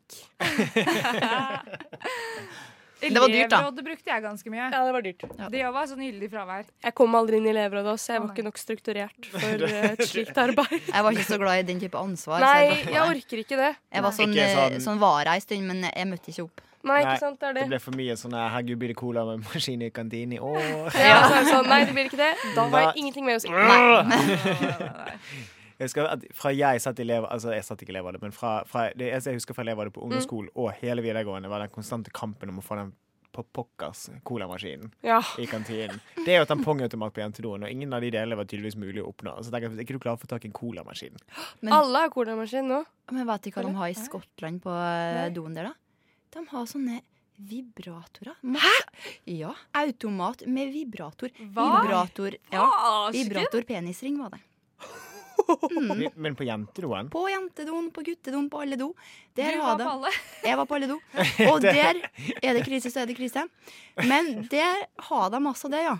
[SPEAKER 1] Det var dyrt, da.
[SPEAKER 4] Elevrådet brukte jeg ganske mye.
[SPEAKER 5] Ja, det var dyrt.
[SPEAKER 4] Det òg var sånn gyldig fravær.
[SPEAKER 5] Jeg kom aldri inn i elevrådet også,
[SPEAKER 4] Å,
[SPEAKER 5] jeg var
[SPEAKER 4] nei.
[SPEAKER 5] ikke nok strukturert for eh, et slikt arbeid.
[SPEAKER 1] Jeg var ikke så glad i den type ansvar. så
[SPEAKER 5] Nei,
[SPEAKER 1] jeg,
[SPEAKER 5] jeg
[SPEAKER 1] bare-
[SPEAKER 5] orker ikke det.
[SPEAKER 1] jeg var sånn,
[SPEAKER 3] Ikke sånn-
[SPEAKER 1] eh, sånn vara en stund, men jeg møtte ikke opp.
[SPEAKER 5] Nei,
[SPEAKER 3] Nei,
[SPEAKER 5] ikke sant, det er
[SPEAKER 3] Det
[SPEAKER 5] det.
[SPEAKER 3] ble for mye sånn her, herregud, blir det cola med maskin i kantinen i
[SPEAKER 5] *laughs*
[SPEAKER 3] år? *laughs*
[SPEAKER 5] Ja, så er det sånn, nei, det blir ikke det. Da var
[SPEAKER 3] Nei.
[SPEAKER 5] jeg ingenting med å si.
[SPEAKER 3] Jeg husker at fra jeg satt i elev, altså jeg satt ikke i elevrådet, men fra, fra, det eneste jeg husker fra elevrådet
[SPEAKER 5] Mm.
[SPEAKER 3] på ungdomsskolen og hele videregående, var den konstante kampen om å få den på pokkers colamaskinen
[SPEAKER 5] Ja.
[SPEAKER 3] i kantinen. Det er jo tampongautomat på jentedoen, og ingen av de delene var tydeligvis mulig å oppnå. Så tenker jeg, er ikke du klar for å få tak i en colamaskin?
[SPEAKER 1] Men-
[SPEAKER 5] Alle har colamaskin nå.
[SPEAKER 1] Men vet du hva de har i Skottland på eh, doen der, da? De har sånne vibratorer. Hæ?! Ja. Automat med vibrator.
[SPEAKER 4] Hva?
[SPEAKER 1] Vibrator. Ja.
[SPEAKER 4] Asken!
[SPEAKER 1] Vibrator-penisring var det.
[SPEAKER 5] Mm.
[SPEAKER 3] Men- Men på jentedoen?
[SPEAKER 1] På jentedoen, på guttedoen, på alle do.
[SPEAKER 4] Du
[SPEAKER 1] Der
[SPEAKER 4] var
[SPEAKER 1] har de
[SPEAKER 4] på alle.
[SPEAKER 1] Jeg var på alle do. Og der er det krise, så er det krise. Men der har de altså det, ja.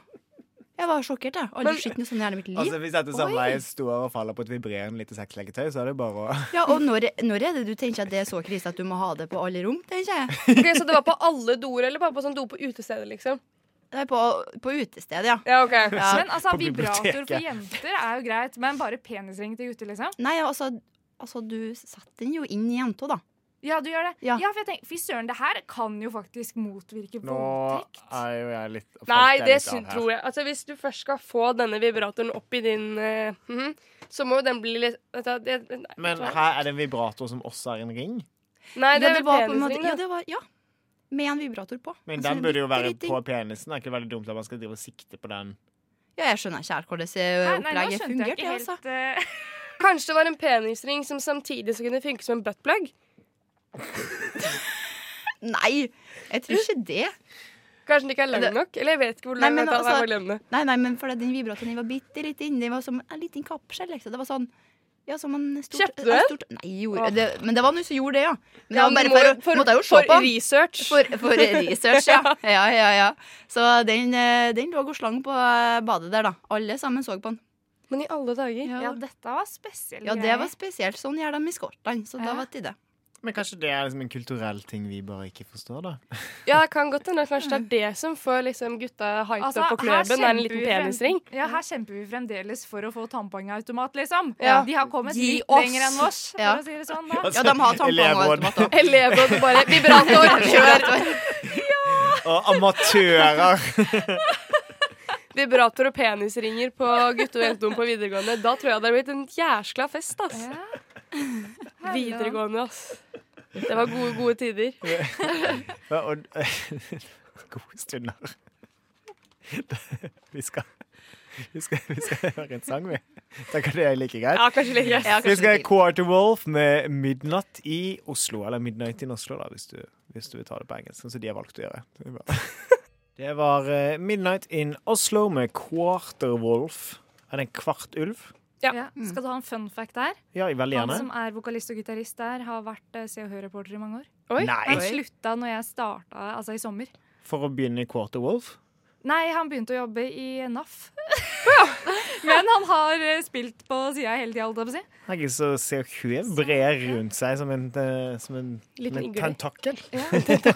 [SPEAKER 1] Jeg var sjokkert, jeg. Aldri sett noe sånt i hele mitt liv.
[SPEAKER 3] Altså Hvis dette
[SPEAKER 1] Oi.
[SPEAKER 3] samleiet står og faller på et vibrerende lite sexleketøy, så er det bare å
[SPEAKER 1] ja, og når, når er det du tenker at det er så krise at du må ha det på alle rom, tenker jeg.
[SPEAKER 5] Ok, Så det var på alle doer, eller bare på sånn do på utestedet, liksom?
[SPEAKER 1] Det er på, på utestedet, ja.
[SPEAKER 5] Ja, ok.
[SPEAKER 1] ja.
[SPEAKER 4] Men altså,
[SPEAKER 3] På
[SPEAKER 4] vibrator for
[SPEAKER 3] biblioteket.
[SPEAKER 4] jenter er jo greit, men bare penisring til gutter, liksom?
[SPEAKER 1] Nei, altså, altså du setter den jo inn i jenta, da.
[SPEAKER 4] Ja, du gjør det.
[SPEAKER 1] Ja.
[SPEAKER 4] Ja, for jeg tenker, Fy søren, det her kan jo faktisk motvirke
[SPEAKER 3] Nå
[SPEAKER 4] voldtekt.
[SPEAKER 3] er jo jeg litt falt
[SPEAKER 5] Nei,
[SPEAKER 3] jeg
[SPEAKER 5] det
[SPEAKER 3] litt av
[SPEAKER 5] syn-
[SPEAKER 3] her.
[SPEAKER 5] tror jeg. Altså, hvis du først skal få denne vibratoren opp i din eh, mhm, Så må jo den bli litt vet du, det, nei,
[SPEAKER 3] Men her er det en vibrator som også er en ring.
[SPEAKER 5] Nei, det
[SPEAKER 1] Ja,
[SPEAKER 5] er
[SPEAKER 1] det
[SPEAKER 5] vel
[SPEAKER 1] var på en måte-
[SPEAKER 5] penisring,
[SPEAKER 1] ja,
[SPEAKER 5] da.
[SPEAKER 1] det var, ja. Med en vibrator på.
[SPEAKER 3] Men
[SPEAKER 1] Altså,
[SPEAKER 3] den
[SPEAKER 1] en
[SPEAKER 3] burde jo
[SPEAKER 1] bitte
[SPEAKER 3] være
[SPEAKER 1] liten-
[SPEAKER 3] på penisen. Er ikke det veldig dumt at man skal drive og sikte på den?
[SPEAKER 1] Ja, jeg skjønner ikke helt hvordan det eh,
[SPEAKER 5] Nei, nei, nå
[SPEAKER 1] opplegget
[SPEAKER 5] skjønte jeg
[SPEAKER 1] fungerte.
[SPEAKER 5] ikke
[SPEAKER 1] jeg, Altså.
[SPEAKER 4] eh,
[SPEAKER 5] Kanskje det var en penisring som samtidig så kunne funke som en buttplug?
[SPEAKER 1] Nei, jeg tror ikke det.
[SPEAKER 5] Kanskje den ikke er lang
[SPEAKER 1] Det-
[SPEAKER 5] nok? Eller jeg vet ikke hvor
[SPEAKER 1] Nei,
[SPEAKER 5] lang
[SPEAKER 1] men
[SPEAKER 5] den er.
[SPEAKER 1] altså-
[SPEAKER 5] hvor lang den er.
[SPEAKER 1] Nei, nei, men for det- den vibratoren den var bitte litt inni. Det var som en liten kapsel. Liksom. Det var sånn ja, som en stort,
[SPEAKER 5] Kjøpte du den?
[SPEAKER 1] en Stort, nei, jeg gjorde, det, men det var noen som gjorde det, ja. Men det
[SPEAKER 5] Ja,
[SPEAKER 1] var bare
[SPEAKER 5] men
[SPEAKER 1] for, å-
[SPEAKER 5] må- for-
[SPEAKER 1] måtte jeg jo se
[SPEAKER 5] for
[SPEAKER 1] på. den.
[SPEAKER 5] research.
[SPEAKER 1] For, for research,
[SPEAKER 5] *laughs*
[SPEAKER 1] ja. ja, ja, ja. Så den, eh, den lå og slang på eh, badet der, da. Alle sammen så på den.
[SPEAKER 5] Men i alle
[SPEAKER 4] *laughs*
[SPEAKER 5] dager
[SPEAKER 4] Ja, dette var spesielle
[SPEAKER 1] Ja, det var spesielt. Sånn gjør de i Skottland. Så da
[SPEAKER 4] Ja.
[SPEAKER 1] var det
[SPEAKER 5] *laughs*
[SPEAKER 1] det.
[SPEAKER 3] Men kanskje det er liksom en kulturell ting vi bare ikke forstår, da?
[SPEAKER 5] Ja, det kan godt hende. Kanskje det er det som får liksom gutta hyped
[SPEAKER 4] Altså,
[SPEAKER 5] opp på
[SPEAKER 4] her
[SPEAKER 5] klubben. Er en
[SPEAKER 4] kjemper
[SPEAKER 5] liten
[SPEAKER 4] vi frem-
[SPEAKER 5] penisring.
[SPEAKER 4] Ja, her kjemper vi fremdeles for å få tannpangautomat, liksom.
[SPEAKER 5] Ja.
[SPEAKER 4] De har kommet
[SPEAKER 5] Gi
[SPEAKER 4] litt
[SPEAKER 5] oss.
[SPEAKER 4] lenger enn oss, for
[SPEAKER 1] Ja.
[SPEAKER 4] å si det
[SPEAKER 3] *laughs*
[SPEAKER 4] sånn. da.
[SPEAKER 1] Ja, de har
[SPEAKER 3] Altså, elevråd.
[SPEAKER 1] tampongautomat òg.
[SPEAKER 5] Elevrådet bare Vibrator,
[SPEAKER 3] *laughs*
[SPEAKER 5] kjør!
[SPEAKER 3] Og amatører!
[SPEAKER 5] Vibrator og penisringer på gutte- og jenterom på videregående. Da tror jeg det hadde blitt en jæskla fest, ass. Videregående, ass. Det var gode, gode tider.
[SPEAKER 3] Ja, og, *laughs* gode stunder. Vi skal, vi, skal, vi skal høre en sang, vi. Tenker du det er like greit?
[SPEAKER 5] Ja, kanskje litt greit.
[SPEAKER 1] Ja,
[SPEAKER 3] Vi
[SPEAKER 1] kanskje
[SPEAKER 3] skal
[SPEAKER 1] litt-
[SPEAKER 3] Quarter Wolf med Midnatt i Oslo. Eller Midnight in Oslo, da, hvis du, hvis du vil ta det på engelsk, sånn som de har valgt å gjøre. Det er bra. *laughs* Det var eh, Midnight in Oslo med Quarter Wolf. Er det en kvart ulv?
[SPEAKER 4] Ja. Skal du ha en fun fact der?
[SPEAKER 3] Ja, veldig
[SPEAKER 4] Han
[SPEAKER 3] gjerne.
[SPEAKER 4] som er vokalist og gitarist der, har vært eh, Se og Hør-reporter i mange år.
[SPEAKER 5] Oi.
[SPEAKER 4] Han
[SPEAKER 3] Nei,
[SPEAKER 4] slutta når jeg starta, altså i sommer.
[SPEAKER 3] for å begynne i Quarter Wolf?
[SPEAKER 4] Nei, han begynte å jobbe i NAF. *laughs* Men han har eh, spilt på sida hele tida, holdt jeg på å si.
[SPEAKER 3] Herregud, så CO2 brer rundt seg som en, eh, som en, som
[SPEAKER 5] Sånn, Liten
[SPEAKER 3] en
[SPEAKER 5] igle.
[SPEAKER 3] tentakkel.
[SPEAKER 4] Ja,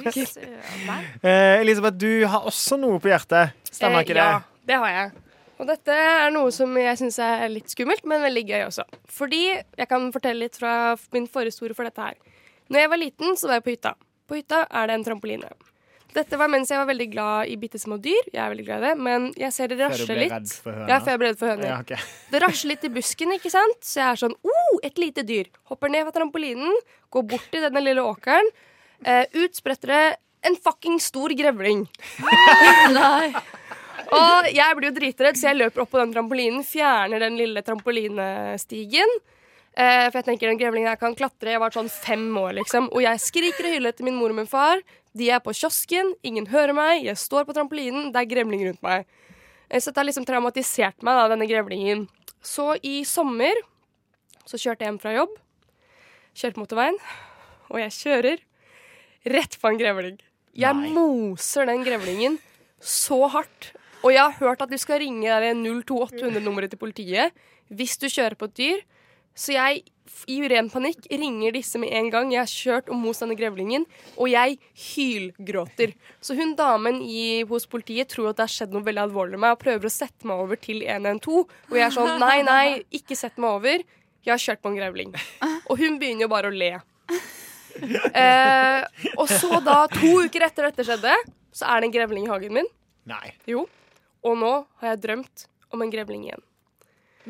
[SPEAKER 4] fy søren.
[SPEAKER 3] Eh, Elisabeth, du har også noe på hjertet. Stemmer ikke
[SPEAKER 5] Eh, Ja, det har jeg. Og dette er noe som jeg syns er litt skummelt, men veldig gøy også. Fordi jeg kan fortelle litt fra min forhistorie for dette her. Når jeg var liten, så var jeg på hytta. På hytta er det en trampoline. Dette var mens jeg var veldig glad i bitte små dyr. Jeg er veldig glad i det, men jeg ser det
[SPEAKER 3] det? Før du
[SPEAKER 5] rasler
[SPEAKER 3] ble
[SPEAKER 5] litt.
[SPEAKER 3] redd for høna.
[SPEAKER 5] Ja, før jeg ble redd for høner.
[SPEAKER 3] Ja, ok.
[SPEAKER 5] Det rasler litt i busken, ikke sant? Så jeg er sånn oh, et lite dyr. Hopper ned fra trampolinen, går bort til denne lille åkeren. Eh, ut spretter det en fucking stor grevling. Nei. Og jeg blir jo dritredd, så jeg løper opp på den trampolinen, fjerner den lille trampolinestigen. Eh, for jeg tenker den grevlingen her kan klatre. Jeg var sånn fem år, liksom. Og jeg skriker og hyller etter min mor og min far. De er på kiosken, ingen hører meg. Jeg står på trampolinen, det er grevling rundt meg. Eh, Så dette har liksom traumatisert meg, da, denne grevlingen. Så i sommer så kjørte jeg hjem fra jobb. Kjørte motorveien. Og jeg kjører rett på en grevling. Jeg
[SPEAKER 3] Nei.
[SPEAKER 5] moser den grevlingen så hardt. Og jeg har hørt at du skal ringe det 02800-nummeret til politiet hvis du kjører på et dyr. Så jeg, f- i ren panikk, ringer disse med en gang. Jeg har kjørt og most denne grevlingen, og jeg hylgråter. Så hun damen i, hos politiet tror at det har skjedd noe veldig alvorlig med meg, og prøver å sette meg over til 112. Og jeg er sånn nei, nei, ikke sett meg over. Jeg har kjørt på en grevling. Og hun begynner jo bare å le. Eh, og så da, to uker etter dette skjedde, så er det en grevling i hagen min.
[SPEAKER 3] Nei.
[SPEAKER 5] Jo. Og nå har jeg drømt om en grevling igjen.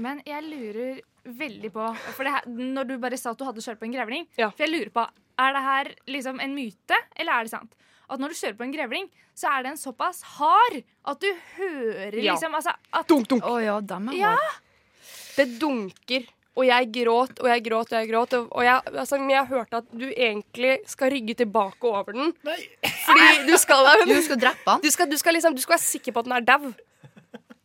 [SPEAKER 4] Men jeg lurer veldig på For det her, når du bare sa at du hadde kjørt på en grevling
[SPEAKER 5] Ja.
[SPEAKER 4] For jeg lurer på, er det her liksom en myte, eller er det sant? At når du kjører på en grevling, så er den såpass hard at du hører
[SPEAKER 5] Ja.
[SPEAKER 4] liksom altså, at,
[SPEAKER 5] Dunk, dunk.
[SPEAKER 1] Å ja, dem er
[SPEAKER 4] Ja.
[SPEAKER 1] harde.
[SPEAKER 5] Det dunker, og jeg gråt og jeg gråt og jeg gråt. Og, og jeg, altså, men jeg hørte at du egentlig skal rygge tilbake over den.
[SPEAKER 3] Nei.
[SPEAKER 5] Fordi du skal, ja, men
[SPEAKER 1] Du skal drepe han.
[SPEAKER 5] du skal, du skal, liksom, du skal være sikker på at den er dau.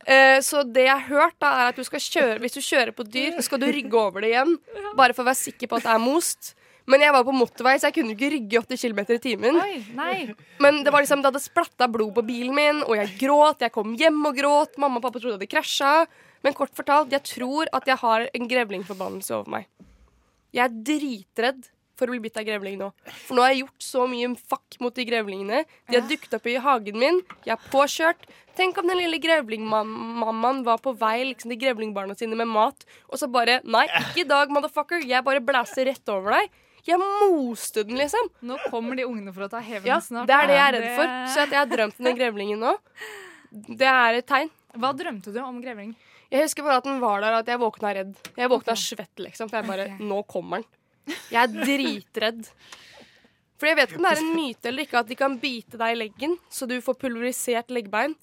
[SPEAKER 5] Eh, så det jeg har hørt, da, er at du skal kjøre, hvis du kjører på et dyr, skal du rygge over det igjen. Bare for å være sikker på at det er most. Men jeg var på motorvei, så jeg kunne ikke rygge 80 km i timen.
[SPEAKER 4] Oi, nei.
[SPEAKER 5] Men det var liksom, det hadde splatta blod på bilen min, og jeg gråt. Jeg kom hjem og gråt. Mamma og pappa trodde jeg hadde krasja. Men kort fortalt, jeg tror at jeg har en grevlingforbannelse over meg. Jeg er dritredd for å bli bitt av grevling nå. For nå har jeg gjort så mye fuck mot de grevlingene. De har dukket opp i hagen min. Jeg er påkjørt. Tenk om den lille grevlingmammaen var på vei liksom, til grevlingbarna sine med mat, og så bare Nei, ikke i dag, motherfucker. Jeg bare blæser rett over deg. Jeg moste den, liksom.
[SPEAKER 4] Nå kommer de ungene for å ta hevn
[SPEAKER 5] Ja,
[SPEAKER 4] snart.
[SPEAKER 5] Ah, det er det jeg er
[SPEAKER 4] Ja,
[SPEAKER 5] redd for. Så at jeg har drømt om den grevlingen nå, det er et tegn.
[SPEAKER 4] Hva drømte du om grevling?
[SPEAKER 5] Jeg husker bare at den var der, og at jeg våkna redd. Jeg våkna svett, liksom. For jeg bare Nå kommer den. Jeg er dritredd. For jeg vet ikke om det er en myte eller ikke at de kan bite deg i leggen, så du får pulverisert leggbein.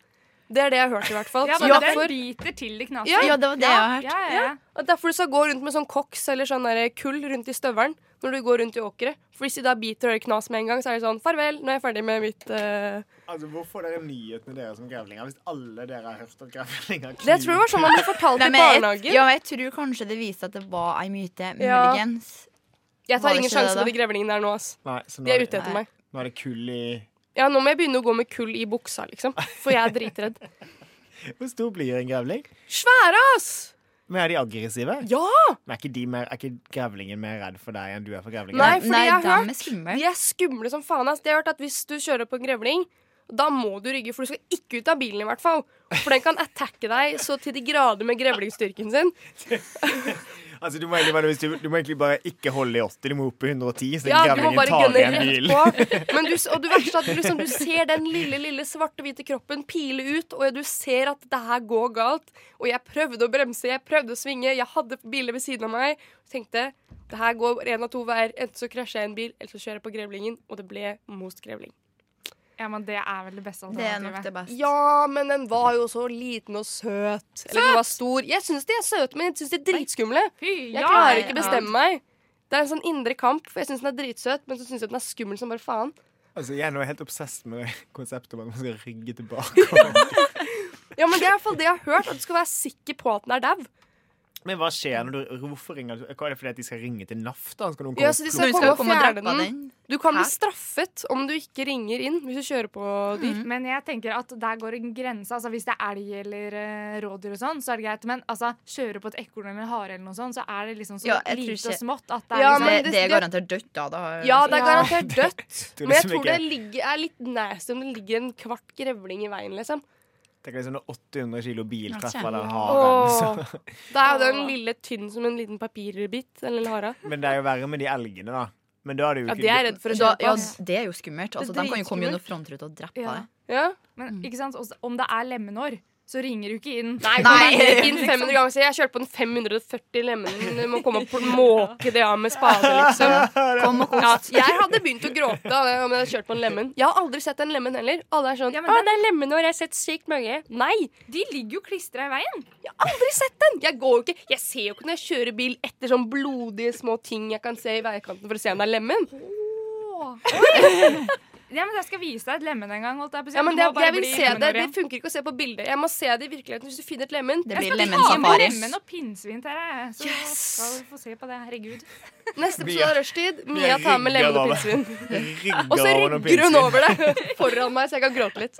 [SPEAKER 5] Det er det jeg har hørt, i hvert fall.
[SPEAKER 4] Ja,
[SPEAKER 5] Så
[SPEAKER 4] men den
[SPEAKER 5] derfor-
[SPEAKER 4] biter til de knaser.
[SPEAKER 5] ja,
[SPEAKER 4] Ja, ja, ja.
[SPEAKER 5] Og derfor du skal gå rundt med sånn koks eller sånn der kull rundt i støvelen når du går rundt i åkeret. For hvis de da biter og gjør knas med en gang, så er det sånn farvel, nå er jeg ferdig med mitt eh,
[SPEAKER 3] Altså, Hvor får dere nyhetene deres om grevlinger hvis alle dere har hørt om grevlinger?
[SPEAKER 5] Det tror jeg var sånn man ble fortalt i
[SPEAKER 1] Nei, men jeg-
[SPEAKER 5] barnehagen.
[SPEAKER 1] Ja, men jeg tror kanskje det viste at det var ei myte,
[SPEAKER 5] Ja.
[SPEAKER 1] muligens.
[SPEAKER 5] Jeg
[SPEAKER 1] Var
[SPEAKER 5] tar
[SPEAKER 1] det
[SPEAKER 5] ingen
[SPEAKER 1] ikke det
[SPEAKER 5] sjanse
[SPEAKER 1] da?
[SPEAKER 5] på de grevlingene der nå, ass.
[SPEAKER 3] Nei, så nå
[SPEAKER 5] De er
[SPEAKER 3] det-
[SPEAKER 5] ute etter meg.
[SPEAKER 3] Nå er det kull i
[SPEAKER 5] Ja, nå må jeg begynne å gå med kull i buksa, liksom. For jeg er dritredd.
[SPEAKER 3] Hvor stor blir en grevling?
[SPEAKER 5] Svære, ass!
[SPEAKER 3] Men er de aggressive?
[SPEAKER 5] Ja!
[SPEAKER 3] Men er ikke, de mer, er ikke grevlingen mer redd for deg enn du er for grevlingen?
[SPEAKER 5] Nei, fordi jeg har
[SPEAKER 1] hørt
[SPEAKER 5] De er skumle som faen. Ass. Jeg har hørt at Hvis du kjører på en grevling, da må du rygge, for du skal ikke ut av bilen i hvert fall. For den kan attacke deg så til de grader med grevlingstyrken sin.
[SPEAKER 3] Altså, du, må egentlig bare, hvis du, du må egentlig bare ikke holde i 80, du må opp på 110, så den
[SPEAKER 5] Ja, du må
[SPEAKER 3] grevlingen
[SPEAKER 5] bare
[SPEAKER 3] tar
[SPEAKER 5] gønne
[SPEAKER 3] igjen bilen.
[SPEAKER 5] rett på. Men du, s- og du verste er at du, liksom, du ser den lille, lille svarte-hvite kroppen pile ut, og du ser at det her går galt. Og jeg prøvde å bremse, jeg prøvde å svinge, jeg hadde biler ved siden av meg. Og tenkte det her går én av to veier. Enten så krasjer jeg en bil, eller så kjører jeg på grevlingen. Og det ble most grevling.
[SPEAKER 4] Ja, men det er vel det beste
[SPEAKER 5] Det er
[SPEAKER 4] alternativet.
[SPEAKER 5] nok det Ja, men den var jo så liten og søt. Eller den var stor. Jeg syns de er søte, men jeg syns de er dritskumle. Jeg
[SPEAKER 4] ja,
[SPEAKER 5] klarer ikke
[SPEAKER 4] ja.
[SPEAKER 5] å bestemme meg. Det er en sånn indre kamp, for jeg syns den er dritsøt, men så syns jeg den er skummel som bare faen.
[SPEAKER 3] Altså, jeg er nå helt obsess med det konseptet om at man skal rygge tilbake.
[SPEAKER 5] *laughs* Ja, men Det er i hvert fall det jeg har hørt, at du skal være sikker på at den er dau.
[SPEAKER 3] Men hva skjer når du Hvorfor ringer du? Hva er det fordi at de skal ringe til NAF, da? Skal noen komme
[SPEAKER 5] Ja, så de skal komme og fjerne den. Du kan bli straffet om du ikke ringer inn hvis du kjører på dyr.
[SPEAKER 4] Men jeg tenker at der går en grense. Altså Hvis det er elg eller eh, rådyr og sånn, så er det greit. Men altså, kjøre på et ekorn eller en hare eller noe sånt, så er det liksom så
[SPEAKER 1] Ja, jeg tror
[SPEAKER 4] lite og
[SPEAKER 1] ikke-
[SPEAKER 4] smått at det er
[SPEAKER 1] Ja,
[SPEAKER 4] liksom
[SPEAKER 1] men det, det er garantert dødt, da. da.
[SPEAKER 5] Ja, det er garantert dødt.
[SPEAKER 3] Tror
[SPEAKER 5] Men jeg
[SPEAKER 3] liksom
[SPEAKER 5] tror
[SPEAKER 3] ikke-
[SPEAKER 5] det ligger, er litt nasty om det ligger en kvart grevling i veien, liksom.
[SPEAKER 3] Tenk deg sånn når 800 kilo bil
[SPEAKER 5] Ja,
[SPEAKER 3] treffer
[SPEAKER 5] kjempe.
[SPEAKER 3] den liksom.
[SPEAKER 5] Åh.
[SPEAKER 3] haren. Så.
[SPEAKER 5] Da er jo den lille tynn som en liten papirbit. Den lille hara.
[SPEAKER 3] *laughs* Men det er jo verre med de elgene, da. Men da er det jo
[SPEAKER 5] Ja,
[SPEAKER 3] ikke *laughs*
[SPEAKER 5] det er jeg redd for å
[SPEAKER 1] da,
[SPEAKER 5] kjøre på,
[SPEAKER 1] ja,
[SPEAKER 5] ass.
[SPEAKER 1] det er jo skummelt. Altså,
[SPEAKER 4] Det er
[SPEAKER 1] de kan jo komme
[SPEAKER 4] dritskummelt.
[SPEAKER 1] gjennom frontruta og drepe
[SPEAKER 4] Ja.
[SPEAKER 1] deg.
[SPEAKER 4] Men ikke sant, også, om det er lemenår, så ringer du ikke inn.
[SPEAKER 5] Nei,
[SPEAKER 1] Nei.
[SPEAKER 5] kom igjen, inn 500 ganger. Så jeg kjørte på den 540 lemmen. Du må komme og pl- måke det av med spade, liksom.
[SPEAKER 1] Kom og
[SPEAKER 5] Ja, jeg hadde begynt å gråte av det om jeg hadde kjørt på en lemen. Jeg har aldri sett en lemen heller. Alle er sånn
[SPEAKER 4] Ja, men
[SPEAKER 5] 'Å,
[SPEAKER 4] den-
[SPEAKER 5] det er lemenår. Jeg har sett sykt mange.' Nei.
[SPEAKER 4] De ligger jo klistra i veien.
[SPEAKER 5] Jeg har aldri sett den. Jeg går jo ikke Jeg ser jo ikke når jeg kjører bil etter sånn blodige små ting jeg kan se i veikanten for å se om det er lemen.
[SPEAKER 4] *laughs* Ja, men Jeg skal vise deg et lemen en gang. Holdt jeg på å si.
[SPEAKER 5] Ja, men
[SPEAKER 4] Du
[SPEAKER 5] det,
[SPEAKER 4] må bare
[SPEAKER 5] jeg vil
[SPEAKER 4] bli
[SPEAKER 5] se det.
[SPEAKER 4] lemenår
[SPEAKER 5] Det
[SPEAKER 4] igjen.
[SPEAKER 5] funker ikke å se på bildet. Jeg må se det i virkeligheten. Hvis du finner et lemen
[SPEAKER 1] Det blir
[SPEAKER 5] Jeg skal
[SPEAKER 1] lemen
[SPEAKER 5] ta med
[SPEAKER 1] safari.
[SPEAKER 5] lemen.
[SPEAKER 4] Lemen og pinnsvin til deg. Så skal du få se på det. Herregud.
[SPEAKER 5] Neste
[SPEAKER 4] Vi
[SPEAKER 5] episode av
[SPEAKER 4] er-
[SPEAKER 5] Rushtid.
[SPEAKER 4] vi
[SPEAKER 5] Mia
[SPEAKER 4] er
[SPEAKER 5] tar med lemen og
[SPEAKER 4] rygger
[SPEAKER 5] pinnsvin.
[SPEAKER 3] Rygger
[SPEAKER 5] Og
[SPEAKER 3] over
[SPEAKER 5] så
[SPEAKER 3] noen
[SPEAKER 5] rygger hun
[SPEAKER 3] pinnsvin.
[SPEAKER 5] over det foran meg, så jeg kan gråte litt.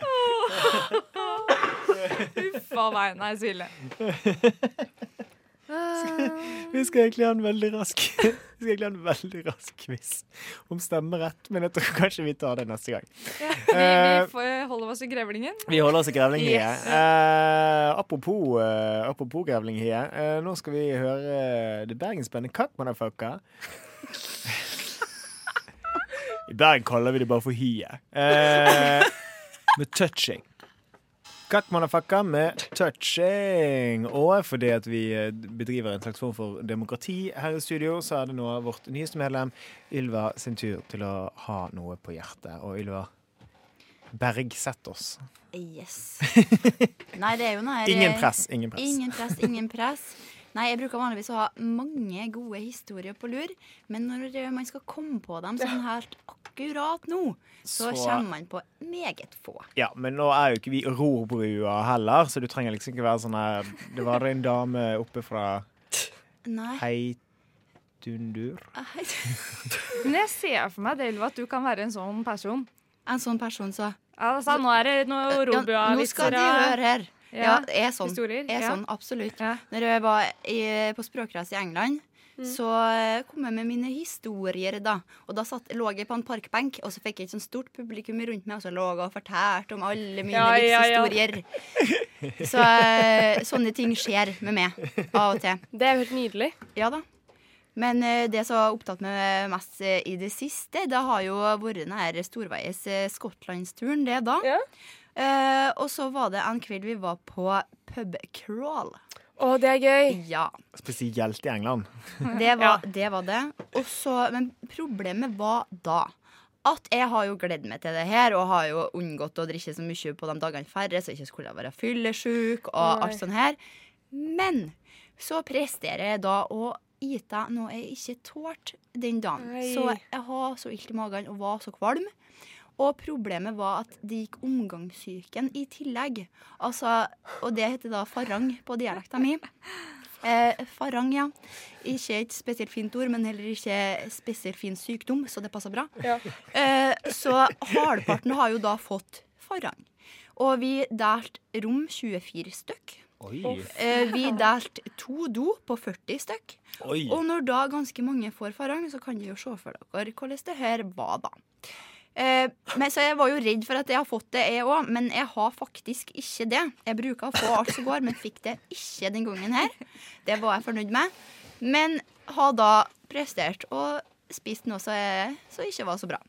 [SPEAKER 4] Hva meg, nei, Silje.
[SPEAKER 5] Ah.
[SPEAKER 3] Vi skal egentlig ha en veldig rask *laughs* Vi skal egentlig ha en veldig rask quiz om stemmerett, men jeg tror kanskje vi tar det neste gang.
[SPEAKER 4] Ja, vi,
[SPEAKER 3] Eh,
[SPEAKER 4] vi får holde oss i grevlingen.
[SPEAKER 3] Vi holder oss i grevlinghie.
[SPEAKER 4] Yes.
[SPEAKER 3] Eh, apropos, eh, apropos grevlinghie, eh, nå skal vi høre eh, det bergensbandet Kakk Motherfucker. I Bergen kaller vi det bare for hie. Eh, med touching. Kakk Motherfucker med touching. Og fordi at vi eh, bedriver en slags form for demokrati her i studio, så er det nå vårt nyeste medlem Ylva sin tur til å ha noe på hjertet. Og Ylva, bergsett oss.
[SPEAKER 1] Yes.
[SPEAKER 5] *laughs*
[SPEAKER 1] Nei, det er jo den her- eh,
[SPEAKER 3] Ingen press, ingen press.
[SPEAKER 1] Ingen press, ingen press. Nei, jeg bruker vanligvis å ha mange gode historier på lur, men når eh, man skal komme på dem sånn helt akkurat nå, så,
[SPEAKER 3] Så-
[SPEAKER 1] kommer man på meget få.
[SPEAKER 3] Ja, men nå er jo ikke vi rorbrua heller, så du trenger liksom ikke være sånn her Det var en dame oppe fra
[SPEAKER 1] Nei.
[SPEAKER 3] Heitundur.
[SPEAKER 4] Men jeg ser for meg det, Ylva, at du kan være en sånn person.
[SPEAKER 1] *laughs* En sånn person, så.
[SPEAKER 4] Altså, nå er det noe robua
[SPEAKER 1] nå skal de høre her. Ja, er sånn.
[SPEAKER 4] Historier.
[SPEAKER 1] Er
[SPEAKER 4] ja.
[SPEAKER 1] sånn absolutt. Når jeg var i, på språkreise i England, så eh, kom jeg med mine historier da. Og da satt, lå jeg på en parkbenk, og så fikk jeg et sånt stort publikum rundt meg, og så lå jeg og fortalte om alle mine
[SPEAKER 5] Ja, ja, ja.
[SPEAKER 1] livshistorier. Så eh, sånne ting skjer med meg av og til.
[SPEAKER 5] Det er jo helt nydelig.
[SPEAKER 1] Ja da. Men eh, det som har opptatt meg mest eh, i det siste, det har jo vært den her storveies eh, skottlandsturen, det da. Eh, og så var det en kveld vi var på pubcrawl.
[SPEAKER 5] Å, det er gøy.
[SPEAKER 1] Ja.
[SPEAKER 12] Spesielt i England.
[SPEAKER 1] Det var det. Var det. Og så- men problemet var da at jeg har jo gledet meg til det her, og har jo unngått å drikke så mye på de dagene færre, så jeg ikke skulle være fyllesyk og alt
[SPEAKER 5] Nei.
[SPEAKER 1] sånt her. Men så presterer jeg da å ite noe jeg ikke tålte den dagen.
[SPEAKER 5] Nei.
[SPEAKER 1] Så jeg har så ilt i magen og var så kvalm. Og problemet var at det gikk omgangssyken i tillegg. Altså, og det heter da farang på dialekta mi. Eh, farang, ja. Ikke et spesielt fint ord, men heller ikke spesielt fin sykdom, så det passer bra. Eh, så halvparten har jo da fått farang. Og vi delte rom 24 stykk.
[SPEAKER 12] Oi.
[SPEAKER 1] Eh, vi delte to do på 40 stykk.
[SPEAKER 12] Oi.
[SPEAKER 1] Og når da ganske mange får farang, så kan dere jo se for dere hvordan det her var, da. Eh, men, så jeg var jo redd for at jeg har fått det, jeg òg, men jeg har faktisk ikke det. Jeg bruker å få alt som går, men fikk det ikke den gangen her. Det var jeg fornøyd med. Men har da prestert og spist noe som jeg- som ikke var så bra.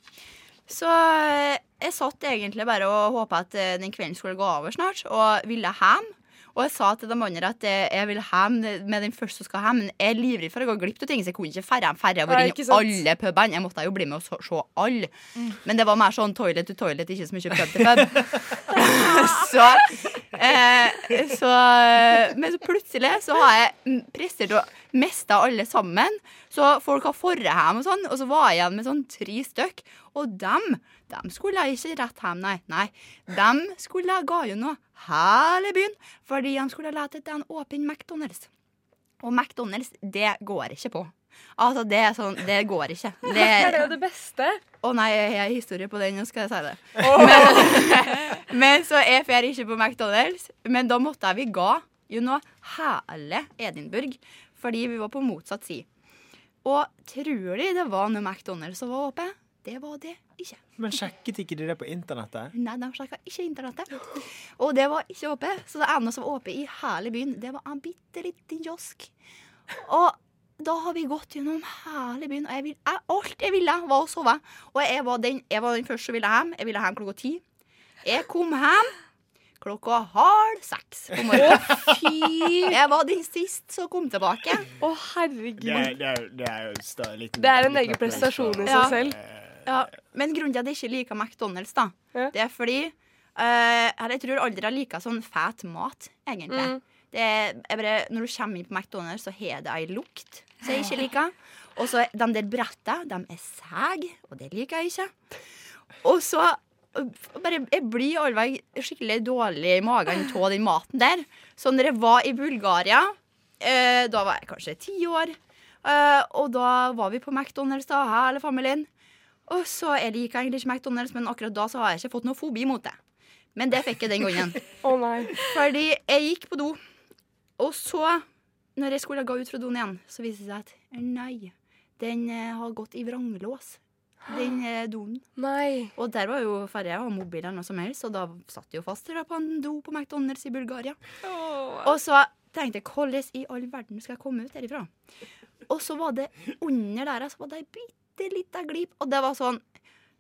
[SPEAKER 1] Så eh, jeg satt egentlig bare og håpa at eh, den kvelden skulle gå over snart, og ville hjem. Og jeg sa til de andre at eh, jeg vil hjem med den første som skal hjem, men jeg er livredd for å gå glipp av ting, så jeg kunne ikke ferde hjem. Ferde
[SPEAKER 5] Nei,
[SPEAKER 1] vært
[SPEAKER 5] ikke
[SPEAKER 1] innom
[SPEAKER 5] sant. Mm.
[SPEAKER 1] alle pubene. Jeg måtte jo bli med og så- se alle. Men det var mer sånn toilet to toilet, ikke så mye pub til
[SPEAKER 5] *laughs*
[SPEAKER 1] pub. *laughs* så, eh, så eh, Men så plutselig så har jeg mm, prestert å miste alle sammen. Så folk har forret hjem og sånn, og så var jeg igjen med sånn tre stykk. Og dem, dem skulle jeg ikke rett hjem, nei. nei. Dem skulle jeg ga jo noe hele byen, fordi de skulle lete etter en åpen McDonald's. Og McDonald's, det går ikke på. Altså, det er sånn, det går ikke.
[SPEAKER 5] *laughs* Det er jo det beste.
[SPEAKER 1] Å nei, jeg har historie på den, nå skal jeg si det. Men, *laughs* men så jeg fer ikke på McDonald's. Men da måtte jeg vi ga jo noe hele Edinburgh, fordi vi var på motsatt side. Og tror de det var noe McDonald's som var åpent? Det var det ikke.
[SPEAKER 12] Men sjekket ikke de det på internettet?
[SPEAKER 1] Nei, de sjekka ikke internettet. Og det var ikke åpent. Så det ene som var åpent i hele byen, det var en bitte liten kiosk. Og da har vi gått gjennom hele byen, og jeg vil, jeg, alt jeg ville, var å sove. Og jeg var den, jeg var den første som ville hjem. Jeg ville hjem klokka ti. Jeg kom hjem klokka halv seks på morgenen. Jeg var den siste som kom tilbake.
[SPEAKER 5] Å, herregud.
[SPEAKER 12] Det er, det er, det er jo sta- liten,
[SPEAKER 5] Det er en
[SPEAKER 12] liten
[SPEAKER 5] egen
[SPEAKER 12] applaus
[SPEAKER 5] prestasjon i
[SPEAKER 12] for-
[SPEAKER 5] seg selv.
[SPEAKER 1] Ja, men grunnen til at jeg ikke liker McDonald's, da, det er fordi eh, eller Jeg tror aldri jeg liker sånn fet mat, egentlig.
[SPEAKER 5] Mm.
[SPEAKER 1] Det er, jeg bare, når du kommer inn på McDonald's, så har det ei lukt som jeg ikke liker. Og så de der brettene, de er sæg, og det liker jeg ikke. Og så eh, bare, Jeg blir allveg skikkelig dårlig i magen av den maten der. Så når jeg var i Bulgaria, eh, da var jeg kanskje ti år, eh, og da var vi på McDonald's, da, hele familien. Og så Jeg liker egentlig ikke McDonald's, men akkurat da så har jeg ikke fått noe fobi mot det. Men det fikk jeg den gangen.
[SPEAKER 5] Å nei.
[SPEAKER 1] Fordi jeg gikk på do, og så, når jeg skulle gå ut fra doen igjen, så viste det seg at nei, den eh, har gått i vranglås. Den eh, doen.
[SPEAKER 5] Nei.
[SPEAKER 1] Og der var jo ferdig, jeg var mobil eller noe som helst, og da satt jeg jo fast der på en do på McDonald's i Bulgaria. Og så tenkte jeg, hvordan i all verden skal jeg komme ut derifra? Og så var det under der, så var det ei bitte lita glip, og det var sånn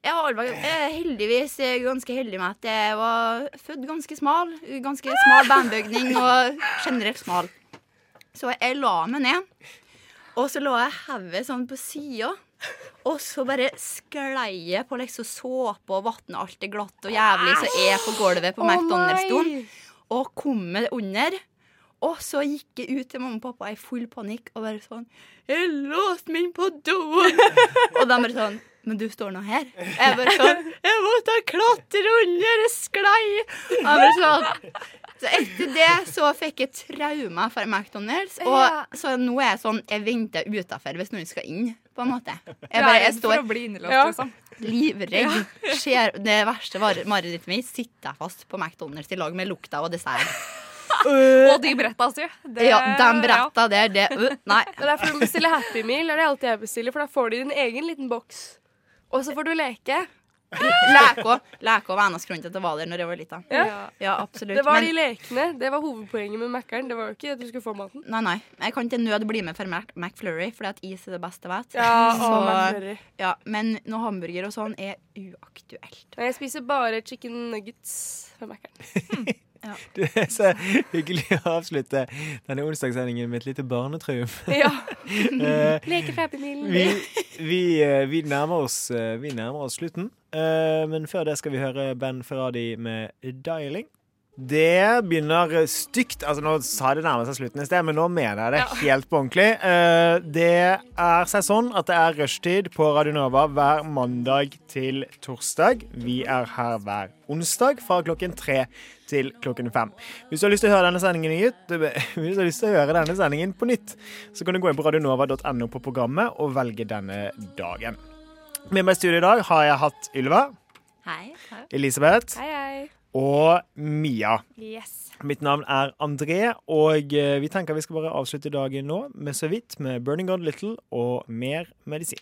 [SPEAKER 1] jeg var allveg- jeg er heldigvis eh, ganske heldig med at jeg var født ganske smal. Ganske smal bandbygning og generelt smal. Så jeg la meg ned, og så lå jeg hodet sånn på sida. Og så bare sklei jeg på liksom såpe og vann, alt det glatt og jævlig som er på gulvet på
[SPEAKER 5] Å, nei.
[SPEAKER 1] McDonald's-doen. Og kom meg under. Og så gikk jeg ut til mamma og pappa i full panikk og bare sånn 'Jeg låste meg inn på doen!' og de bare sånn 'Men du står nå her?' Jeg bare sånn 'Jeg måtte klatre under, jeg sklei!' Og jeg bare sånn så etter det så fikk jeg traumer for McDonald's. Og
[SPEAKER 4] Ja.
[SPEAKER 1] så nå er jeg sånn Jeg venter utafor hvis noen skal inn, på en måte. Jeg
[SPEAKER 4] Du er
[SPEAKER 1] bare,
[SPEAKER 4] redd
[SPEAKER 1] jeg
[SPEAKER 4] eh, for
[SPEAKER 1] står
[SPEAKER 4] å bli innelåst, liksom.
[SPEAKER 1] Livredd. Skjer, det verste var- marerittet mitt sitter jeg fast på McDonald's i lag med lukta og dessert.
[SPEAKER 4] Og de bretta, si. Det-
[SPEAKER 1] ja, de bretta der, det øh, Nei.
[SPEAKER 5] Det er derfor du bestiller Happy Meal. Det er det alltid jeg bestiller, for da får de din egen liten boks. Og så får du leke.
[SPEAKER 1] Leke og, leke og venes grunnen til at jeg var der når jeg var lita.
[SPEAKER 5] Ja.
[SPEAKER 1] ja, absolutt.
[SPEAKER 5] Det var
[SPEAKER 1] Men-
[SPEAKER 5] de lekene. Det var hovedpoenget med Mækkern. Det var jo ikke at du skulle få maten.
[SPEAKER 1] Nei, nei. Jeg kan til nød bli med for Mac McFlurry, fordi at is er det beste jeg vet.
[SPEAKER 5] Ja,
[SPEAKER 1] Så-
[SPEAKER 5] å, McFlurry.
[SPEAKER 1] ja, men noe hamburger og sånn er uaktuelt.
[SPEAKER 5] Nei, jeg spiser bare chicken nuggets fra Mækkern.
[SPEAKER 3] *laughs* Det er så hyggelig å avslutte denne onsdagssendingen med et lite
[SPEAKER 5] *laughs*
[SPEAKER 3] barnetriumf.
[SPEAKER 5] Ja.
[SPEAKER 3] Eh,
[SPEAKER 5] Leke fra Happy
[SPEAKER 3] vi, vi, eh, vi, nærmer oss, eh, vi nærmer oss slutten, Eh, men før det skal vi høre Ben Ferradi med 'Dialing'. Det begynner stygt. Altså Nå sa det nærmest seg slutten i sted, men nå mener jeg det helt på ordentlig. Eh, Det er seg sånn at det er rushtid på Radio Nova hver mandag til torsdag. Vi er her hver onsdag fra klokken tre til klokken fem. Hvis du har lyst til å høre denne sendingen i nytt- *laughs* Hvis du har lyst til å høre denne sendingen på nytt, så kan du gå inn på radionova.no på programmet og velge denne dagen. Med meg i studio i dag har jeg hatt Ylva,
[SPEAKER 1] Hei.
[SPEAKER 3] Elisabeth
[SPEAKER 5] Hei, hei.
[SPEAKER 3] og Mia.
[SPEAKER 4] Yes.
[SPEAKER 3] Mitt navn er André, og eh, vi tenker vi skal bare avslutte dagen nå med så vidt med Burning God Little og mer medisin.